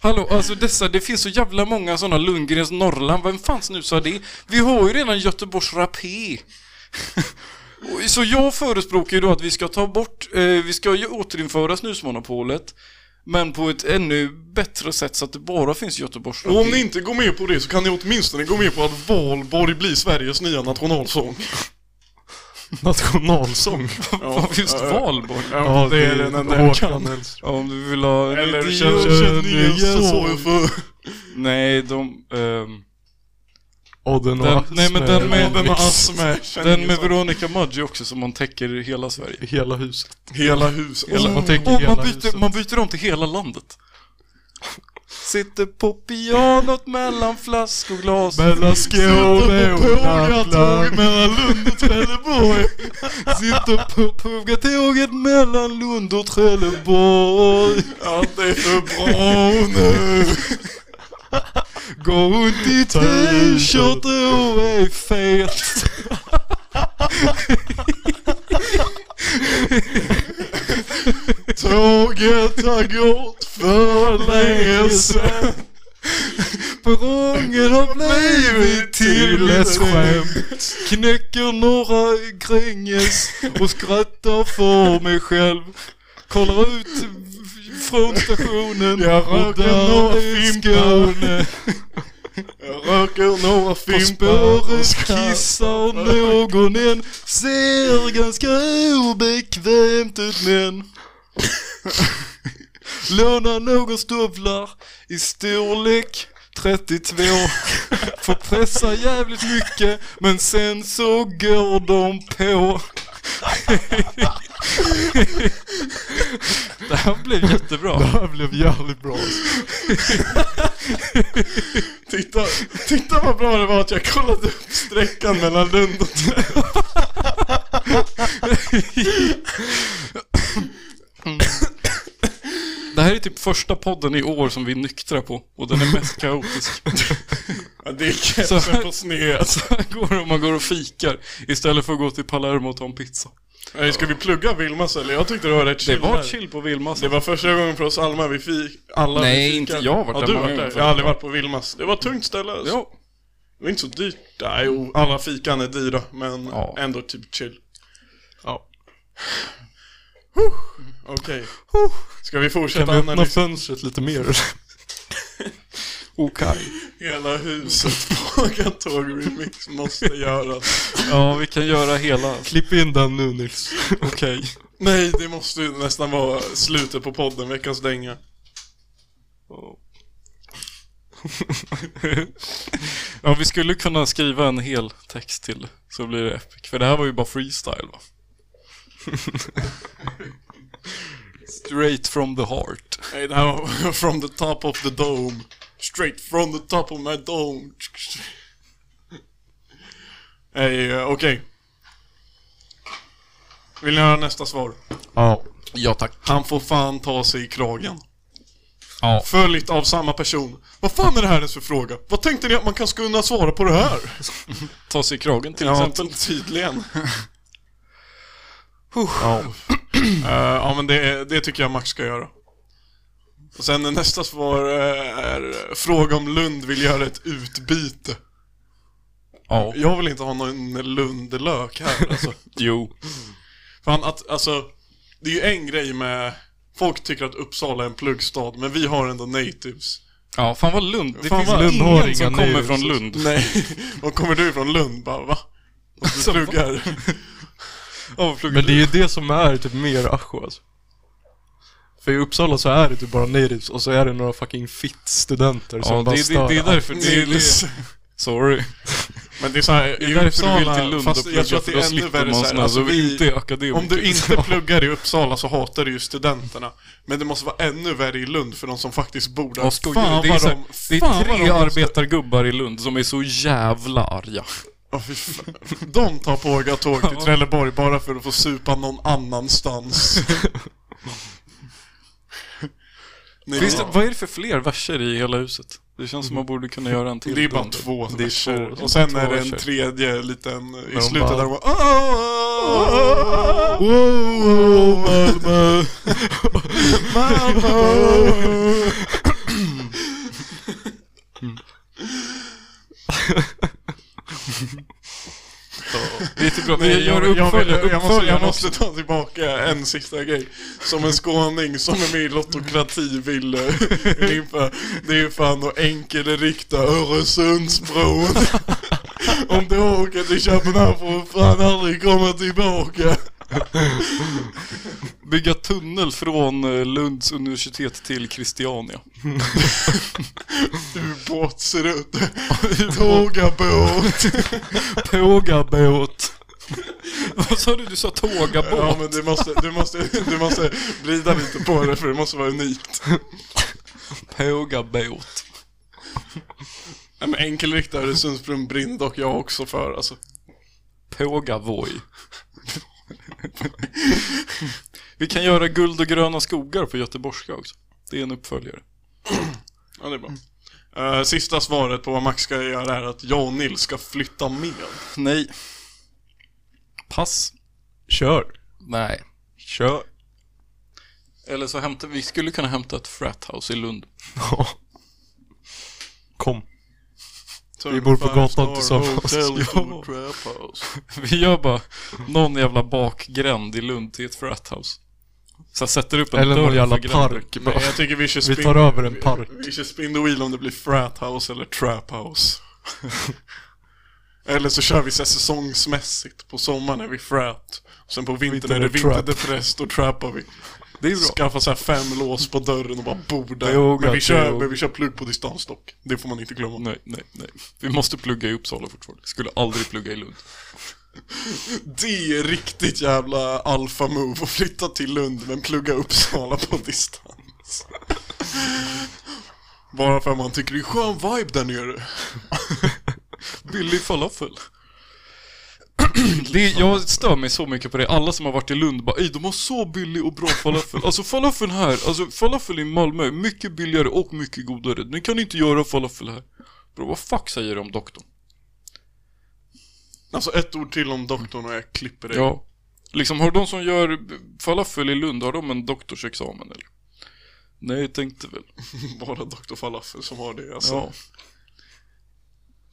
[SPEAKER 1] Hallå, alltså dessa, det finns så jävla många såna Lundgrens Norrland, vem fan snusar det? Vi har ju redan Göteborgs Rapé. Och- Så jag förespråkar ju då att vi ska ta bort, eh, vi ska ju återinföra snusmonopolet, men på ett ännu bättre sätt så att det bara finns Göteborgs Rapé.
[SPEAKER 2] Och om ni inte går med på det så kan ni åtminstone gå med på att Valborg blir Sveriges nya nationalsång.
[SPEAKER 3] Nationalsång?
[SPEAKER 1] Fan, just Valborg.
[SPEAKER 2] Ja, det är den enda jag
[SPEAKER 3] Håkan
[SPEAKER 2] kan.
[SPEAKER 3] Hellström.
[SPEAKER 1] Om du vill ha...
[SPEAKER 2] Eller
[SPEAKER 1] Det-
[SPEAKER 2] känn- känningen sorg för...
[SPEAKER 1] Nej, de... ehm,
[SPEAKER 3] Och den,
[SPEAKER 1] Den-
[SPEAKER 3] har
[SPEAKER 1] nej, men den med-
[SPEAKER 2] Den med
[SPEAKER 1] Mix.
[SPEAKER 2] astma.
[SPEAKER 1] Den
[SPEAKER 2] känningen
[SPEAKER 1] med
[SPEAKER 2] sorg.
[SPEAKER 1] Veronica Maggio också som man täcker hela Sverige.
[SPEAKER 3] Hela huset.
[SPEAKER 2] Hela huset.
[SPEAKER 3] Hela- man tänker
[SPEAKER 1] och
[SPEAKER 3] hela
[SPEAKER 1] man, byter,
[SPEAKER 3] huset.
[SPEAKER 1] man byter om till hela landet. Sitter på pianot mellan flask och glas.
[SPEAKER 3] Mellan Skåne och
[SPEAKER 1] Lappland.
[SPEAKER 3] Lappland.
[SPEAKER 1] mellan Lund och Trelleborg. Sitter på pågatåget mellan Lund och Trelleborg.
[SPEAKER 2] Allt är för bra nu.
[SPEAKER 1] Går runt i t-shirt och är fet.
[SPEAKER 2] Tåget har gått för länge sedan.
[SPEAKER 1] Perrongen har blivit till ett skämt Knäcker några gränges och skrattar för mig själv Kollar ut från stationen
[SPEAKER 2] Jag
[SPEAKER 1] och
[SPEAKER 2] röker
[SPEAKER 1] där
[SPEAKER 2] några
[SPEAKER 1] är
[SPEAKER 2] fimpar.
[SPEAKER 1] Skåne
[SPEAKER 2] Jag röker några
[SPEAKER 1] På
[SPEAKER 2] fimpar och
[SPEAKER 1] spåret
[SPEAKER 2] skrattar.
[SPEAKER 1] kissar någon en Ser ganska obekvämt ut men Lånar någon stövlar i storlek 32 Får pressa jävligt mycket men sen så går de på Det här blev jättebra.
[SPEAKER 3] Det här blev jävligt bra.
[SPEAKER 2] Titta, titta vad bra det var att jag kollade upp sträckan mellan Lund och Trelleborg.
[SPEAKER 1] Det här är typ första podden i år som vi är nyktra på och den är mest kaotisk.
[SPEAKER 2] Ja, det är
[SPEAKER 1] Så här-
[SPEAKER 2] kepsen på sned alltså.
[SPEAKER 1] Så här går det om man går och fikar istället för att gå till Palermo och ta en pizza.
[SPEAKER 2] Nej, ska vi plugga Vilmas eller? Jag tyckte det var rätt
[SPEAKER 1] Det
[SPEAKER 2] chill
[SPEAKER 1] var
[SPEAKER 2] där.
[SPEAKER 1] chill på Vilmas.
[SPEAKER 2] Det var första gången för oss Alma vi fick alla
[SPEAKER 1] Nej,
[SPEAKER 2] vi
[SPEAKER 1] inte
[SPEAKER 2] fikade.
[SPEAKER 1] jag har varit
[SPEAKER 2] ja,
[SPEAKER 1] där
[SPEAKER 2] du
[SPEAKER 1] många
[SPEAKER 2] varit där.
[SPEAKER 1] gånger
[SPEAKER 2] Jag har
[SPEAKER 1] förut.
[SPEAKER 2] aldrig varit på Vilmas. Det var ett tungt ställe alltså.
[SPEAKER 1] Ja.
[SPEAKER 2] Det var inte så dyrt. Nej, jo, alla fikan är dyra men
[SPEAKER 1] Ja.
[SPEAKER 2] ändå typ chill.
[SPEAKER 3] Ja.
[SPEAKER 2] Okej. Ska vi fortsätta
[SPEAKER 3] Kan vi öppna
[SPEAKER 2] analysera
[SPEAKER 3] fönstret lite mer?
[SPEAKER 1] Okej.
[SPEAKER 2] hela huset på Gatåg Remix måste göras.
[SPEAKER 1] Ja, vi kan göra hela.
[SPEAKER 3] Klipp in den nu Nils.
[SPEAKER 1] Okej.
[SPEAKER 2] Nej, det måste ju nästan vara slutet på podden, veckans dänga.
[SPEAKER 1] Ja, vi skulle kunna skriva en hel text till så blir det epic. För det här var ju bara freestyle va? Straight from the heart.
[SPEAKER 2] Nej, det här var from the top of the dome. Straight from the top of my dome. Nej, eh, okej. Vill ni höra nästa svar?
[SPEAKER 3] Ja.
[SPEAKER 1] Ja tack.
[SPEAKER 2] Han får fan ta sig i kragen.
[SPEAKER 1] Ja.
[SPEAKER 2] Följt av samma person. Vad fan är det här ens för fråga? Vad tänkte ni att man kan kunna svara på det här?
[SPEAKER 1] Ta sig i kragen till
[SPEAKER 2] Ja,
[SPEAKER 1] exempel.
[SPEAKER 2] tydligen. Eh, ja. ja, men det, det tycker jag Max ska göra. Och sen nästa svar eh, är fråga om Lund vill göra ett utbyte.
[SPEAKER 1] Ja.
[SPEAKER 2] Jag vill inte ha någon Lundelök här alltså.
[SPEAKER 1] Jo.
[SPEAKER 2] Fan att, alltså, det är ju en grej med... Folk tycker att Uppsala är en pluggstad, men vi har ändå natives.
[SPEAKER 1] Ja, fan vad Lund. Det
[SPEAKER 3] Fan
[SPEAKER 1] finns
[SPEAKER 3] vad
[SPEAKER 1] ingen
[SPEAKER 3] Lundhåringar
[SPEAKER 1] som kommer
[SPEAKER 3] nu.
[SPEAKER 1] från Lund.
[SPEAKER 2] Nej, och kommer du från Lund bara va? Och
[SPEAKER 1] Alltså,
[SPEAKER 2] du pluggar. Ja, vad pluggar
[SPEAKER 3] Men det är
[SPEAKER 2] du?
[SPEAKER 3] ju det som är typ mer Acho alltså. För i Uppsala så är det typ bara natives och så är det några fucking fitt-studenter som
[SPEAKER 1] Ja,
[SPEAKER 3] bara
[SPEAKER 1] det, det, det är därför. Det är, det, sorry.
[SPEAKER 2] Men det är såhär,
[SPEAKER 1] Det är därför du vill till Lund och
[SPEAKER 2] fast
[SPEAKER 1] plugga
[SPEAKER 2] jag tror att det
[SPEAKER 1] för då
[SPEAKER 2] är ännu
[SPEAKER 1] slipper
[SPEAKER 2] värre
[SPEAKER 1] man
[SPEAKER 2] såhär,
[SPEAKER 1] såna
[SPEAKER 2] alltså,
[SPEAKER 1] som
[SPEAKER 2] vi,
[SPEAKER 1] inte är akademiker.
[SPEAKER 2] Om du inte pluggar i Uppsala så hatar du ju studenterna. Men det måste vara ännu värre i Lund för de som faktiskt bor där.
[SPEAKER 1] Ja, skojar du? det är,
[SPEAKER 2] vad
[SPEAKER 1] så här,
[SPEAKER 2] de-
[SPEAKER 1] det är
[SPEAKER 2] fan vad
[SPEAKER 1] tre
[SPEAKER 2] de måste-
[SPEAKER 1] arbetargubbar i Lund som är så jävla arga.
[SPEAKER 2] Ja, fy fan. De tar på åka tåg till Trelleborg bara för att få supa någon annanstans. Nej,
[SPEAKER 1] Finns
[SPEAKER 2] det,
[SPEAKER 1] det, vad är det för fler verser i hela huset? Det känns som man borde kunna göra en till.
[SPEAKER 2] det är bara
[SPEAKER 1] dund.
[SPEAKER 2] två
[SPEAKER 1] Det är
[SPEAKER 2] verser.
[SPEAKER 1] två-
[SPEAKER 2] Och sen
[SPEAKER 1] två
[SPEAKER 2] är det en
[SPEAKER 1] verser.
[SPEAKER 2] tredje liten i
[SPEAKER 3] de
[SPEAKER 2] slutet
[SPEAKER 3] bara-
[SPEAKER 2] där de bara... "Ah, wow, Malmö." Malmö.
[SPEAKER 1] Det är typ bra.
[SPEAKER 2] Nej,
[SPEAKER 1] Vi gör
[SPEAKER 2] jag, jag,
[SPEAKER 1] uppföljare.
[SPEAKER 2] jag, jag, måste, jag
[SPEAKER 1] Uppföljaren
[SPEAKER 2] måste ta tillbaka en sista grej. Som en skåning som är med i Lottokrati vill eh, vill införa. Det är fan att enkelrikta Öresundsbron. Om du åker till Köpenhamn får du fan aldrig komma tillbaka.
[SPEAKER 1] Bygga tunnel från eh, Lunds universitet till Christiania.
[SPEAKER 2] Ubåtsrutt. Tågabåt.
[SPEAKER 3] Tågabåt.
[SPEAKER 1] Vad sa du? Du sa tågabåt?
[SPEAKER 2] Ja men du måste, du måste, du måste vrida lite på det för det måste vara unikt.
[SPEAKER 1] Tågabåt.
[SPEAKER 2] Ja, men enkelrikta Öresundsbron brinner dock jag också för alltså.
[SPEAKER 1] Pågavoj. Vi kan göra guld och gröna skogar på göteborgska också. Det är en uppföljare.
[SPEAKER 2] Ja, det är bra. Eh, sista svaret på vad Max ska göra är att jag och Nils ska flytta med.
[SPEAKER 1] Nej. Pass.
[SPEAKER 3] Kör.
[SPEAKER 1] Nej.
[SPEAKER 3] Kör.
[SPEAKER 1] Eller så hämtar vi skulle kunna hämta ett frathouse i Lund.
[SPEAKER 3] Ja. Kom. Vi bor på gatan tillsammans. Ja.
[SPEAKER 1] Vi gör bara någon jävla bakgränd i Lund till ett frathouse. Så jag sätter upp en
[SPEAKER 3] Eller
[SPEAKER 1] dörr
[SPEAKER 3] någon jävla
[SPEAKER 1] för gränden.
[SPEAKER 3] park
[SPEAKER 2] Nej,
[SPEAKER 3] bara.
[SPEAKER 2] jag tycker vi kör
[SPEAKER 3] Vi
[SPEAKER 2] spin...
[SPEAKER 3] tar över en park.
[SPEAKER 2] Vi kör spin the wheel om det blir frat house eller trap house. eller så kör vi så här säsongsmässigt. På sommaren är vi frat. Och sen på vintern är det
[SPEAKER 3] Vintern är
[SPEAKER 2] vinterdepress, då trappar vi.
[SPEAKER 1] Det är bra.
[SPEAKER 2] Skaffa så här fem lås på dörren och bara bor
[SPEAKER 3] Jo,
[SPEAKER 2] där. Men vi
[SPEAKER 3] gott,
[SPEAKER 2] kör,
[SPEAKER 3] jo.
[SPEAKER 2] men vi kör plugg på distans dock. Det får man inte glömma.
[SPEAKER 1] Nej, nej, nej. Vi måste plugga i Uppsala fortfarande. Skulle aldrig plugga i Lund.
[SPEAKER 2] Det är riktigt jävla alpha move att flytta till Lund men plugga Uppsala på distans. Bara för att man tycker det är skön vibe där nere.
[SPEAKER 1] Billig falafel. Det, jag stör mig så mycket på det. Alla som har varit i Lund bara "Ey, de har så billig och bra falafel. Alltså falafel här, alltså falafel i Malmö är mycket billigare och mycket godare. Ni kan inte göra falafel här. Bro, vad fuck säger du om doktorn?
[SPEAKER 2] Alltså ett ord till om doktorn och jag klipper dig.
[SPEAKER 1] Ja. Liksom, har de som gör falafel i Lund, har de en doktorsexamen eller? Nej, jag tänkte väl.
[SPEAKER 2] Bara doktor Falafel som har det alltså.
[SPEAKER 1] Ja.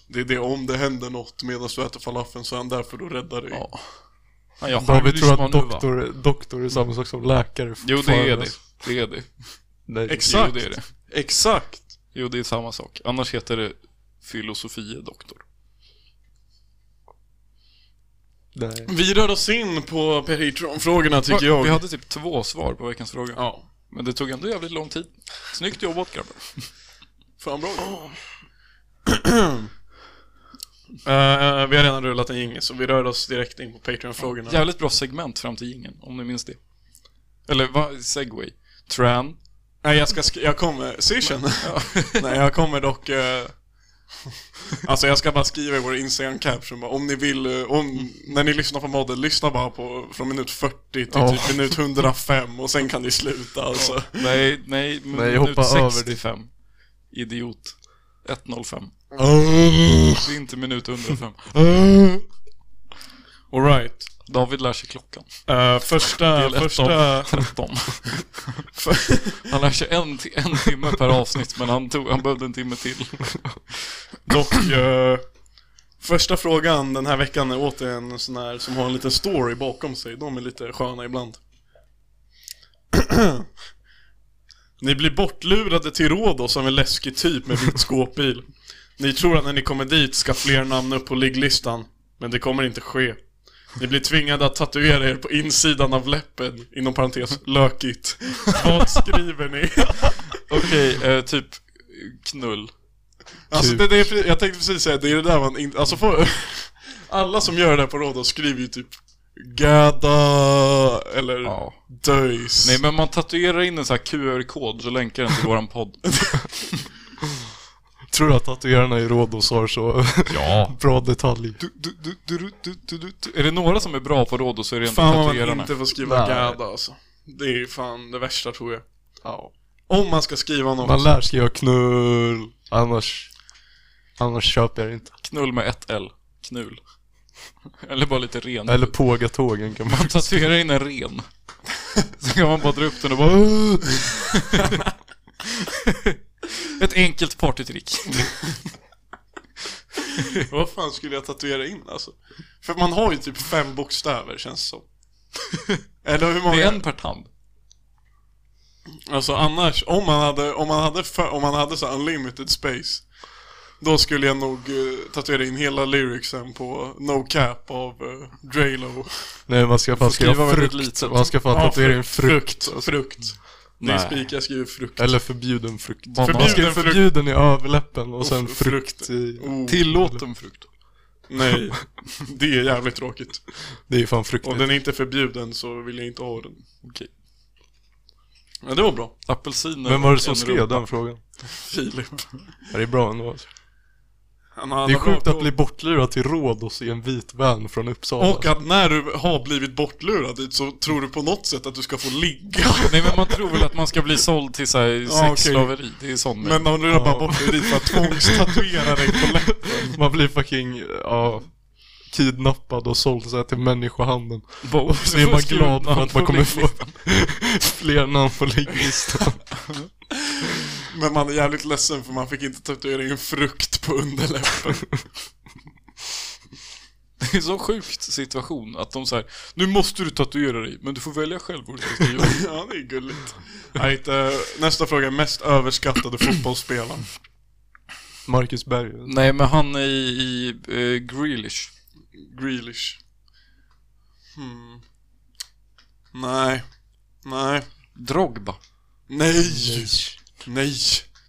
[SPEAKER 2] Det är det om det händer något medan du äter falafeln så är han där för att rädda dig.
[SPEAKER 1] Ja. Fan, jag
[SPEAKER 3] Ja, vi
[SPEAKER 1] harmlyssnar
[SPEAKER 3] tror att
[SPEAKER 1] nu, va?
[SPEAKER 3] doktor, doktor är samma sak som läkare
[SPEAKER 1] Jo, det är
[SPEAKER 3] fortfarande.
[SPEAKER 1] det. Det är det.
[SPEAKER 3] Nej.
[SPEAKER 2] Exakt.
[SPEAKER 1] Jo, det är det.
[SPEAKER 2] Exakt.
[SPEAKER 1] Jo, det är samma sak. Annars heter det filosofie doktor.
[SPEAKER 3] Nej.
[SPEAKER 2] Vi rör oss in på Patreon-frågorna tycker jag.
[SPEAKER 1] Vi hade typ två svar på veckans fråga.
[SPEAKER 2] Ja.
[SPEAKER 1] Men det tog ändå jävligt lång tid. Snyggt jobbat grabbar.
[SPEAKER 2] Fan bra Eh, Vi har redan rullat en jingel så vi rör oss direkt in på Patreon-frågorna.
[SPEAKER 1] Jävligt bra segment fram till ingen, om ni minns det. Eller vad? Segway. Tran.
[SPEAKER 2] Nej jag ska, sk- jag kommer, syrsen? Nej jag kommer dock eh, Alltså jag ska bara skriva i vår Instagram caption bara, om ni vill, eh, om, när ni lyssnar på modden, lyssna bara på från minut 40 till typ minut 105 och sen kan ni sluta alltså.
[SPEAKER 1] Nej, nej,
[SPEAKER 3] Nej, jag hoppar över det.
[SPEAKER 1] 65. Idiot. 105.
[SPEAKER 2] Ah.
[SPEAKER 3] Mm.
[SPEAKER 1] Det är inte minut 105.
[SPEAKER 2] Alright.
[SPEAKER 1] David lär sig klockan.
[SPEAKER 2] Eh, första,
[SPEAKER 1] Del ett
[SPEAKER 2] första,
[SPEAKER 1] 13. Han lär sig en, ti- en timme per avsnitt men han, tog, han behövde en timme till.
[SPEAKER 2] dock, eh, första frågan den här veckan är återigen en sån här som har en liten story bakom sig. De är lite sköna ibland. ni blir bortlurade till Rhodos av en läskig typ med vit skåpbil. Ni tror att när ni kommer dit ska fler namn upp på ligglistan, men det kommer inte ske. Ni blir tvingade att tatuera er på insidan av läppen, inom parentes, lökigt. Vad skriver ni?
[SPEAKER 1] Okej, eh, typ knull. Typ.
[SPEAKER 2] Alltså det, det är, pre- jag tänkte precis säga, det är det där man inte, alltså får, alla som gör det här på Rhodos skriver ju typ Gada eller
[SPEAKER 1] Ja.
[SPEAKER 2] Döjs.
[SPEAKER 1] Nej men man tatuerar in en sån här QR-kod så länkar den till våran podd.
[SPEAKER 3] Tror du att tatuerarna i Rhodos har så
[SPEAKER 1] Ja.
[SPEAKER 3] bra detalj?
[SPEAKER 1] Du, du, du, du, du, du, du, du, du. Är det några som är bra på råd så är det inte
[SPEAKER 2] Fan vad
[SPEAKER 1] tatuerarna.
[SPEAKER 2] man inte får skriva
[SPEAKER 3] Nej.
[SPEAKER 2] Gada alltså. Det är ju fan det värsta tror jag.
[SPEAKER 3] Ja.
[SPEAKER 2] Om man ska skriva något.
[SPEAKER 3] Man lär sig göra knull, annars... Annars köper jag det inte.
[SPEAKER 1] Knull med ett L. Knull. Eller bara lite ren.
[SPEAKER 3] Eller påga tågen kan man...
[SPEAKER 1] Man tatuerar in en ren. Så kan man bara dra upp den och bara...
[SPEAKER 3] Mm.
[SPEAKER 1] "Åh!" Ett enkelt partytrick.
[SPEAKER 2] Vad fan skulle jag tatuera in alltså? För man har ju typ fem bokstäver känns det som. eller hur många?
[SPEAKER 1] Det är en per tand.
[SPEAKER 2] Alltså annars, om man hade, om man hade, för, om man hade så här unlimited space Då skulle jag nog eh, tatuera in hela lyricsen på No Cap av eh, Drelo
[SPEAKER 3] Nej, man ska fan skriva
[SPEAKER 1] skriva väldigt
[SPEAKER 3] frukt.
[SPEAKER 1] litet.
[SPEAKER 3] Man ska fan tatuera in frukt.
[SPEAKER 2] Frukt, frukt Det är spik, jag skriver frukt
[SPEAKER 3] Eller förbjuden frukt.
[SPEAKER 1] Banan.
[SPEAKER 3] Man skriver
[SPEAKER 2] Förbjuden frukt.
[SPEAKER 3] förbjuden i överläppen och sen
[SPEAKER 2] f-
[SPEAKER 3] frukt
[SPEAKER 2] frukt.
[SPEAKER 3] i...
[SPEAKER 2] Oh,
[SPEAKER 1] Tillåten frukt.
[SPEAKER 2] Nej, det är jävligt tråkigt
[SPEAKER 3] Det är ju fan frukt.
[SPEAKER 2] Om den är inte är förbjuden så vill jag inte ha den
[SPEAKER 1] Okej.
[SPEAKER 2] Ja det var bra,
[SPEAKER 1] Apelsiner.
[SPEAKER 3] Vem var det som
[SPEAKER 1] en
[SPEAKER 3] skrev
[SPEAKER 1] rumpa.
[SPEAKER 3] den frågan?
[SPEAKER 2] Filip
[SPEAKER 3] Ja, det är bra ändå alltså.
[SPEAKER 2] Han har
[SPEAKER 3] Det är
[SPEAKER 2] alla bra
[SPEAKER 3] sjukt att
[SPEAKER 2] koll.
[SPEAKER 3] bli bortlurad till Rhodos i en vit van från Uppsala.
[SPEAKER 2] Och att när du har blivit bortlurad dit så tror du på något sätt att du ska få ligga
[SPEAKER 1] Nej men man tror väl att man ska bli såld till så här
[SPEAKER 2] Ja, okej.
[SPEAKER 1] sexslaveri. Det är sån
[SPEAKER 2] Men de lurar bara bort dig dit för att tvångstatuera dig på läppen
[SPEAKER 1] Mm.
[SPEAKER 3] Man blir fucking, ja, kidnappad och såld så här till människohandeln.
[SPEAKER 1] Bo-
[SPEAKER 3] Så är man
[SPEAKER 1] skriv
[SPEAKER 3] glad
[SPEAKER 1] namn
[SPEAKER 3] för att man
[SPEAKER 1] på
[SPEAKER 3] kommer få
[SPEAKER 1] listan.
[SPEAKER 3] fler namn på ligglistan.
[SPEAKER 2] Men man är jävligt ledsen för man fick inte tatuera in frukt på underläppen.
[SPEAKER 1] Det är en så sjukt situation att de säger Nu måste du tatuera dig, men du får välja själv vad du ska skriva.
[SPEAKER 2] ja, det är gulligt. Nej, inte- nästa fråga. Mest överskattade fotbollsspelaren?
[SPEAKER 3] Marcus Berg.
[SPEAKER 1] Nej men han är i, i eh, Grealish.
[SPEAKER 2] Grealish. Hmm. Nej. Nej.
[SPEAKER 1] Drogba.
[SPEAKER 2] Nej! Nej!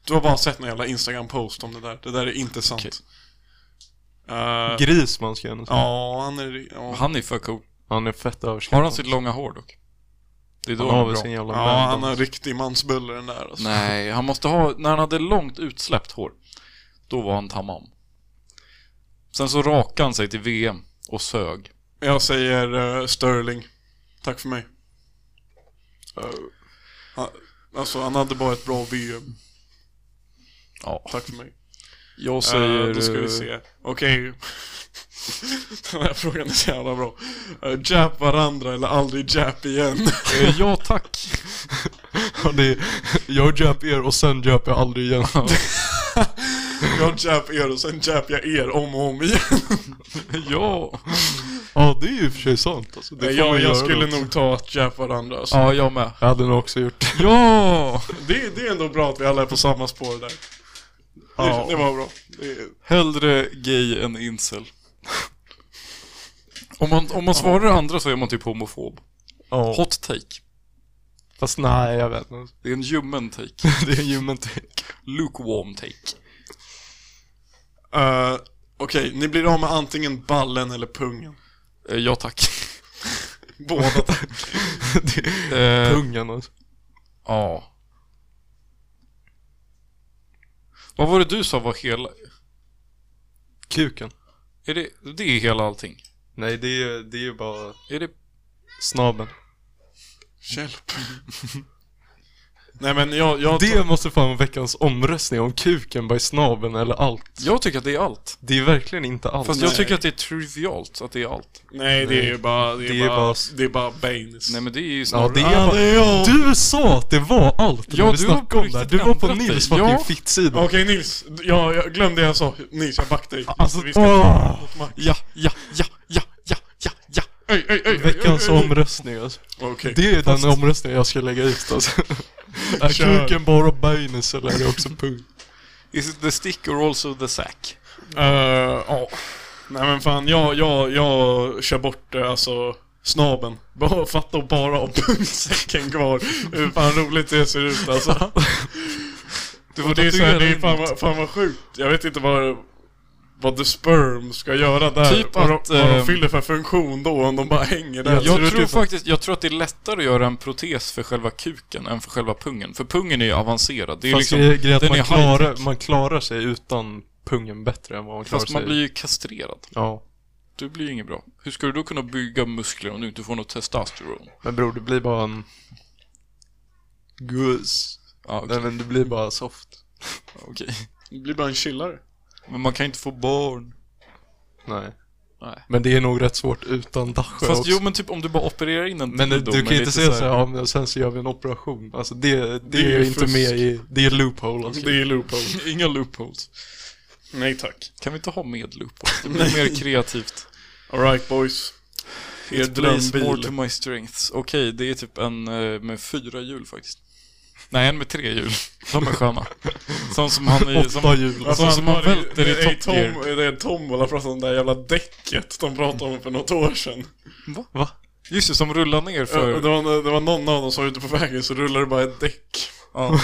[SPEAKER 2] Du har bara sett någon jävla Instagram-post om det där. Det där är inte sant.
[SPEAKER 1] Okej.
[SPEAKER 2] Eh,
[SPEAKER 3] Gris man ska gärna säga.
[SPEAKER 2] ja, han är... Ja, han,
[SPEAKER 1] Han är för cool.
[SPEAKER 3] Han är fett överskattad.
[SPEAKER 1] Har han sitt långa hår dock? Det är då
[SPEAKER 3] Han
[SPEAKER 1] han
[SPEAKER 3] har
[SPEAKER 1] är
[SPEAKER 3] väl
[SPEAKER 1] bra.
[SPEAKER 3] sin jävla
[SPEAKER 2] ja, han
[SPEAKER 3] man.
[SPEAKER 2] har riktig mansbulle den där alltså.
[SPEAKER 1] Nej, han måste ha, när han hade långt utsläppt hår, då var han tamam. Sen så rakade han sig till VM och sög.
[SPEAKER 2] Jag säger eh, Sterling. Tack för mig. Han, alltså han hade bara ett bra VM.
[SPEAKER 1] Ja.
[SPEAKER 2] Tack för mig.
[SPEAKER 1] Jag
[SPEAKER 2] Säger,
[SPEAKER 1] säger...
[SPEAKER 2] då ska vi se. Okej. Den här frågan är så jävla bra. Uh, jap varandra eller aldrig jap igen.
[SPEAKER 1] eh, Ja tack.
[SPEAKER 3] Ja, det är, jag döp er och sen döp jag aldrig igen.
[SPEAKER 2] jag jap er och sen jap jag er om och om igen.
[SPEAKER 1] ja.
[SPEAKER 3] Ja, det är ju i och för sig sant. Alltså, det
[SPEAKER 2] Nej,
[SPEAKER 3] får man
[SPEAKER 2] jag,
[SPEAKER 3] göra
[SPEAKER 2] jag skulle
[SPEAKER 3] då.
[SPEAKER 2] nog ta att jap varandra. Alltså.
[SPEAKER 1] Ja, jag med.
[SPEAKER 3] Jag hade nog också gjort det.
[SPEAKER 1] Ja!
[SPEAKER 2] Det, det är ändå bra att vi alla är på samma spår där.
[SPEAKER 1] Ja.
[SPEAKER 2] Det, det var bra. Det,
[SPEAKER 1] Hellre gay än incel. Om man, om man svarar det andra så är man typ homofob.
[SPEAKER 3] Ja.
[SPEAKER 1] Hot take.
[SPEAKER 3] Fast nej, jag vet inte.
[SPEAKER 1] Det är en ljummen take.
[SPEAKER 3] Det är en human take.
[SPEAKER 1] Lukewarm take.
[SPEAKER 2] Eh, Okej, ni blir av med antingen ballen eller pungen.
[SPEAKER 1] Eh, ja tack.
[SPEAKER 2] Båda tack.
[SPEAKER 1] Eh,
[SPEAKER 3] Pungen alltså.
[SPEAKER 1] ja. Vad var det du sa var hela...
[SPEAKER 3] Kuken.
[SPEAKER 1] Är det, det är hela allting?
[SPEAKER 3] Nej, det är, det är ju bara
[SPEAKER 1] Är det...
[SPEAKER 3] snabeln.
[SPEAKER 2] Hjälp. Nej men jag, jag,
[SPEAKER 9] Det måste fan vara veckans omröstning om kuken by snabeln eller allt.
[SPEAKER 1] Jag tycker att det är allt.
[SPEAKER 9] Det är verkligen inte allt.
[SPEAKER 1] Fast jag tycker att det är trivialt att det är allt.
[SPEAKER 2] nej det är ju bara, det är,
[SPEAKER 9] Det är
[SPEAKER 2] bara,
[SPEAKER 9] bara-
[SPEAKER 2] det är bara Baines.
[SPEAKER 1] Nej men det är ju snarare...
[SPEAKER 9] Ja, det är bara... Du sa att det var allt
[SPEAKER 1] Ja,
[SPEAKER 9] när vi
[SPEAKER 1] du har på
[SPEAKER 9] snackade om det här.
[SPEAKER 1] riktigt
[SPEAKER 9] Du var på
[SPEAKER 1] ändrat dig.
[SPEAKER 9] Nils fucking
[SPEAKER 1] Ja.
[SPEAKER 9] fittsida.
[SPEAKER 2] Okej Nils, jag, jag glömde jag sa. Nils, jag backar dig.
[SPEAKER 9] Alltså,
[SPEAKER 2] vi ska...
[SPEAKER 9] åh!
[SPEAKER 1] Ja, ja, ja, ja, ja, ja, ja.
[SPEAKER 2] Oj, oj, oj, oj, oj,
[SPEAKER 9] Veckans
[SPEAKER 2] oj.
[SPEAKER 9] omröstning alltså.
[SPEAKER 2] Okej.
[SPEAKER 9] Det är den omröstningen jag ska lägga ut alltså. Är
[SPEAKER 2] Kör.
[SPEAKER 9] kuken bara Baines eller är det också punkt?
[SPEAKER 1] Is it the stick or also the sack?
[SPEAKER 2] Eh, ja. Nej men fan, jag, jag, jag kör bort eh, alltså snaben. Bara fatta och bara ha pungsäcken kvar. Hur fan roligt det ser ut alltså. Du får det är, så här, det är fan, vad- fan vad sjukt. Jag vet inte vad, vad the sperm ska göra där.
[SPEAKER 1] Typ
[SPEAKER 2] vad,
[SPEAKER 1] att,
[SPEAKER 2] de, vad de
[SPEAKER 1] ehm,
[SPEAKER 2] fyller för funktion då om de bara hänger där.
[SPEAKER 1] Jag
[SPEAKER 2] Ser det
[SPEAKER 1] tror
[SPEAKER 2] ut som-
[SPEAKER 1] faktiskt, jag tror att det är lättare att göra en protes för själva kuken än för själva pungen. För pungen är ju avancerad. Det är
[SPEAKER 9] Fast
[SPEAKER 1] liksom,
[SPEAKER 9] det är grejen att
[SPEAKER 1] den
[SPEAKER 9] man
[SPEAKER 1] är
[SPEAKER 9] klarar,
[SPEAKER 1] high-tech.
[SPEAKER 9] man klarar sig utan pungen bättre än vad man klarar
[SPEAKER 1] Fast man
[SPEAKER 9] sig...
[SPEAKER 1] blir ju kastrerad.
[SPEAKER 9] Ja.
[SPEAKER 1] Du blir ju inget bra. Hur ska du då kunna bygga muskler om du inte får något testosteron?
[SPEAKER 9] Men bror, du blir bara en... Gus.
[SPEAKER 1] Ja, Ah, okej.
[SPEAKER 9] Nej men du blir bara soft.
[SPEAKER 1] okej.
[SPEAKER 2] Det blir bara en chillare.
[SPEAKER 1] Men man kan inte få barn.
[SPEAKER 9] Nej.
[SPEAKER 1] Nej.
[SPEAKER 9] Men det är nog rätt svårt utan Dagsjö
[SPEAKER 1] Fast
[SPEAKER 9] också.
[SPEAKER 1] jo men typ om du bara opererar in en
[SPEAKER 9] men du,
[SPEAKER 1] dildo
[SPEAKER 9] du
[SPEAKER 1] med
[SPEAKER 9] kan ju
[SPEAKER 1] lite
[SPEAKER 9] inte säga
[SPEAKER 1] här-
[SPEAKER 9] såhär, ja men sen så gör vi en operation. Alltså det, det,
[SPEAKER 2] är
[SPEAKER 9] är
[SPEAKER 2] ju
[SPEAKER 9] inte
[SPEAKER 2] fusk. Liksom.
[SPEAKER 9] med i, det är loophole alltså.
[SPEAKER 2] Det är loophole.
[SPEAKER 1] Inga loopholes.
[SPEAKER 2] Nej tack.
[SPEAKER 1] Kan vi inte ha med loopholes? Det blir mer kreativt.
[SPEAKER 2] Alright boys. Er
[SPEAKER 1] It plays more to
[SPEAKER 2] drömbil.
[SPEAKER 1] my strengths. Okej, det är typ en eh, med fyra hjul faktiskt. Nej, en med tre hjul. De är sköna. Sån som han i...
[SPEAKER 9] Åtta
[SPEAKER 1] Som,
[SPEAKER 9] hjul.
[SPEAKER 1] Alltså, som man
[SPEAKER 2] var det-
[SPEAKER 1] välter i
[SPEAKER 2] det-
[SPEAKER 1] Top
[SPEAKER 2] Tom,
[SPEAKER 1] Gear.
[SPEAKER 2] Det är Tombola pratade om det där jävla däcket de pratade om för något år sedan.
[SPEAKER 9] Va?
[SPEAKER 1] just det, som rullar ner för...
[SPEAKER 2] Ja, Det var, det var någon av dem som var ute på vägen så rullade det bara ett däck.
[SPEAKER 1] ja.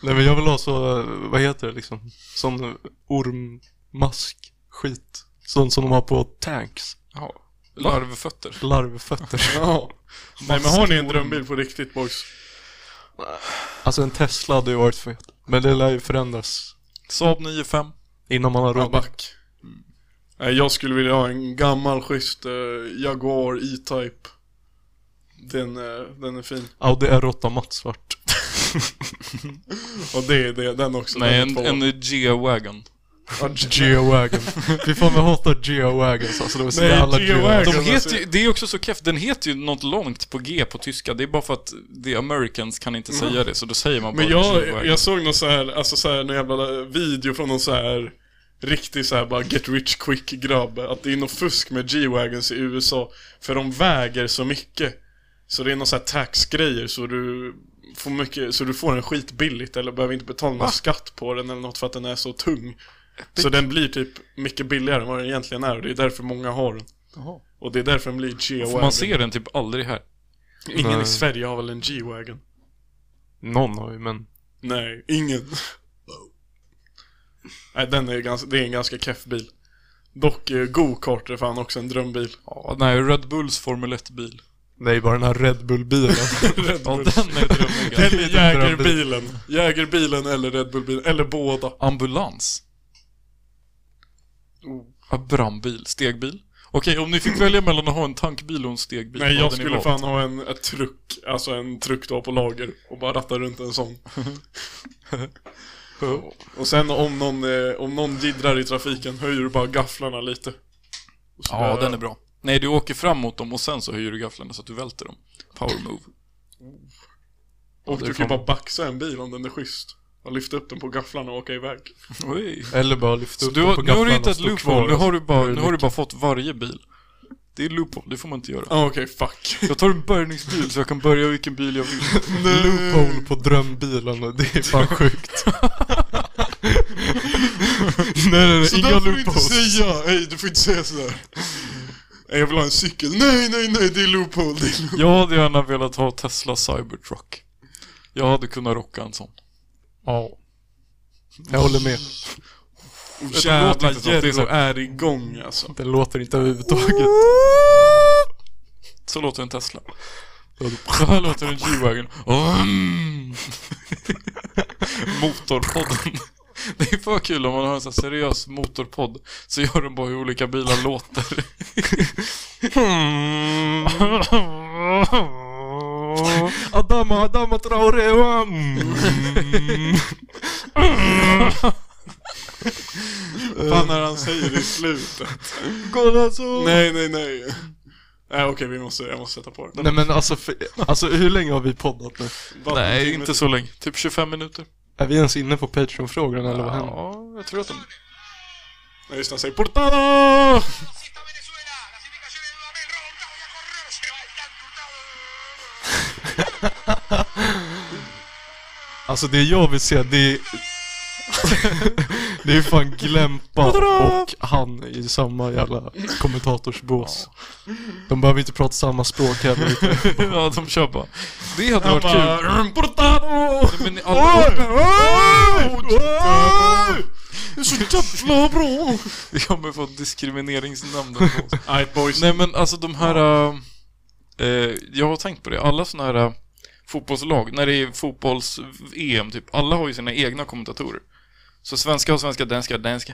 [SPEAKER 9] Nej men jag vill ha så, eh, vad heter det liksom? Sån ormmask skit. Sånt som de har på tanks.
[SPEAKER 1] ja. Larvfötter.
[SPEAKER 9] Larvfötter.
[SPEAKER 2] Ja. Nej men har ni en drömbil på riktigt boys?
[SPEAKER 9] Alltså en Tesla hade ju varit fet. Men det lär ju förändras
[SPEAKER 1] Saab 9-5.
[SPEAKER 9] innan man har råd.
[SPEAKER 2] Back. Nej, jag skulle vilja ha en gammal schysst eh, Jaguar E-Type. Den, eh, den är fin.
[SPEAKER 9] Audi R8 mattsvart.
[SPEAKER 2] Och det är det, den också.
[SPEAKER 1] Nej,
[SPEAKER 2] den
[SPEAKER 1] en,
[SPEAKER 2] är två.
[SPEAKER 1] en G-Wagon.
[SPEAKER 2] Ja, G-
[SPEAKER 9] Geo-wagon. Fy fan jag hatar Geo-wagons alltså. De är så
[SPEAKER 2] Nej,
[SPEAKER 9] jävla
[SPEAKER 2] Geo-wagon.
[SPEAKER 9] Geo.
[SPEAKER 1] De
[SPEAKER 2] Wagon,
[SPEAKER 1] heter
[SPEAKER 2] alltså.
[SPEAKER 1] ju, det är också så kefft, den heter ju något långt på G på tyska. Det är bara för att the Americans kan inte säga det, så då säger man bara
[SPEAKER 2] Mm. Men jag,
[SPEAKER 1] G-Wagon.
[SPEAKER 2] jag såg någon så här, alltså så här, någon jävla video från någon så här riktig så här bara get rich quick grabb. Att det är något fusk med G-Wagons i USA. För de väger så mycket. Så det är någon så här tax-grejer så du får mycket, så du får den skitbilligt eller behöver inte betala någon skatt på den eller något för att den är så tung. Så den blir typ mycket billigare än vad den egentligen är och det är därför många har den.
[SPEAKER 1] Jaha.
[SPEAKER 2] Och det är därför den blir
[SPEAKER 1] För man
[SPEAKER 2] G-Wagon.
[SPEAKER 1] ser den typ aldrig här.
[SPEAKER 2] Ingen i
[SPEAKER 9] Nej.
[SPEAKER 2] Sverige har väl en G-Wagon?
[SPEAKER 9] Någon har ju men.
[SPEAKER 2] Nej, ingen. Nej, den är ganska, det är en ganska keff bil. Dock eh, go-kart är fan också en drömbil.
[SPEAKER 1] Ja, nej, Red Bulls Formel 1-bil.
[SPEAKER 9] Det är ju bara den här Red Bull-bilen.
[SPEAKER 2] Red
[SPEAKER 1] Ja,
[SPEAKER 2] Bull.
[SPEAKER 1] den är drömmiga.
[SPEAKER 2] Eller
[SPEAKER 9] liten drömbil.
[SPEAKER 2] Jägerbilen. Jägerbilen eller Red Bull-bilen. Eller båda.
[SPEAKER 1] Ambulans.
[SPEAKER 2] Oh.
[SPEAKER 1] Ja, brandbil. Stegbil. Okej, om ni fick välja mellan att ha en tankbil och en stegbil,
[SPEAKER 2] Nej,
[SPEAKER 1] vad
[SPEAKER 2] jag
[SPEAKER 1] hade ni
[SPEAKER 2] skulle
[SPEAKER 1] valt?
[SPEAKER 2] fan ha en ett truck. Alltså en truck då på lager. Och bara ratta runt en sån. och sen om någon, eh, om någon jiddrar i trafiken, höjer du bara gafflarna lite. Och så
[SPEAKER 1] Ja,
[SPEAKER 2] bara-
[SPEAKER 1] den är bra. Nej, du åker fram mot dem och sen så höjer du gafflarna så att du välter dem. Power move.
[SPEAKER 2] Och
[SPEAKER 9] det
[SPEAKER 2] du
[SPEAKER 9] är
[SPEAKER 2] kan
[SPEAKER 9] fan-
[SPEAKER 2] ju bara baxa en bil om den är schysst. Och lyfta upp den på gafflarna och åka iväg.
[SPEAKER 1] Oj.
[SPEAKER 9] Eller bara lyfta
[SPEAKER 1] Så
[SPEAKER 9] upp
[SPEAKER 1] du
[SPEAKER 9] den
[SPEAKER 1] har,
[SPEAKER 9] på
[SPEAKER 1] nu har
[SPEAKER 9] gafflarna
[SPEAKER 1] du
[SPEAKER 9] och
[SPEAKER 1] hittat
[SPEAKER 9] stå kvar.
[SPEAKER 1] loophole, nu har du bara,
[SPEAKER 9] Hur
[SPEAKER 1] nu har du bara fått varje bil. Det är loophole, det får man inte göra.
[SPEAKER 2] Ah, Okej, fuck.
[SPEAKER 1] Jag tar en bärgningsbil så jag kan börja vilken bil jag vill.
[SPEAKER 9] Loophole på drömbilen och det är fan sjukt. nej nej nej,
[SPEAKER 2] Så
[SPEAKER 9] inga
[SPEAKER 2] där får du inte
[SPEAKER 9] loopholes.
[SPEAKER 2] säga! Ey, du får inte säga sådär. Ey, jag vill ha en cykel. Nej, nej, nej, det är loophole, det är loophole.
[SPEAKER 1] Jag hade gärna velat ha Tesla Cybertruck. Jag hade kunnat rocka en sån.
[SPEAKER 9] Ja. Jag håller med.
[SPEAKER 2] Oh,
[SPEAKER 1] låter
[SPEAKER 2] jävla
[SPEAKER 1] inte som att det är så.
[SPEAKER 2] Jerro är igång alltså.
[SPEAKER 9] Det låter inte överhuvudtaget.
[SPEAKER 1] Så låter en Tesla. Så här låter en G-Wagon. Mm. Motorpodden. Det är för kul om man har en sån här seriös motorpodd så gör de bara hur olika bilar låter.
[SPEAKER 9] Ja, Adama, Adama Traoré, mm. Mm.
[SPEAKER 2] Fan när han säger i slutet.
[SPEAKER 9] Kolla så! Nej.
[SPEAKER 2] Nej, nej, nej. Nej, okej, vi måste, jag måste sätta på den.
[SPEAKER 9] Nej men alltså, för, alltså hur länge har vi poddat nu?
[SPEAKER 2] Vad-
[SPEAKER 1] Nej,
[SPEAKER 2] timmen-
[SPEAKER 1] inte så länge. Typ 25 minuter.
[SPEAKER 9] Är vi ens inne på Patreon-frågan eller vad händer?
[SPEAKER 1] Ja, jag tror att de...
[SPEAKER 2] Nej, just det, han säger Portada!
[SPEAKER 9] Alltså det jag vill se, det är... det är fan Glämpa och han i samma jävla kommentatorsbås. De behöver inte prata samma språk heller.
[SPEAKER 1] ja, de kör bara. Det hade varit
[SPEAKER 2] bara,
[SPEAKER 1] kul.
[SPEAKER 2] "Rum, Portada!
[SPEAKER 1] Men ni- alla ord-
[SPEAKER 2] Det är så jävla bra!
[SPEAKER 1] Vi kommer få diskrimineringsnämnden på oss.
[SPEAKER 2] Alright boys.
[SPEAKER 1] Nej men alltså de här... äh, eh, jag har tänkt på det. Alla såna här äh, fotbollslag, när det är fotbolls-EM typ, alla har ju sina egna kommentatorer. Så svenska har svenska, danska har danska.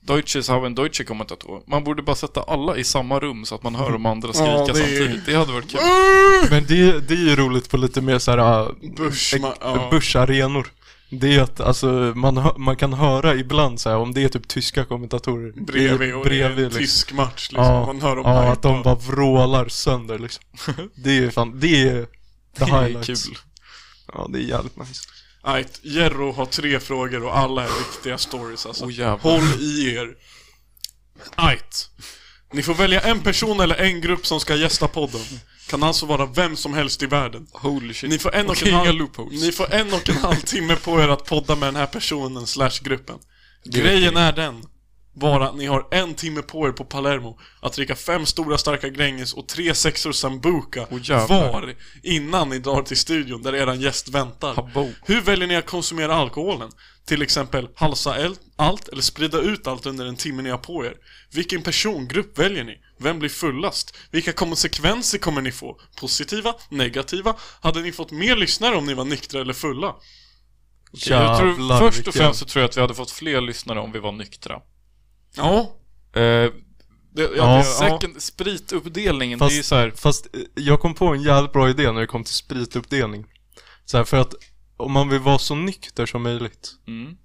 [SPEAKER 1] Deutsches har en deutsche kommentator. Man borde bara sätta alla i samma rum så att man hör de andra skrika
[SPEAKER 2] Ja, det är-
[SPEAKER 1] samtidigt. Det hade varit kul.
[SPEAKER 9] Men det, det är ju roligt på lite mer såhär
[SPEAKER 2] Bushma, ja.
[SPEAKER 9] börsarenor. Det är att alltså, man, hö- man kan höra ibland så här om det är typ tyska kommentatorer. i-
[SPEAKER 2] Bredvid och det är en tysk match liksom.
[SPEAKER 9] Ja,
[SPEAKER 2] Man hör dem
[SPEAKER 9] ja
[SPEAKER 2] hypa.
[SPEAKER 9] att de bara vrålar sönder liksom. Det är ju fan, det är the
[SPEAKER 1] Det är
[SPEAKER 9] highlights.
[SPEAKER 1] kul.
[SPEAKER 9] Ja, det är jävligt nice.
[SPEAKER 2] Alright, Jerro har tre frågor och alla är viktiga stories alltså.
[SPEAKER 1] Åh, jävlar.
[SPEAKER 2] Håll i er. Alright. Ni får välja en person eller en grupp som ska gästa podden. Kan alltså vara vem som helst i världen.
[SPEAKER 1] Holy shit.
[SPEAKER 2] Ni får en och,
[SPEAKER 1] Okej,
[SPEAKER 2] en,
[SPEAKER 1] inga
[SPEAKER 2] halv,
[SPEAKER 1] loopholes.
[SPEAKER 2] ni får en och en halv timme på er att podda med den här personen slash gruppen. Grejen är den, bara att ni har en timme på er på Palermo att dricka fem stora starka Gränges och tre sexor Sambuca
[SPEAKER 1] jävlar.
[SPEAKER 2] var innan ni drar till studion där eran gäst väntar.
[SPEAKER 1] Habbo.
[SPEAKER 2] Hur väljer ni att konsumera alkoholen? Till exempel halsa el- allt eller sprida ut allt under den timme ni har på er? Vilken persongrupp väljer ni? Vem blir fullast? Vilka konsekvenser kommer ni få? Positiva? Negativa? Hade ni fått mer lyssnare om ni var nyktra eller fulla?
[SPEAKER 1] jag tror,
[SPEAKER 9] Jävlar,
[SPEAKER 1] först och
[SPEAKER 9] vilken-
[SPEAKER 1] främst så tror jag att vi hade fått fler lyssnare om vi var nyktra.
[SPEAKER 2] Ja,
[SPEAKER 1] Eh,
[SPEAKER 2] det, ja,
[SPEAKER 9] Ja.
[SPEAKER 2] det, ja.
[SPEAKER 1] second, sprituppdelningen, det är ju
[SPEAKER 9] Fast,
[SPEAKER 1] så här,
[SPEAKER 9] fast eh, jag kom på en jävligt bra idé när det kom till sprituppdelning. Så här, för att om man vill vara så nykter som möjligt,
[SPEAKER 1] Mm.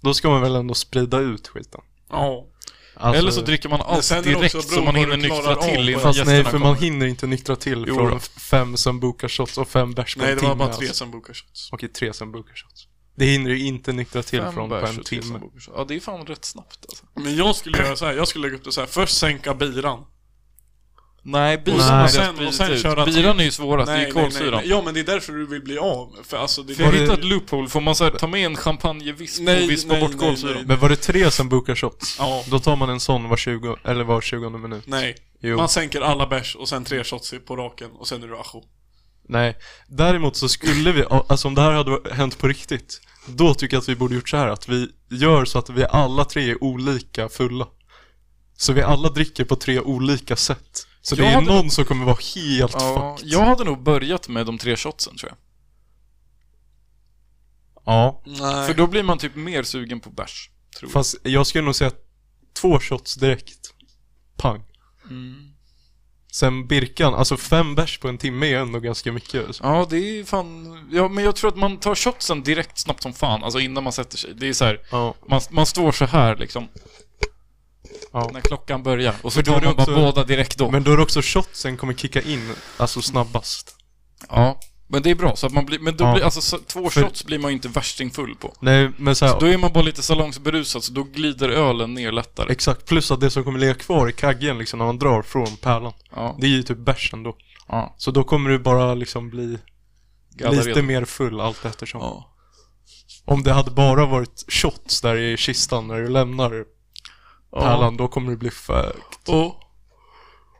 [SPEAKER 9] då ska man väl ändå sprida ut skiten.
[SPEAKER 2] ja.
[SPEAKER 9] Alltså,
[SPEAKER 1] Eller så dricker man allt
[SPEAKER 2] sen är det också
[SPEAKER 1] direkt
[SPEAKER 2] beroende
[SPEAKER 1] så man
[SPEAKER 2] på
[SPEAKER 1] hinner
[SPEAKER 2] hur du
[SPEAKER 1] nyktra
[SPEAKER 2] klarar av
[SPEAKER 1] till
[SPEAKER 2] det.
[SPEAKER 1] innan
[SPEAKER 9] Fast
[SPEAKER 1] gästerna
[SPEAKER 9] nej, för
[SPEAKER 1] kommer.
[SPEAKER 9] man hinner inte nyktra till
[SPEAKER 1] Jo
[SPEAKER 9] från
[SPEAKER 1] då.
[SPEAKER 9] f- fem Sambuca shots och fem bärs på
[SPEAKER 2] Nej,
[SPEAKER 9] en
[SPEAKER 2] det
[SPEAKER 9] timme.
[SPEAKER 2] var bara tre
[SPEAKER 9] alltså.
[SPEAKER 2] Sambuca shots.
[SPEAKER 9] Okej, tre Sambuca shots. Det hinner ju inte nyktra till
[SPEAKER 1] Fem
[SPEAKER 9] från på
[SPEAKER 1] bärs
[SPEAKER 9] en
[SPEAKER 1] och tre
[SPEAKER 9] timme.
[SPEAKER 1] sambucas. Ja, det är fan rätt snabbt alltså.
[SPEAKER 2] Men jag skulle göra så här. jag skulle lägga upp det så här. först sänka biran.
[SPEAKER 1] Nej, biran
[SPEAKER 9] Nej.
[SPEAKER 1] har
[SPEAKER 9] Och
[SPEAKER 2] sen-
[SPEAKER 1] jag spridit
[SPEAKER 2] och sen
[SPEAKER 1] ut.
[SPEAKER 2] köra till-
[SPEAKER 1] Biran är ju svårast, det är ju
[SPEAKER 2] nej, nej,
[SPEAKER 1] kolsyran.
[SPEAKER 2] nej. Ja, men det är därför du vill bli av. För alltså, det
[SPEAKER 1] Vi har
[SPEAKER 9] Var det-
[SPEAKER 1] hittat loophole, får man så här, ta med en champagnevisp
[SPEAKER 2] Nej,
[SPEAKER 1] och vispa
[SPEAKER 2] nej,
[SPEAKER 1] bort
[SPEAKER 2] nej,
[SPEAKER 1] kolsyran?
[SPEAKER 9] Men var det tre Sambuca shots?
[SPEAKER 2] Ja.
[SPEAKER 9] Då tar man en sån var 20, eller var 20 minut.
[SPEAKER 2] Nej.
[SPEAKER 9] Jo.
[SPEAKER 2] Man sänker alla bärs och sen tre shots på raken och sen är du ajo.
[SPEAKER 9] Nej, däremot så skulle vi, alltså om det här hade hänt på riktigt Då tycker jag att vi borde gjort så här att vi gör så att vi alla tre är olika fulla Så vi alla dricker på tre olika sätt Så det
[SPEAKER 1] Jag
[SPEAKER 9] är
[SPEAKER 1] hade-
[SPEAKER 9] någon som kommer vara helt
[SPEAKER 1] Ja,
[SPEAKER 9] fucked
[SPEAKER 1] jag hade nog börjat med de tre shotsen tror jag.
[SPEAKER 9] Ja,
[SPEAKER 2] Nej.
[SPEAKER 1] För då blir man typ mer sugen på bärs. Tror jag.
[SPEAKER 9] fast jag skulle nog säga två shots direkt Pang Mm. Sen Birkan, alltså fem bärs på en timme är ändå ganska mycket alltså.
[SPEAKER 1] Ja, det är fan... Ja, men jag tror att man tar shotsen direkt snabbt som fan, alltså innan man sätter sig. Det är så här,
[SPEAKER 9] Ja,
[SPEAKER 1] man, man står så här liksom.
[SPEAKER 9] Ja.
[SPEAKER 1] När klockan börjar. Och så
[SPEAKER 9] då
[SPEAKER 1] tar
[SPEAKER 9] är det
[SPEAKER 1] man bara
[SPEAKER 9] också-
[SPEAKER 1] båda direkt då.
[SPEAKER 9] men då är det också shotsen kommer kicka in, alltså snabbast
[SPEAKER 1] Ja, men det är bra. Så att man blir, men då
[SPEAKER 9] Ja.
[SPEAKER 1] blir, alltså, så, två
[SPEAKER 9] För-
[SPEAKER 1] shots blir man ju inte värstingfull på.
[SPEAKER 9] Nej men så här,
[SPEAKER 1] Då är man bara lite salongsberusad, så då glider ölen ner lättare.
[SPEAKER 9] Exakt, plus att det som kommer ligga kvar i kaggen liksom när man drar från pärlan
[SPEAKER 1] Ja,
[SPEAKER 9] Det är ju typ bärsen då
[SPEAKER 1] ja.
[SPEAKER 9] Så då kommer du bara liksom bli
[SPEAKER 1] Gadda
[SPEAKER 9] lite
[SPEAKER 1] redan.
[SPEAKER 9] mer full allt eftersom
[SPEAKER 1] Ja.
[SPEAKER 9] Om det hade bara varit shots där i kistan när du lämnar pärlan då kommer du bli för...
[SPEAKER 2] Ja.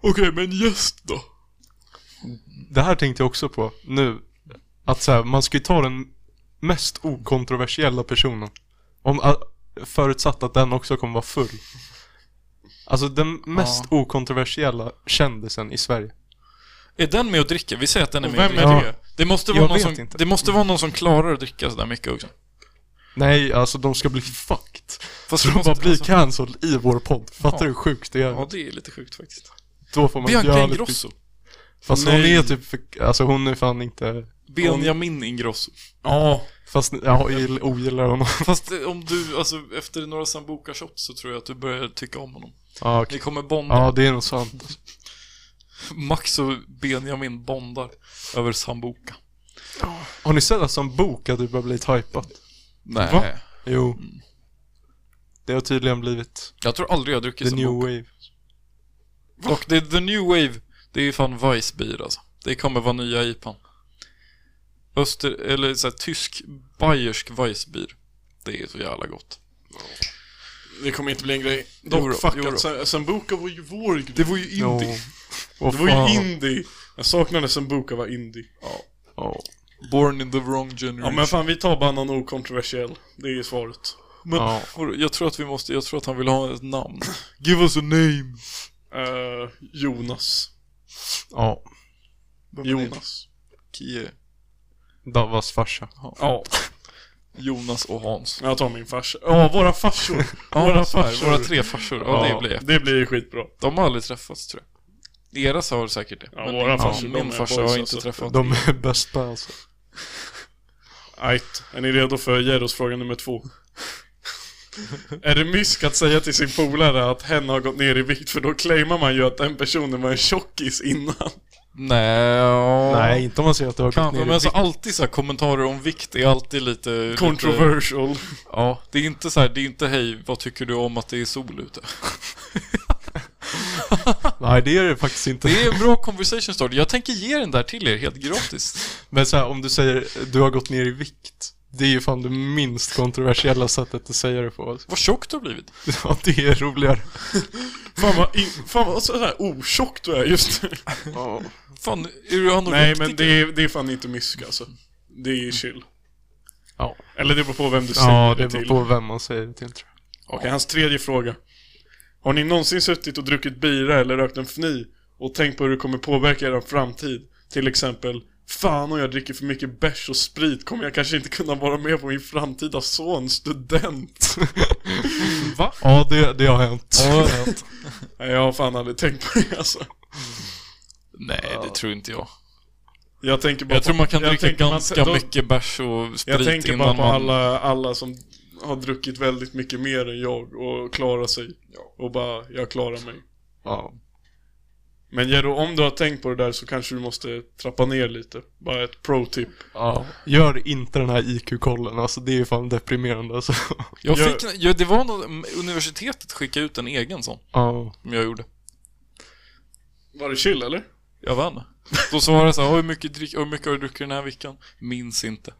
[SPEAKER 2] Okej, men gäst då?
[SPEAKER 9] Det här tänkte jag också på nu Att så här, man ska ju ta den mest okontroversiella personen Om, a- förutsatt att den också kommer vara full Alltså den mest okontroversiella kändisen i Sverige
[SPEAKER 1] Är den med och dricker? Vi säger att den är
[SPEAKER 2] Och
[SPEAKER 1] med och
[SPEAKER 2] vem är
[SPEAKER 1] dricker.
[SPEAKER 2] det?
[SPEAKER 1] Det måste,
[SPEAKER 9] Jag
[SPEAKER 1] vara någon
[SPEAKER 9] vet
[SPEAKER 1] som,
[SPEAKER 9] inte.
[SPEAKER 1] det måste vara någon som klarar att dricka sådär mycket också.
[SPEAKER 9] Nej, alltså de ska bli fucked
[SPEAKER 1] Fast
[SPEAKER 9] De
[SPEAKER 1] måste-
[SPEAKER 9] bara blir
[SPEAKER 1] alltså-
[SPEAKER 9] cancelled i vår podd. Fattar
[SPEAKER 1] Ja.
[SPEAKER 9] du hur sjukt det är?
[SPEAKER 1] Ja, det är lite sjukt faktiskt.
[SPEAKER 9] Då får man
[SPEAKER 1] Bianca
[SPEAKER 9] göra lite-
[SPEAKER 1] Ingrosso.
[SPEAKER 9] Fast hon
[SPEAKER 2] Nej.
[SPEAKER 9] är typ, alltså hon är fan inte...
[SPEAKER 1] Benjamin Ingrosso.
[SPEAKER 2] Ja.
[SPEAKER 9] Fast jag gill- ogillar honom.
[SPEAKER 1] Fast eh, om du, alltså efter några sambuca shots så tror jag att du börjar tycka om honom.
[SPEAKER 9] Ja,
[SPEAKER 1] Ni
[SPEAKER 9] okej.
[SPEAKER 1] kommer bonda.
[SPEAKER 9] ja det är nog sant.
[SPEAKER 1] Max och Benjamin bondar över sambuca.
[SPEAKER 9] Har ni sett att som bok att du bara blivit hypat?
[SPEAKER 1] Nej.
[SPEAKER 9] Va? Jo. Det har tydligen blivit
[SPEAKER 1] Jag tror aldrig jag har druckit
[SPEAKER 9] the new
[SPEAKER 1] sambuca.
[SPEAKER 9] wave.
[SPEAKER 1] Och det är the new wave. Det är ju fan Weissbier alltså. Det kommer vara nya IPAn. Öster, eller så här, tysk, bayersk Weissbier. Det är så jävla gott.
[SPEAKER 2] Det kommer inte bli en grej.
[SPEAKER 1] Jo då,
[SPEAKER 2] Dock fuck
[SPEAKER 1] jo då.
[SPEAKER 2] att Sam- Sambuca var ju vår grej.
[SPEAKER 1] Det var ju indie.
[SPEAKER 9] Jo. Åh,
[SPEAKER 2] Det var
[SPEAKER 9] fan.
[SPEAKER 2] ju indie. Jag saknade Sambuca var indie.
[SPEAKER 9] Ja.
[SPEAKER 1] Born in the wrong
[SPEAKER 2] Ja
[SPEAKER 1] generation.
[SPEAKER 2] men fan vi tar bara någon okontroversiell. Det är svaret.
[SPEAKER 1] Men,
[SPEAKER 9] Ja.
[SPEAKER 1] hörru, jag tror att vi måste, jag tror att han vill ha ett namn. Give us a name.
[SPEAKER 2] Eh, Jonas.
[SPEAKER 9] Ja.
[SPEAKER 2] Jonas.
[SPEAKER 1] Kie.
[SPEAKER 9] Davas farsa.
[SPEAKER 2] Ja,
[SPEAKER 1] Jonas och Hans.
[SPEAKER 2] jag tar min farsa. Ja, våra farsor. våra
[SPEAKER 1] så här,
[SPEAKER 2] farsor.
[SPEAKER 1] Våra tre farsor. Ja, det blir
[SPEAKER 2] det blir ju skitbra.
[SPEAKER 1] De har aldrig träffats tror jag. Deras har säkert det.
[SPEAKER 2] Ja, våra farsor, de
[SPEAKER 1] min
[SPEAKER 2] är
[SPEAKER 1] farsa
[SPEAKER 2] boys,
[SPEAKER 1] har inte
[SPEAKER 2] alltså.
[SPEAKER 1] träffat.
[SPEAKER 9] De är bäst på alltså.
[SPEAKER 2] Ajt, är ni redo för Jerros fråga nummer två? är det mysk att säga till sin polare att hen har gått ner i vikt? För då claimar man ju att den personen var en tjockis innan.
[SPEAKER 1] Nej,
[SPEAKER 9] Nej, inte om man säger att du har gått
[SPEAKER 1] Kanske,
[SPEAKER 9] ner
[SPEAKER 1] men
[SPEAKER 9] i
[SPEAKER 1] alltså
[SPEAKER 9] vikt.
[SPEAKER 1] alltid så här kommentarer om vikt är alltid lite... Lite,
[SPEAKER 2] Controversial.
[SPEAKER 1] ja, det är inte så här, det är inte hej, vad tycker du om att det är sol ute?
[SPEAKER 9] Nej, det är det faktiskt inte.
[SPEAKER 1] Det är en bra conversation starter. Jag tänker ge den där till er helt gratis.
[SPEAKER 9] Men så här, om du säger du har gått ner i vikt. Det är ju fan det minst kontroversiella sättet att säga det på. Alltså.
[SPEAKER 1] Vad tjock du har blivit.
[SPEAKER 9] Ja, det är roligare.
[SPEAKER 2] Fan vad, in, fan vad så här otjock du är just nu.
[SPEAKER 1] Fan, är du
[SPEAKER 2] Nej
[SPEAKER 1] anorektiker?
[SPEAKER 2] men det är, det är fan inte mysk alltså. Det är chill.
[SPEAKER 9] Ja,
[SPEAKER 2] Eller det beror på vem du säger
[SPEAKER 9] ja det
[SPEAKER 2] det
[SPEAKER 9] beror
[SPEAKER 2] till.
[SPEAKER 9] på vem man säger det till tror jag.
[SPEAKER 2] Okej, hans tredje fråga. Har ni någonsin suttit och druckit bira eller rökt en fni och tänkt på hur det kommer påverka er framtid? Till exempel, fan om jag dricker för mycket bärs och sprit kommer jag kanske inte kunna vara med på min framtida son, student.
[SPEAKER 1] Va?
[SPEAKER 9] Ja, det, det har hänt.
[SPEAKER 2] Nej, jag har fan aldrig tänkt på det alltså.
[SPEAKER 1] Nej, det tror inte jag.
[SPEAKER 2] Jag tänker bara
[SPEAKER 1] Jag tror man kan
[SPEAKER 2] jag
[SPEAKER 1] dricka
[SPEAKER 2] tänker man-
[SPEAKER 1] ganska
[SPEAKER 2] då-
[SPEAKER 1] mycket bärs och sprit
[SPEAKER 2] Jag tänker bara
[SPEAKER 1] innan
[SPEAKER 2] på
[SPEAKER 1] man...
[SPEAKER 2] alla, alla som har druckit väldigt mycket mer än jag och klarar sig. Och bara, jag klarar mig.
[SPEAKER 9] Ja.
[SPEAKER 2] Men Jerry, om du har tänkt på det där så kanske du måste trappa ner lite. Bara ett pro-tip.
[SPEAKER 9] ja. Gör inte den här IQ-kollen, alltså det är ju fan deprimerande alltså.
[SPEAKER 1] Jag
[SPEAKER 2] Jag-
[SPEAKER 1] fick, jag, det var något, universitetet skickade ut en egen sån,
[SPEAKER 9] Ja.
[SPEAKER 1] som jag gjorde.
[SPEAKER 2] Var det chill eller?
[SPEAKER 1] Jag vann. Då svarade jag så här, hur mycket, drick, hur mycket har du druckit den här veckan? Minns inte.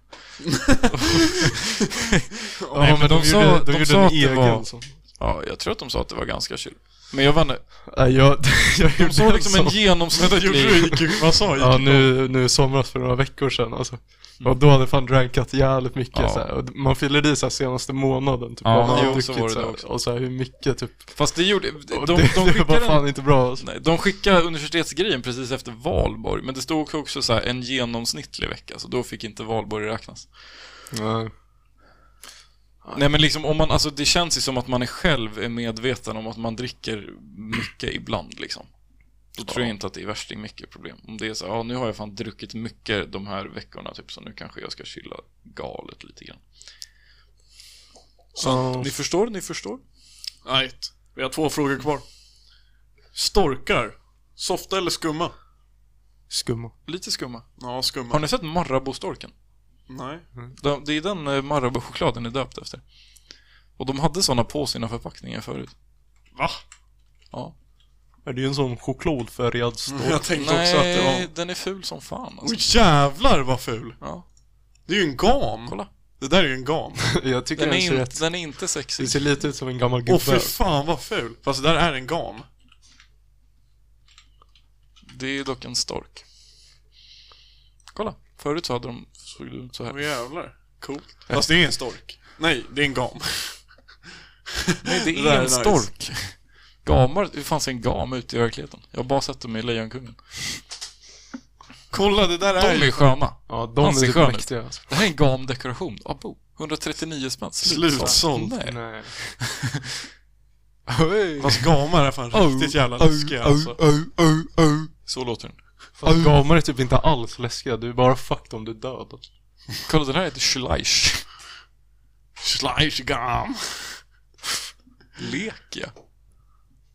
[SPEAKER 9] Ja,
[SPEAKER 1] men de sa-
[SPEAKER 9] gjorde,
[SPEAKER 1] de
[SPEAKER 9] gjorde
[SPEAKER 1] sa
[SPEAKER 9] en
[SPEAKER 1] att det
[SPEAKER 9] egen
[SPEAKER 1] var-
[SPEAKER 9] sån.
[SPEAKER 1] Ja, jag tror att de sa att det var ganska chill. Men jag vann.
[SPEAKER 9] Nej, jag, jag
[SPEAKER 1] De
[SPEAKER 9] gjorde
[SPEAKER 1] sa liksom en
[SPEAKER 9] sån.
[SPEAKER 1] genomsnittlig...
[SPEAKER 2] IQ? Vad sa
[SPEAKER 9] Ja, nu, nu i somras för några veckor sedan alltså. Och då hade jag fan drankat jävligt mycket
[SPEAKER 1] Mm. Ja.
[SPEAKER 9] så här. Och Man fyller i så här senaste månaden typ.
[SPEAKER 1] Ja,
[SPEAKER 9] vad man har
[SPEAKER 1] jo, så var det
[SPEAKER 9] så här,
[SPEAKER 1] det också.
[SPEAKER 9] Och så här, hur mycket typ.
[SPEAKER 1] Fast det gjorde... De,
[SPEAKER 9] Och
[SPEAKER 1] de,
[SPEAKER 9] det,
[SPEAKER 1] de,
[SPEAKER 9] det var
[SPEAKER 1] skickade
[SPEAKER 9] fan
[SPEAKER 1] en,
[SPEAKER 9] inte bra alltså.
[SPEAKER 1] nej, de skickade universitetsgrejen precis efter valborg, men det stod också så här en genomsnittlig vecka, så då fick inte valborg räknas.
[SPEAKER 9] Nej.
[SPEAKER 1] Nej men liksom om man, alltså det känns ju som att man är själv är medveten om att man dricker mycket ibland liksom. Då tror jag inte att det är värsting mycket problem. Om det är så här, ja nu har jag fan druckit mycket de här veckorna typ så nu kanske jag ska chilla galet lite grann.
[SPEAKER 9] Ja.
[SPEAKER 1] Ni förstår, ni förstår?
[SPEAKER 2] Nej, vi har två frågor kvar. Storkar. Softa eller skumma?
[SPEAKER 9] Skumma.
[SPEAKER 1] Lite skumma.
[SPEAKER 2] Ja, skumma.
[SPEAKER 1] Har ni sett Marabou-storken?
[SPEAKER 2] Nej.
[SPEAKER 1] De- Det är den eh, Marabou-chokladen är döpt efter. Och de hade sådana på sina förpackningar förut.
[SPEAKER 2] Va?
[SPEAKER 1] Ja.
[SPEAKER 9] Ja, Det är ju en sån chokladfärgad stork.
[SPEAKER 2] Jag tänkte också att det
[SPEAKER 1] Nej,
[SPEAKER 2] var...
[SPEAKER 1] den är ful som fan alltså.
[SPEAKER 2] Åh jävlar vad ful!
[SPEAKER 1] Ja,
[SPEAKER 2] Det är ju en gam!
[SPEAKER 1] kolla.
[SPEAKER 2] Det där är ju en gam.
[SPEAKER 9] jag tycker
[SPEAKER 1] Den
[SPEAKER 9] den,
[SPEAKER 1] är,
[SPEAKER 9] ser
[SPEAKER 1] in,
[SPEAKER 9] rätt...
[SPEAKER 1] den är inte
[SPEAKER 9] Det
[SPEAKER 1] sexig.
[SPEAKER 9] ser lite ut som en gammal
[SPEAKER 2] Åh
[SPEAKER 9] gubbe.
[SPEAKER 2] fy fan vad ful! Fast det där är en gam.
[SPEAKER 1] Det är dock en stork. Kolla, förut så hade de såg det ut så
[SPEAKER 2] Åh
[SPEAKER 1] här.
[SPEAKER 2] jävlar. Coolt. Fast det är en stork. Nej, det är en gam.
[SPEAKER 1] Nej, det
[SPEAKER 2] där
[SPEAKER 1] är
[SPEAKER 2] är
[SPEAKER 1] en
[SPEAKER 2] nice.
[SPEAKER 1] stork. Gamar, hur fanns en gam ute i verkligheten? Jag har bara sett dem i Lejonkungen.
[SPEAKER 2] Kolla, det där är
[SPEAKER 1] De är
[SPEAKER 2] ju...
[SPEAKER 1] sköna.
[SPEAKER 9] Ja, de
[SPEAKER 1] Han
[SPEAKER 9] är
[SPEAKER 1] ser
[SPEAKER 9] typ
[SPEAKER 1] skön ut.
[SPEAKER 9] mäktiga alltså.
[SPEAKER 1] Det här är en gamdekoration. Abo. 139 spänn.
[SPEAKER 2] Slutsåld.
[SPEAKER 1] Nej.
[SPEAKER 9] Nej.
[SPEAKER 2] Fast gamar är fan riktigt jävla läskiga alltså.
[SPEAKER 1] Så låter den.
[SPEAKER 3] Fast gamar är typ inte alls läskiga, du är bara fucked om du är död. Alltså.
[SPEAKER 1] Kolla den här heter Schleich.
[SPEAKER 2] Schleichgam.
[SPEAKER 1] Lek ja.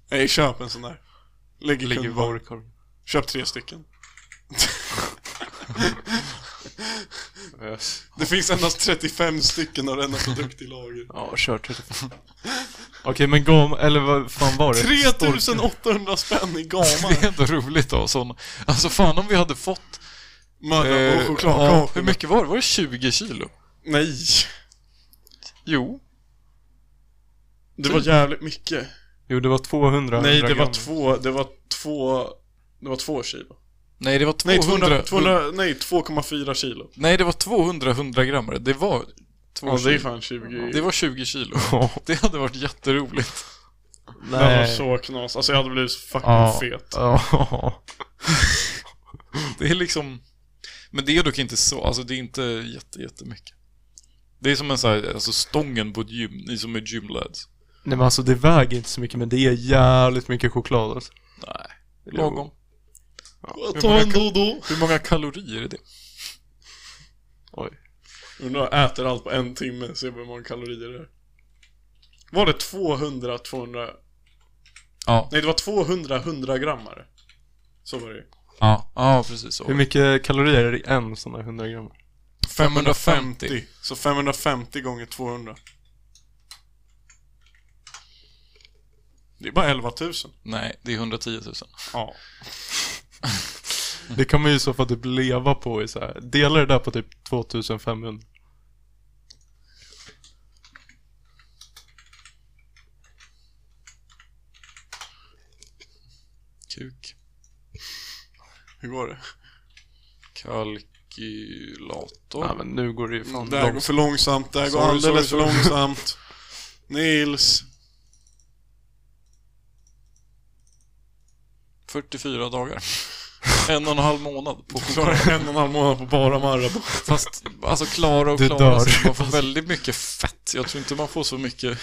[SPEAKER 2] Nej, köp en sån där. Lägg i
[SPEAKER 3] Ligger i
[SPEAKER 2] kundkorg.
[SPEAKER 3] varukorgen.
[SPEAKER 2] Köp tre stycken.
[SPEAKER 3] Yes.
[SPEAKER 2] Det finns endast 35 stycken av denna produkt i lager.
[SPEAKER 3] Ja, kör 35. Okej, men gam... Eller vad fan var det?
[SPEAKER 2] 3800 spänn i
[SPEAKER 1] Det är
[SPEAKER 2] gamar.
[SPEAKER 1] ändå roligt av sådana. Alltså fan om vi hade fått...
[SPEAKER 2] Mördare och
[SPEAKER 1] eh, ja,
[SPEAKER 2] chokladkakor.
[SPEAKER 1] hur mycket var det? Var det 20 kilo?
[SPEAKER 2] Nej.
[SPEAKER 1] Jo.
[SPEAKER 2] Det var jävligt mycket.
[SPEAKER 3] Jo, det var 200.
[SPEAKER 2] Nej, det var
[SPEAKER 3] gram.
[SPEAKER 2] två, det var två, det var två kilo.
[SPEAKER 1] Nej, det var
[SPEAKER 2] Nej,
[SPEAKER 1] 200...
[SPEAKER 2] 200, 200, nej 2,4 kilo.
[SPEAKER 1] Nej, det var 200 100 grammare. Det var... 2
[SPEAKER 2] Ja, det är
[SPEAKER 1] kilo.
[SPEAKER 2] fan 20.
[SPEAKER 1] det var 20 kilo.
[SPEAKER 3] Ja.
[SPEAKER 1] Det hade varit jätteroligt.
[SPEAKER 2] Det var
[SPEAKER 3] Nej.
[SPEAKER 2] så knas. Alltså jag hade blivit så fucking
[SPEAKER 3] Ja.
[SPEAKER 2] fet.
[SPEAKER 3] Ja.
[SPEAKER 1] Det är liksom... Men det är dock inte så, alltså det är inte jätte, jättemycket. Det är som en sån här, alltså stången på ett gym, ni som är gymlads.
[SPEAKER 3] Nej men alltså det väger inte så mycket men det är jävligt mycket choklad alltså.
[SPEAKER 1] Nej, lagom.
[SPEAKER 2] Ta en då och då.
[SPEAKER 1] Hur många kalorier är det?
[SPEAKER 3] Oj.
[SPEAKER 2] Undrar, jag äter allt på en timme, ser hur många kalorier det är. Var det 200, 200?
[SPEAKER 1] Ja.
[SPEAKER 2] Nej, det var 200 100 grammare. Så var det ju.
[SPEAKER 1] Ja, ja precis
[SPEAKER 3] Hur
[SPEAKER 1] så.
[SPEAKER 3] mycket kalorier är det i en sån där 100
[SPEAKER 9] Mm.
[SPEAKER 3] gram?
[SPEAKER 1] 550.
[SPEAKER 2] Så 550 gånger 200. Det är bara 11 000.
[SPEAKER 1] Nej, det är 110 000.
[SPEAKER 2] Ja.
[SPEAKER 3] Det kan man ju i så fall typ leva på i så här. Dela det där på typ 2500.
[SPEAKER 1] Kuk.
[SPEAKER 2] Hur går det?
[SPEAKER 1] Kalkylator.
[SPEAKER 3] Ja men nu går det ju fan
[SPEAKER 2] Det här går
[SPEAKER 3] långt.
[SPEAKER 2] för långsamt, det här går
[SPEAKER 1] Sorry,
[SPEAKER 2] alldeles för
[SPEAKER 1] sorry, sorry.
[SPEAKER 2] långsamt. Nils.
[SPEAKER 1] 44 dagar. en och en halv månad på choklad.
[SPEAKER 2] Klarar en och en halv månad på bara Marabou.
[SPEAKER 1] Fast alltså klara och
[SPEAKER 3] Du
[SPEAKER 1] klara
[SPEAKER 3] dör.
[SPEAKER 1] sig. Man får väldigt mycket fett. Jag tror inte man får så mycket.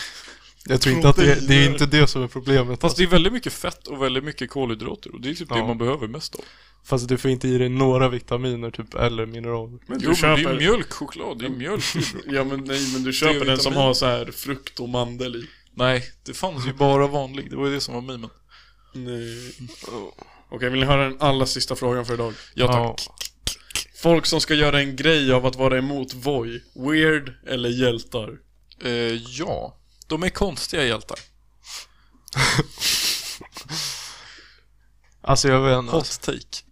[SPEAKER 3] Jag tror inte att det, det är inte det som är problemet.
[SPEAKER 1] Fast det är väldigt mycket fett och väldigt mycket kolhydrater. Och det är typ det
[SPEAKER 3] Ja.
[SPEAKER 1] man behöver mest av.
[SPEAKER 3] Fast du får inte i dig några vitaminer typ eller mineraler.
[SPEAKER 2] Men
[SPEAKER 1] Jo, men det är mjölkchoklad. Det är mjölk.
[SPEAKER 2] Ja men nej, men du köper den som
[SPEAKER 1] vitamin.
[SPEAKER 2] har så här frukt och mandel i.
[SPEAKER 1] Nej, det fanns ju bara vanlig. Det var ju det som var mimen.
[SPEAKER 2] Nej. Okej, vill ni höra den allra sista frågan för idag?
[SPEAKER 1] Ja, tack.
[SPEAKER 2] Folk som ska göra en grej av att vara emot Voi, weird eller hjältar?
[SPEAKER 1] Eh, ja, de är konstiga hjältar.
[SPEAKER 3] Alltså jag vet inte. Alltså.
[SPEAKER 1] Hot take.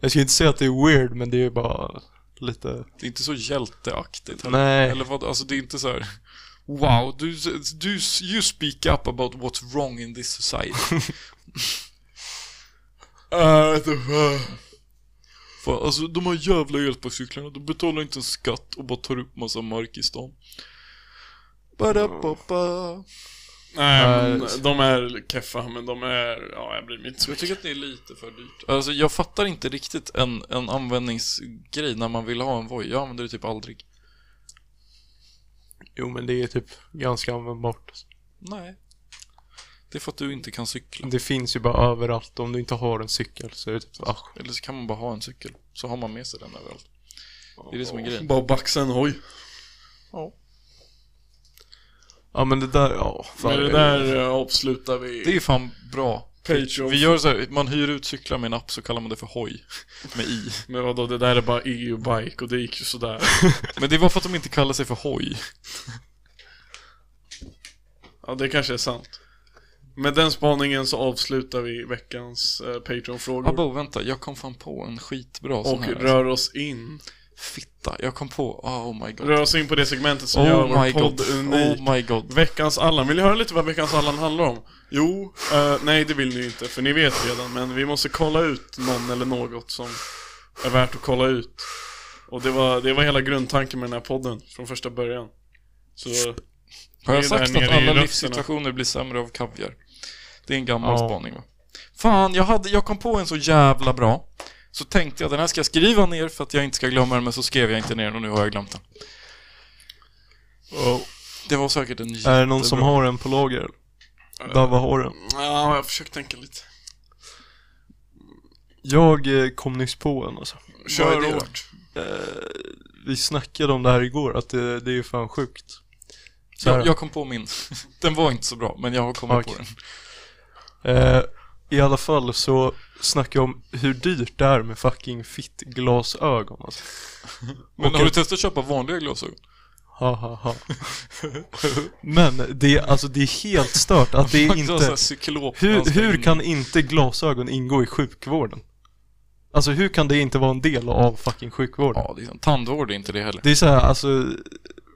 [SPEAKER 3] Jag skulle inte säga att det är weird men det är ju bara lite...
[SPEAKER 1] Det är inte så hjälteaktigt. heller.
[SPEAKER 3] Nej.
[SPEAKER 1] Eller vad, alltså det är inte så här. Wow, du, du, you speak up about what's wrong in this society. Ah,
[SPEAKER 2] Äh, det var-
[SPEAKER 1] Fan, alltså de här jävla elparcyklarna, de betalar inte en skatt och bara tar upp massa mark i stan. Ba-da-ba-ba.
[SPEAKER 2] Nej,
[SPEAKER 1] Äh,
[SPEAKER 2] men de är keffa, men de är... Ja, jag blir mitt.
[SPEAKER 1] Jag tycker att det är lite för dyrt. Alltså jag fattar inte riktigt en, en användningsgrej när man vill ha en Voi. Jag använder det typ aldrig.
[SPEAKER 3] Jo men det är typ ganska användbart.
[SPEAKER 1] Nej. Det är för att du inte kan cykla.
[SPEAKER 3] Det finns ju bara överallt. Om du inte har en cykel så är det typ... Ah,
[SPEAKER 1] Eller så kan man bara ha en cykel. Så har man med sig den överallt. Det är det som är grejen.
[SPEAKER 2] Bara baxa en hoj.
[SPEAKER 3] Ja men det där, ja. Fan,
[SPEAKER 2] Men det där eh, avslutar vi.
[SPEAKER 1] Det är fan bra.
[SPEAKER 2] Patreon.
[SPEAKER 1] Vi gör så här, man hyr ut cyklar med en app så kallar man det för hoj. Med i.
[SPEAKER 2] Men vadå, det där är
[SPEAKER 1] E
[SPEAKER 2] bara EU-bike och det gick ju sådär.
[SPEAKER 1] Men det var för att de inte kallar sig för hoj.
[SPEAKER 2] Ja, det kanske är sant. Med den spaningen så avslutar vi veckans eh, Patreon-frågor.
[SPEAKER 1] Abo, vänta, jag kom fan på en skitbra sån
[SPEAKER 2] och
[SPEAKER 1] här.
[SPEAKER 2] rör oss in.
[SPEAKER 1] Fitta, jag kom på, oh my god.
[SPEAKER 2] Rör oss in på det segmentet som gör
[SPEAKER 1] Oh
[SPEAKER 2] vår
[SPEAKER 1] my
[SPEAKER 2] podd
[SPEAKER 1] god,
[SPEAKER 2] unik.
[SPEAKER 1] oh my god.
[SPEAKER 2] Veckans Allan, vill ni höra lite vad Veckans Allan handlar om? Jo, eh, nej det vill ni inte för ni vet redan men vi måste kolla ut någon eller något som är värt att kolla ut. Och det var, det var hela grundtanken med den här podden från första början. Så
[SPEAKER 1] Har jag
[SPEAKER 2] det är där
[SPEAKER 1] sagt
[SPEAKER 2] nere
[SPEAKER 1] att
[SPEAKER 2] i
[SPEAKER 1] alla
[SPEAKER 2] rötterna.
[SPEAKER 1] livssituationer blir sämre av kaviar? Det är en gammal
[SPEAKER 3] Ja.
[SPEAKER 1] spaning va? Fan, jag, hade, jag kom på en så jävla bra. Så tänkte jag den här ska jag skriva ner för att jag inte ska glömma den, men så skrev jag inte ner den och nu har jag glömt den.
[SPEAKER 3] Oh.
[SPEAKER 1] Det var säkert en
[SPEAKER 3] Är det någon som har en på lager? Dava har den.
[SPEAKER 2] ja, jag försöker tänka lite.
[SPEAKER 9] Jag eh, kom nyss på en alltså.
[SPEAKER 2] Kör
[SPEAKER 1] Vad är det då?
[SPEAKER 2] hårt.
[SPEAKER 9] Vi snackade om det här igår, att eh, det, det är ju fan sjukt. Så här.
[SPEAKER 1] Jag, jag kom på min. Den var inte så bra, men jag har kommit
[SPEAKER 9] Okej.
[SPEAKER 1] på den.
[SPEAKER 9] Eh, I alla fall så snackar jag om hur dyrt det är med fucking fittglasögon alltså.
[SPEAKER 1] Men
[SPEAKER 9] Och
[SPEAKER 1] har du
[SPEAKER 9] att-
[SPEAKER 1] testat att köpa vanliga glasögon?
[SPEAKER 9] Ha, ha, ha. Men det, är- alltså, det är helt stört att det är
[SPEAKER 1] Inte... Sådär
[SPEAKER 9] inte...
[SPEAKER 1] cyklop
[SPEAKER 9] Hur, hur kan inte glasögon ingå i sjukvården? Alltså hur kan det inte vara en del av fucking sjukvården?
[SPEAKER 1] Ja, det är sant. tandvård är inte det heller.
[SPEAKER 9] Det är så här, alltså...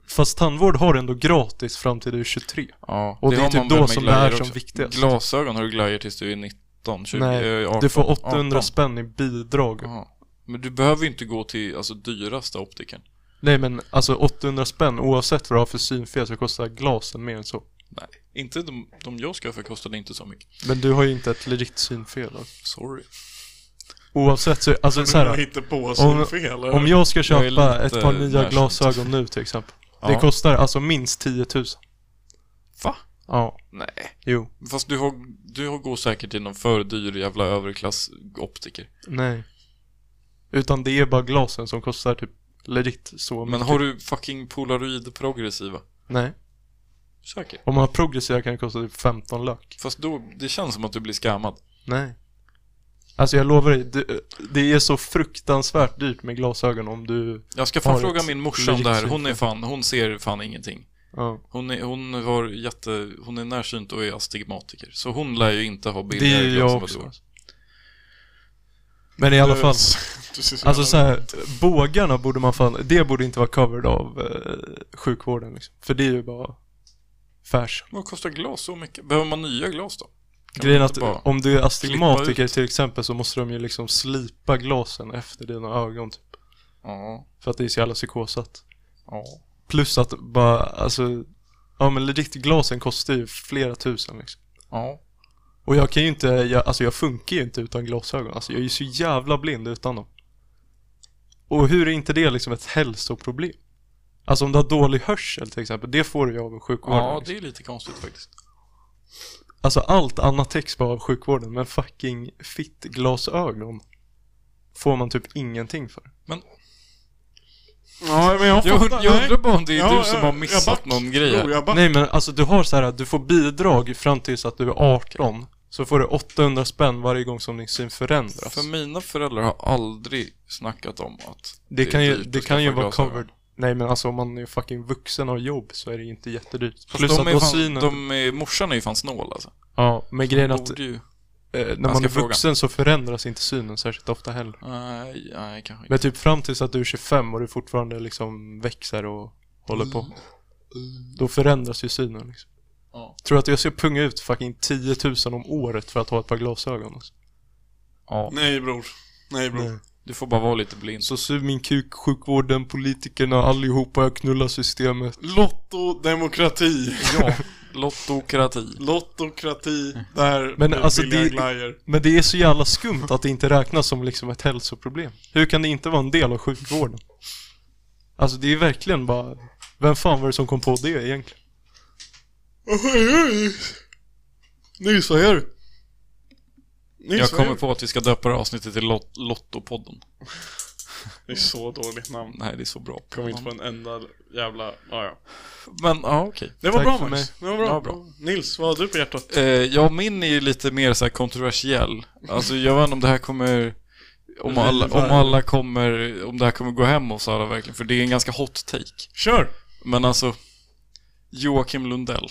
[SPEAKER 9] Fast tandvård har du ändå gratis fram till du är 23.
[SPEAKER 1] Ja,
[SPEAKER 9] Och det är
[SPEAKER 1] har
[SPEAKER 9] typ
[SPEAKER 1] man väl
[SPEAKER 9] då
[SPEAKER 1] med
[SPEAKER 9] som
[SPEAKER 1] glajjor
[SPEAKER 9] det är som
[SPEAKER 1] också.
[SPEAKER 9] viktigast.
[SPEAKER 1] Glasögon har du glajjor tills du är 19, 20,
[SPEAKER 9] Nej,
[SPEAKER 1] eh, 18,
[SPEAKER 9] du får 800
[SPEAKER 1] 18.
[SPEAKER 9] spänn i bidrag.
[SPEAKER 1] Ja. Men du behöver ju inte gå till alltså, dyraste optiken.
[SPEAKER 9] Nej men alltså 800 spänn oavsett vad du har för synfel så kostar glasen mer än så.
[SPEAKER 1] Nej, inte de, de jag ska för kostade inte så mycket.
[SPEAKER 9] Men du har ju inte ett legit synfel. då.
[SPEAKER 1] Sorry.
[SPEAKER 9] Oavsett så, alltså så
[SPEAKER 2] Jag
[SPEAKER 9] här,
[SPEAKER 2] hittar på
[SPEAKER 9] om-
[SPEAKER 2] sin fel.
[SPEAKER 9] Om jag ska
[SPEAKER 1] Jag är
[SPEAKER 9] köpa
[SPEAKER 1] lite
[SPEAKER 9] ett par nya
[SPEAKER 1] närsynt.
[SPEAKER 9] glasögon nu till exempel. Det
[SPEAKER 1] Ja.
[SPEAKER 9] kostar alltså minst 10 000.
[SPEAKER 1] Va?
[SPEAKER 9] Ja,
[SPEAKER 1] Nej.
[SPEAKER 9] jo.
[SPEAKER 1] Fast du har, du har går säkert till någon för dyr jävla överklassoptiker.
[SPEAKER 9] Nej. Utan det är bara glasen som kostar typ legit så
[SPEAKER 1] Men har du fucking polaroid progressiva?
[SPEAKER 9] Nej.
[SPEAKER 1] Säkert.
[SPEAKER 9] Om man har progressiva kan det kosta typ 15 lök.
[SPEAKER 1] Fast då, det känns som att du blir skammad.
[SPEAKER 9] Nej. Alltså jag lovar dig, det, det är så fruktansvärt dyrt med glasögon om du...
[SPEAKER 1] Jag ska fan
[SPEAKER 9] Har
[SPEAKER 1] fråga
[SPEAKER 9] ett typ.
[SPEAKER 1] min morsa om
[SPEAKER 9] legit
[SPEAKER 1] det här. Hon
[SPEAKER 9] synfel.
[SPEAKER 1] är fan, hon ser fan ingenting.
[SPEAKER 9] Ja.
[SPEAKER 1] Hon är, hon har jätte, hon är närsynt och är astigmatiker. Så hon lär ju inte ha
[SPEAKER 9] Det är
[SPEAKER 1] billigare
[SPEAKER 9] ju
[SPEAKER 1] glas än
[SPEAKER 9] jag
[SPEAKER 1] vad du
[SPEAKER 9] också.
[SPEAKER 1] har.
[SPEAKER 9] alltså. Men i alla fall.
[SPEAKER 2] Du ser så
[SPEAKER 9] Alltså så
[SPEAKER 2] jävla-
[SPEAKER 9] här, bågarna borde man fan, det borde inte vara covered av eh, sjukvården liksom. För det är ju bara färs.
[SPEAKER 1] Vad kostar glas så mycket? Behöver man nya glas då? Kan
[SPEAKER 9] Grejen
[SPEAKER 1] man
[SPEAKER 9] är
[SPEAKER 1] inte
[SPEAKER 9] att
[SPEAKER 1] bara-
[SPEAKER 9] om du är
[SPEAKER 1] klippa
[SPEAKER 9] astigmatiker till exempel så måste de ju liksom slipa glasen efter dina ögon typ.
[SPEAKER 1] Ja,
[SPEAKER 9] För att det är så jävla psykosat.
[SPEAKER 1] ja.
[SPEAKER 9] Plus att bara, alltså, ja men legit glasen kostar ju flera tusen liksom.
[SPEAKER 1] Ja.
[SPEAKER 9] Och jag kan ju inte, jag, alltså jag funkar ju inte utan glasögon. Alltså jag är ju så jävla blind utan dem. Och hur är inte det liksom ett hälsoproblem? Alltså om du har dålig hörsel till exempel, det får du ju av sjukvården.
[SPEAKER 1] ja,
[SPEAKER 9] liksom.
[SPEAKER 1] det är lite konstigt faktiskt.
[SPEAKER 9] Alltså allt annat täcks bara av sjukvården, men fucking fittglasögon får man typ ingenting för.
[SPEAKER 1] Men
[SPEAKER 2] Ja, men jag
[SPEAKER 1] jag,
[SPEAKER 2] fattar.
[SPEAKER 1] und- jag
[SPEAKER 2] nej.
[SPEAKER 1] undrar bara om det är
[SPEAKER 2] Ja,
[SPEAKER 1] du som
[SPEAKER 2] jag-
[SPEAKER 1] har
[SPEAKER 2] jag
[SPEAKER 1] missat
[SPEAKER 2] back.
[SPEAKER 1] någon grej
[SPEAKER 2] Jo,
[SPEAKER 1] här.
[SPEAKER 2] jag back.
[SPEAKER 9] Nej men alltså du har så här, du får bidrag fram tills att du är 18. Så får du 800 spänn varje gång som din syn förändras.
[SPEAKER 1] För mina föräldrar har aldrig snackat om att
[SPEAKER 9] det, kan ju,
[SPEAKER 1] dyrt att
[SPEAKER 9] det kan ju
[SPEAKER 1] skaffa
[SPEAKER 9] vara
[SPEAKER 1] glasögon.
[SPEAKER 9] covered. Nej men alltså om man är fucking vuxen och har jobb så är det inte jättedyrt.
[SPEAKER 1] Fast
[SPEAKER 9] Plus
[SPEAKER 1] de
[SPEAKER 9] att
[SPEAKER 1] är
[SPEAKER 9] då
[SPEAKER 1] fan,
[SPEAKER 9] synen...
[SPEAKER 1] de är, morsan är ju fan snål alltså.
[SPEAKER 9] Ja, men grejen är att
[SPEAKER 1] Borde ju...
[SPEAKER 9] eh, när
[SPEAKER 1] Jag
[SPEAKER 9] man
[SPEAKER 1] ska
[SPEAKER 9] är
[SPEAKER 1] fråga.
[SPEAKER 9] vuxen så förändras inte synen särskilt ofta heller.
[SPEAKER 1] Nej, nej kanske inte.
[SPEAKER 9] Men typ fram tills att du är 25 och du fortfarande liksom växer och håller på. Då förändras ju synen liksom.
[SPEAKER 1] Ja.
[SPEAKER 9] Tror du att jag ska punga ut fucking 10 000 om året för att ha ett par glasögon? Alltså?
[SPEAKER 1] Ja,
[SPEAKER 2] Nej bror. Nej bror.
[SPEAKER 9] Nej.
[SPEAKER 1] du får bara vara lite blind.
[SPEAKER 9] Så sug min kuk, sjukvården, politikerna, allihopa, jag knullar systemet.
[SPEAKER 2] Lotto, demokrati.
[SPEAKER 1] Ja, lottokrati.
[SPEAKER 2] Lottokrati. Där
[SPEAKER 9] Mm. Men
[SPEAKER 2] blir
[SPEAKER 9] alltså,
[SPEAKER 2] billiga
[SPEAKER 9] det-
[SPEAKER 2] glajjor.
[SPEAKER 9] Men det är så jävla skumt att det inte räknas som liksom ett hälsoproblem. Hur kan det inte vara en del av sjukvården? Alltså det är verkligen bara, vem fan var det som kom på det egentligen?
[SPEAKER 2] Nyss, vad gör du? Nyss,
[SPEAKER 1] Jag
[SPEAKER 2] vad
[SPEAKER 1] kommer
[SPEAKER 2] gör du?
[SPEAKER 1] på att vi ska döpa det här avsnittet till Lot- Lottopodden.
[SPEAKER 2] Det är så dåligt namn.
[SPEAKER 1] Nej, det är så bra.
[SPEAKER 2] Kommer inte på en enda jävla... Ja, ja.
[SPEAKER 1] Men, ja okej.
[SPEAKER 2] Det var
[SPEAKER 9] Tack
[SPEAKER 2] bra
[SPEAKER 9] för
[SPEAKER 2] Max. Det var bra.
[SPEAKER 1] Ja, bra.
[SPEAKER 2] Nils, vad har du på hjärtat?
[SPEAKER 1] Eh, ja, min är ju lite mer så här kontroversiell. Alltså jag vet inte om det här kommer... Om
[SPEAKER 2] Mm.
[SPEAKER 1] alla, om alla kommer... Om det här kommer gå hem hos alla verkligen. För det är en ganska hot take.
[SPEAKER 2] Kör!
[SPEAKER 1] Men alltså... Joakim Lundell.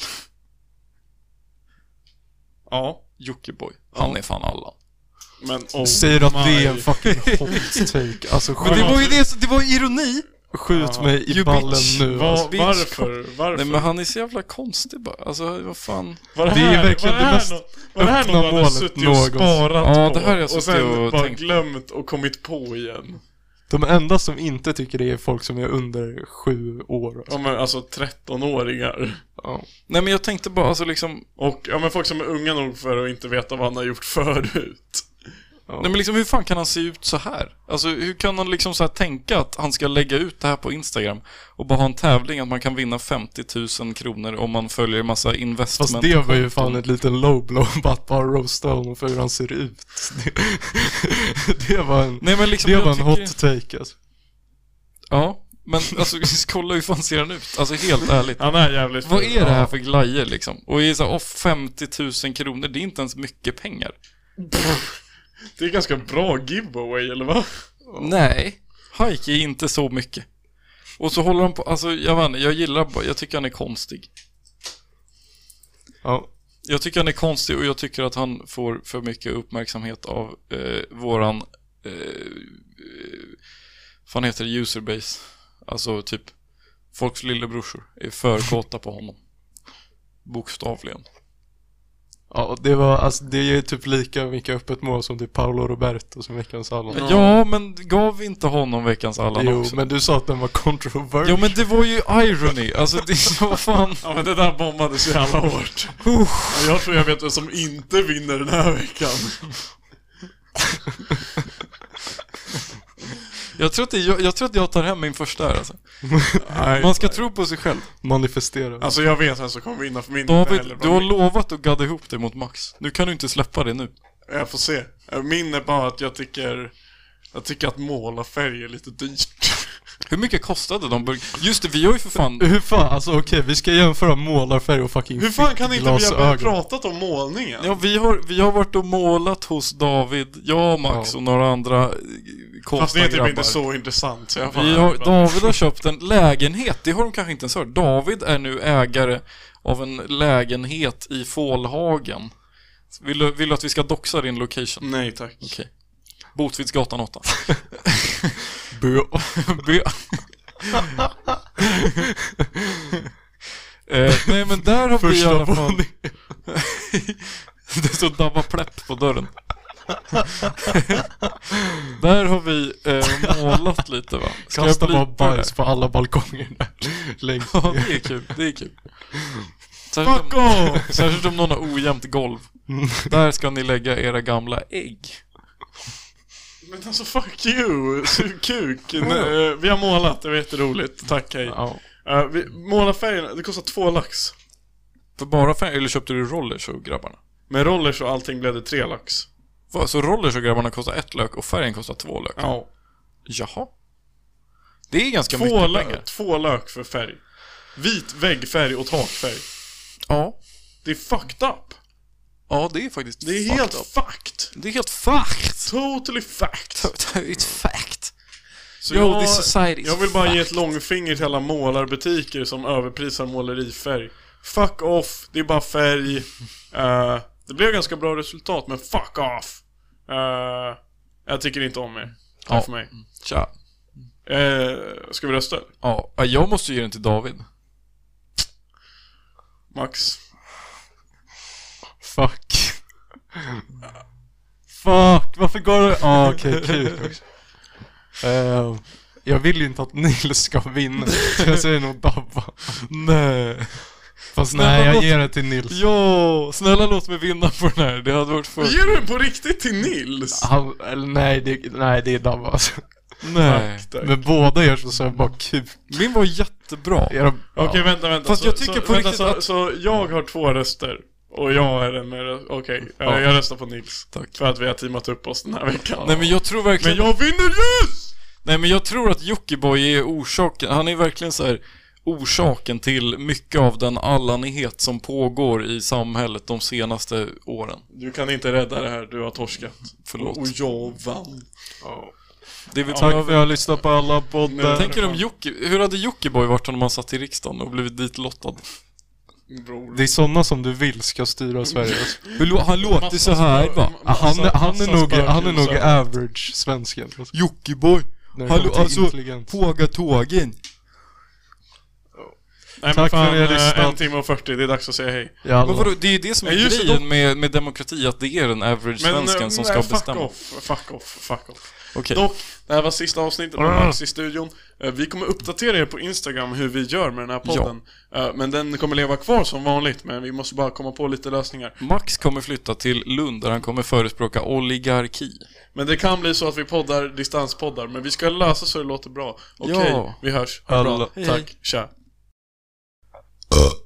[SPEAKER 2] Ja.
[SPEAKER 1] Jockiboi. Han är fan alla.
[SPEAKER 2] Men oh
[SPEAKER 9] Säger du att det är en
[SPEAKER 2] my-
[SPEAKER 9] fucking hot take? Alltså
[SPEAKER 1] Men det
[SPEAKER 9] skjut,
[SPEAKER 1] var ju det, det var ironi!
[SPEAKER 9] skjut mig i
[SPEAKER 1] You
[SPEAKER 9] ballen
[SPEAKER 1] bitch.
[SPEAKER 9] nu.
[SPEAKER 2] Va,
[SPEAKER 9] Alltså.
[SPEAKER 1] bitch.
[SPEAKER 2] varför? Varför?
[SPEAKER 1] Nej men han är så jävla konstig bara. Alltså vad fan.
[SPEAKER 2] var
[SPEAKER 9] det är
[SPEAKER 2] här-
[SPEAKER 9] verkligen
[SPEAKER 2] var
[SPEAKER 9] det
[SPEAKER 2] här
[SPEAKER 9] mest
[SPEAKER 2] nå- Var det här
[SPEAKER 9] öppna
[SPEAKER 2] någon du hade
[SPEAKER 9] målet
[SPEAKER 2] suttit och
[SPEAKER 9] någonsin.
[SPEAKER 2] sparat
[SPEAKER 1] Ja,
[SPEAKER 2] på
[SPEAKER 1] det här har jag
[SPEAKER 2] och
[SPEAKER 1] suttit
[SPEAKER 2] sen
[SPEAKER 1] och
[SPEAKER 2] bara
[SPEAKER 1] tänkt på.
[SPEAKER 2] glömt och kommit på igen?
[SPEAKER 9] De enda som inte tycker det är folk som är under sju år.
[SPEAKER 2] Ja men alltså 13-åringar.
[SPEAKER 9] Ja.
[SPEAKER 1] Nej men jag tänkte bara alltså liksom...
[SPEAKER 2] Och ja men folk som är unga nog för att inte veta vad han har gjort förut.
[SPEAKER 1] Nej, men liksom, hur fan kan han se ut så här? Alltså, hur kan han liksom så här tänka att han ska lägga ut det här på Instagram och bara ha en tävling att man kan vinna 50 000 kronor om man följer en massa investment?
[SPEAKER 3] Fast det var ju fan ett liten low blow på att bara roasta honom för hur han ser ut. Det, det var en,
[SPEAKER 1] Nej, men liksom,
[SPEAKER 3] det
[SPEAKER 1] jag
[SPEAKER 3] var en
[SPEAKER 1] tycker-
[SPEAKER 3] hot take alltså.
[SPEAKER 1] Ja, men alltså kolla hur fan ser han ut? Alltså helt ärligt.
[SPEAKER 2] Han är jävligt
[SPEAKER 1] Vad
[SPEAKER 2] ful.
[SPEAKER 1] är det här för glajjor liksom? Och är så här, "Åh, 50 000 kronor, det är inte ens mycket pengar.
[SPEAKER 2] Det är ganska bra giveaway, eller vad?
[SPEAKER 1] Nej, Hike är inte så mycket. Och så håller han på, alltså jag vet inte, jag gillar bara- jag tycker han är konstig.
[SPEAKER 3] Ja.
[SPEAKER 1] Jag tycker han är konstig och jag tycker att han får för mycket uppmärksamhet av eh, våran, eh, eh, fan heter det, userbase. Alltså typ, folks lillebrorsor är för kåta på honom. Bokstavligen.
[SPEAKER 3] Ja, och det var, alltså det är typ lika mycket öppet mål
[SPEAKER 9] typ
[SPEAKER 3] som till Paolo Roberto som veckans Allan.
[SPEAKER 1] Ja, men gav vi inte honom veckans Allan
[SPEAKER 3] Jo,
[SPEAKER 1] också?
[SPEAKER 3] men du sa att den var controversial.
[SPEAKER 1] Jo, men det var ju irony. Alltså, det var fan...
[SPEAKER 2] Ja men det där bombades så jävla hårt. Ja, Jag tror jag vet vem som inte vinner den här veckan.
[SPEAKER 1] Jag tror, att det, jag, jag tror att jag tar hem min första här alltså.
[SPEAKER 2] Nej.
[SPEAKER 1] Man ska tro på sig själv.
[SPEAKER 3] Manifestera.
[SPEAKER 2] Alltså jag vet vem som kommer vinna för min
[SPEAKER 1] David,
[SPEAKER 2] heller bra.
[SPEAKER 1] du har lovat att gadda ihop dig mot Max. Nu kan du inte släppa det nu.
[SPEAKER 2] Jag får se. Min är bara att jag tycker... Jag tycker att måla färg är lite dyrt.
[SPEAKER 1] Hur mycket kostade de burk- Just det, vi har ju för fan...
[SPEAKER 3] Hur fan, alltså okej, vi ska jämföra målarfärg och fucking
[SPEAKER 2] Hur fan kan inte vi ha
[SPEAKER 3] fickglasögon.
[SPEAKER 2] pratat om målningen?
[SPEAKER 1] Ja, vi har, vi har varit och målat hos David, jag, Max
[SPEAKER 3] Ja.
[SPEAKER 1] och några andra eh,
[SPEAKER 2] Fast det är
[SPEAKER 1] konstiga
[SPEAKER 2] typ
[SPEAKER 1] grabbar.
[SPEAKER 2] inte så intressant. Så jag fan
[SPEAKER 1] Vi har,
[SPEAKER 2] bara-
[SPEAKER 1] David har köpt en lägenhet, det har de kanske inte ens hört. David är nu ägare av en lägenhet i Fålhagen. Vill du, vill du att vi ska doxa din location?
[SPEAKER 2] Nej tack.
[SPEAKER 1] Okej. Botvidsgatan 8.
[SPEAKER 3] Bö.
[SPEAKER 1] B. eh, nej men där har vi i
[SPEAKER 3] Första
[SPEAKER 1] alla fall...
[SPEAKER 3] våningen.
[SPEAKER 1] det står Dabba Plepp på dörren. där har vi eh, målat lite va? Ska
[SPEAKER 3] Kasta bara
[SPEAKER 1] blipa det
[SPEAKER 3] bajs på alla balkonger där. Längst
[SPEAKER 1] Ja,
[SPEAKER 3] ner.
[SPEAKER 1] det är kul. Det är kul. Särskilt om, särskilt om någon har ojämnt golv.
[SPEAKER 3] Mm.
[SPEAKER 1] Där ska ni lägga era gamla ägg.
[SPEAKER 2] Men alltså fuck you, sug kuk. Nej, eh, Vi har målat, det var jätteroligt. Tack hej.
[SPEAKER 3] Ja.
[SPEAKER 2] Eh, vi, måla färgerna, det kostar två lax.
[SPEAKER 1] För bara fem, eller köpte du rollers och grabbarna?
[SPEAKER 2] Med rollers och allting blev det tre lax.
[SPEAKER 1] Va, Så rollers och grabbarna kostar ett lök och färgen kostar två lök?
[SPEAKER 2] Ja.
[SPEAKER 1] Jaha. Det är ganska
[SPEAKER 2] Två,
[SPEAKER 1] mycket
[SPEAKER 2] lö-
[SPEAKER 1] pengar.
[SPEAKER 2] två lök för färg. Vit väggfärg och takfärg.
[SPEAKER 1] Ja.
[SPEAKER 2] Det är fucked up.
[SPEAKER 1] Ja, det är faktiskt
[SPEAKER 2] Det är
[SPEAKER 1] fucked
[SPEAKER 2] helt
[SPEAKER 1] up.
[SPEAKER 2] fucked.
[SPEAKER 1] Det är helt fucked!
[SPEAKER 2] Totally fucked.
[SPEAKER 1] It's fact.
[SPEAKER 2] Så
[SPEAKER 1] Yo,
[SPEAKER 2] jag,
[SPEAKER 1] this society is
[SPEAKER 2] jag vill bara ge ett
[SPEAKER 1] fucked.
[SPEAKER 2] långfinger till alla målarbutiker som överprisar målerifärg. Fuck off, det är bara färg. Eh, det blev ganska bra resultat, men fuck off. Eh, jag tycker inte om er. Tack
[SPEAKER 1] Ja.
[SPEAKER 2] för mig.
[SPEAKER 1] Tja.
[SPEAKER 2] Uh, ska vi rösta?
[SPEAKER 1] Ja, jag måste ge den till David.
[SPEAKER 2] Max?
[SPEAKER 3] Fuck. Fuck, varför går det... Ah, okej, kul också. Eh, jag vill ju inte att Nils ska vinna, så jag säger nog Dabba. Nej. Fast
[SPEAKER 1] Snälla,
[SPEAKER 3] nej,
[SPEAKER 1] låt-
[SPEAKER 3] jag ger det till Nils.
[SPEAKER 1] Ja, snälla låt mig vinna på den här. Det hade varit för...
[SPEAKER 2] Ger du den på riktigt till Nils?
[SPEAKER 3] Han, eller nej, det, nej, det är Dabba alltså.
[SPEAKER 1] Nej.
[SPEAKER 2] Tack.
[SPEAKER 3] Men båda gör så, så jag bara kul.
[SPEAKER 1] Min var jättebra.
[SPEAKER 3] Era,
[SPEAKER 2] Okej, vänta, vänta.
[SPEAKER 1] Fast
[SPEAKER 2] så,
[SPEAKER 1] jag tycker
[SPEAKER 2] så,
[SPEAKER 1] på
[SPEAKER 2] vänta,
[SPEAKER 1] riktigt
[SPEAKER 2] så,
[SPEAKER 1] att-
[SPEAKER 2] så jag har två röster. Och jag är den med rö- Okej, eh,
[SPEAKER 1] Ja.
[SPEAKER 2] jag röstar på Nils.
[SPEAKER 1] Tack.
[SPEAKER 2] För att vi har teamat upp oss den här veckan.
[SPEAKER 1] Nej men jag tror
[SPEAKER 2] Men
[SPEAKER 1] verkligen...
[SPEAKER 2] jag vinner ljus!
[SPEAKER 1] Nej men jag tror att Jockiboi är orsaken. Han är verkligen så här orsaken till mycket av den allanighet som pågår i samhället de senaste åren.
[SPEAKER 2] Du kan inte rädda det här, du har torskat.
[SPEAKER 1] Förlåt.
[SPEAKER 2] Och jag vann.
[SPEAKER 1] Det vi
[SPEAKER 3] tack för
[SPEAKER 1] behöver...
[SPEAKER 3] att jag har lyssnat på alla
[SPEAKER 2] Nej,
[SPEAKER 3] poddar.
[SPEAKER 1] Tänker om Jocki... Hur hade Jockiboi varit om han satt i riksdagen och blivit ditlottad?
[SPEAKER 2] Bror.
[SPEAKER 3] Det är sådana som du vill ska styra Sverige alltså.
[SPEAKER 1] Hur lo- han låter så här va?
[SPEAKER 3] Ah, Han,
[SPEAKER 2] Massa-
[SPEAKER 3] han, är
[SPEAKER 2] massa
[SPEAKER 3] nog, han är nog
[SPEAKER 2] spökhus.
[SPEAKER 3] average svensken. Alltså.
[SPEAKER 1] Jockiboi!
[SPEAKER 3] När det
[SPEAKER 1] Hallå,
[SPEAKER 3] kommer till
[SPEAKER 1] alltså,
[SPEAKER 3] intelligens.
[SPEAKER 1] påga tågen!
[SPEAKER 2] Nej, men
[SPEAKER 3] Tack för
[SPEAKER 2] fan,
[SPEAKER 3] att ni har
[SPEAKER 2] eh,
[SPEAKER 3] lyssnat.
[SPEAKER 2] En timme och 40, det är dags att säga hej.
[SPEAKER 1] Men
[SPEAKER 3] Jalla.
[SPEAKER 1] vadå, det är ju det som är
[SPEAKER 2] Ja, just det,
[SPEAKER 1] grejen med, med demokrati, att det är den average
[SPEAKER 2] Men,
[SPEAKER 1] svensken
[SPEAKER 2] eh,
[SPEAKER 1] som
[SPEAKER 2] nej,
[SPEAKER 1] ska
[SPEAKER 2] fuck
[SPEAKER 1] bestämma.
[SPEAKER 2] Off, fuck off, fuck off.
[SPEAKER 1] Okej.
[SPEAKER 2] Dock, det här var sista avsnittet
[SPEAKER 3] Ah.
[SPEAKER 2] med Max i studion. Eh, Vi kommer uppdatera er på Instagram hur vi gör med den här podden. Eh, Men den kommer leva kvar som vanligt, men vi måste bara komma på lite lösningar.
[SPEAKER 1] Max kommer flytta till Lund där han kommer förespråka oligarki.
[SPEAKER 2] Men det kan bli så att vi poddar distanspoddar, men vi ska lösa så det låter bra. Okej,
[SPEAKER 1] Ja.
[SPEAKER 2] vi hörs. Ha det bra.
[SPEAKER 3] Alla-
[SPEAKER 2] Tack, tja.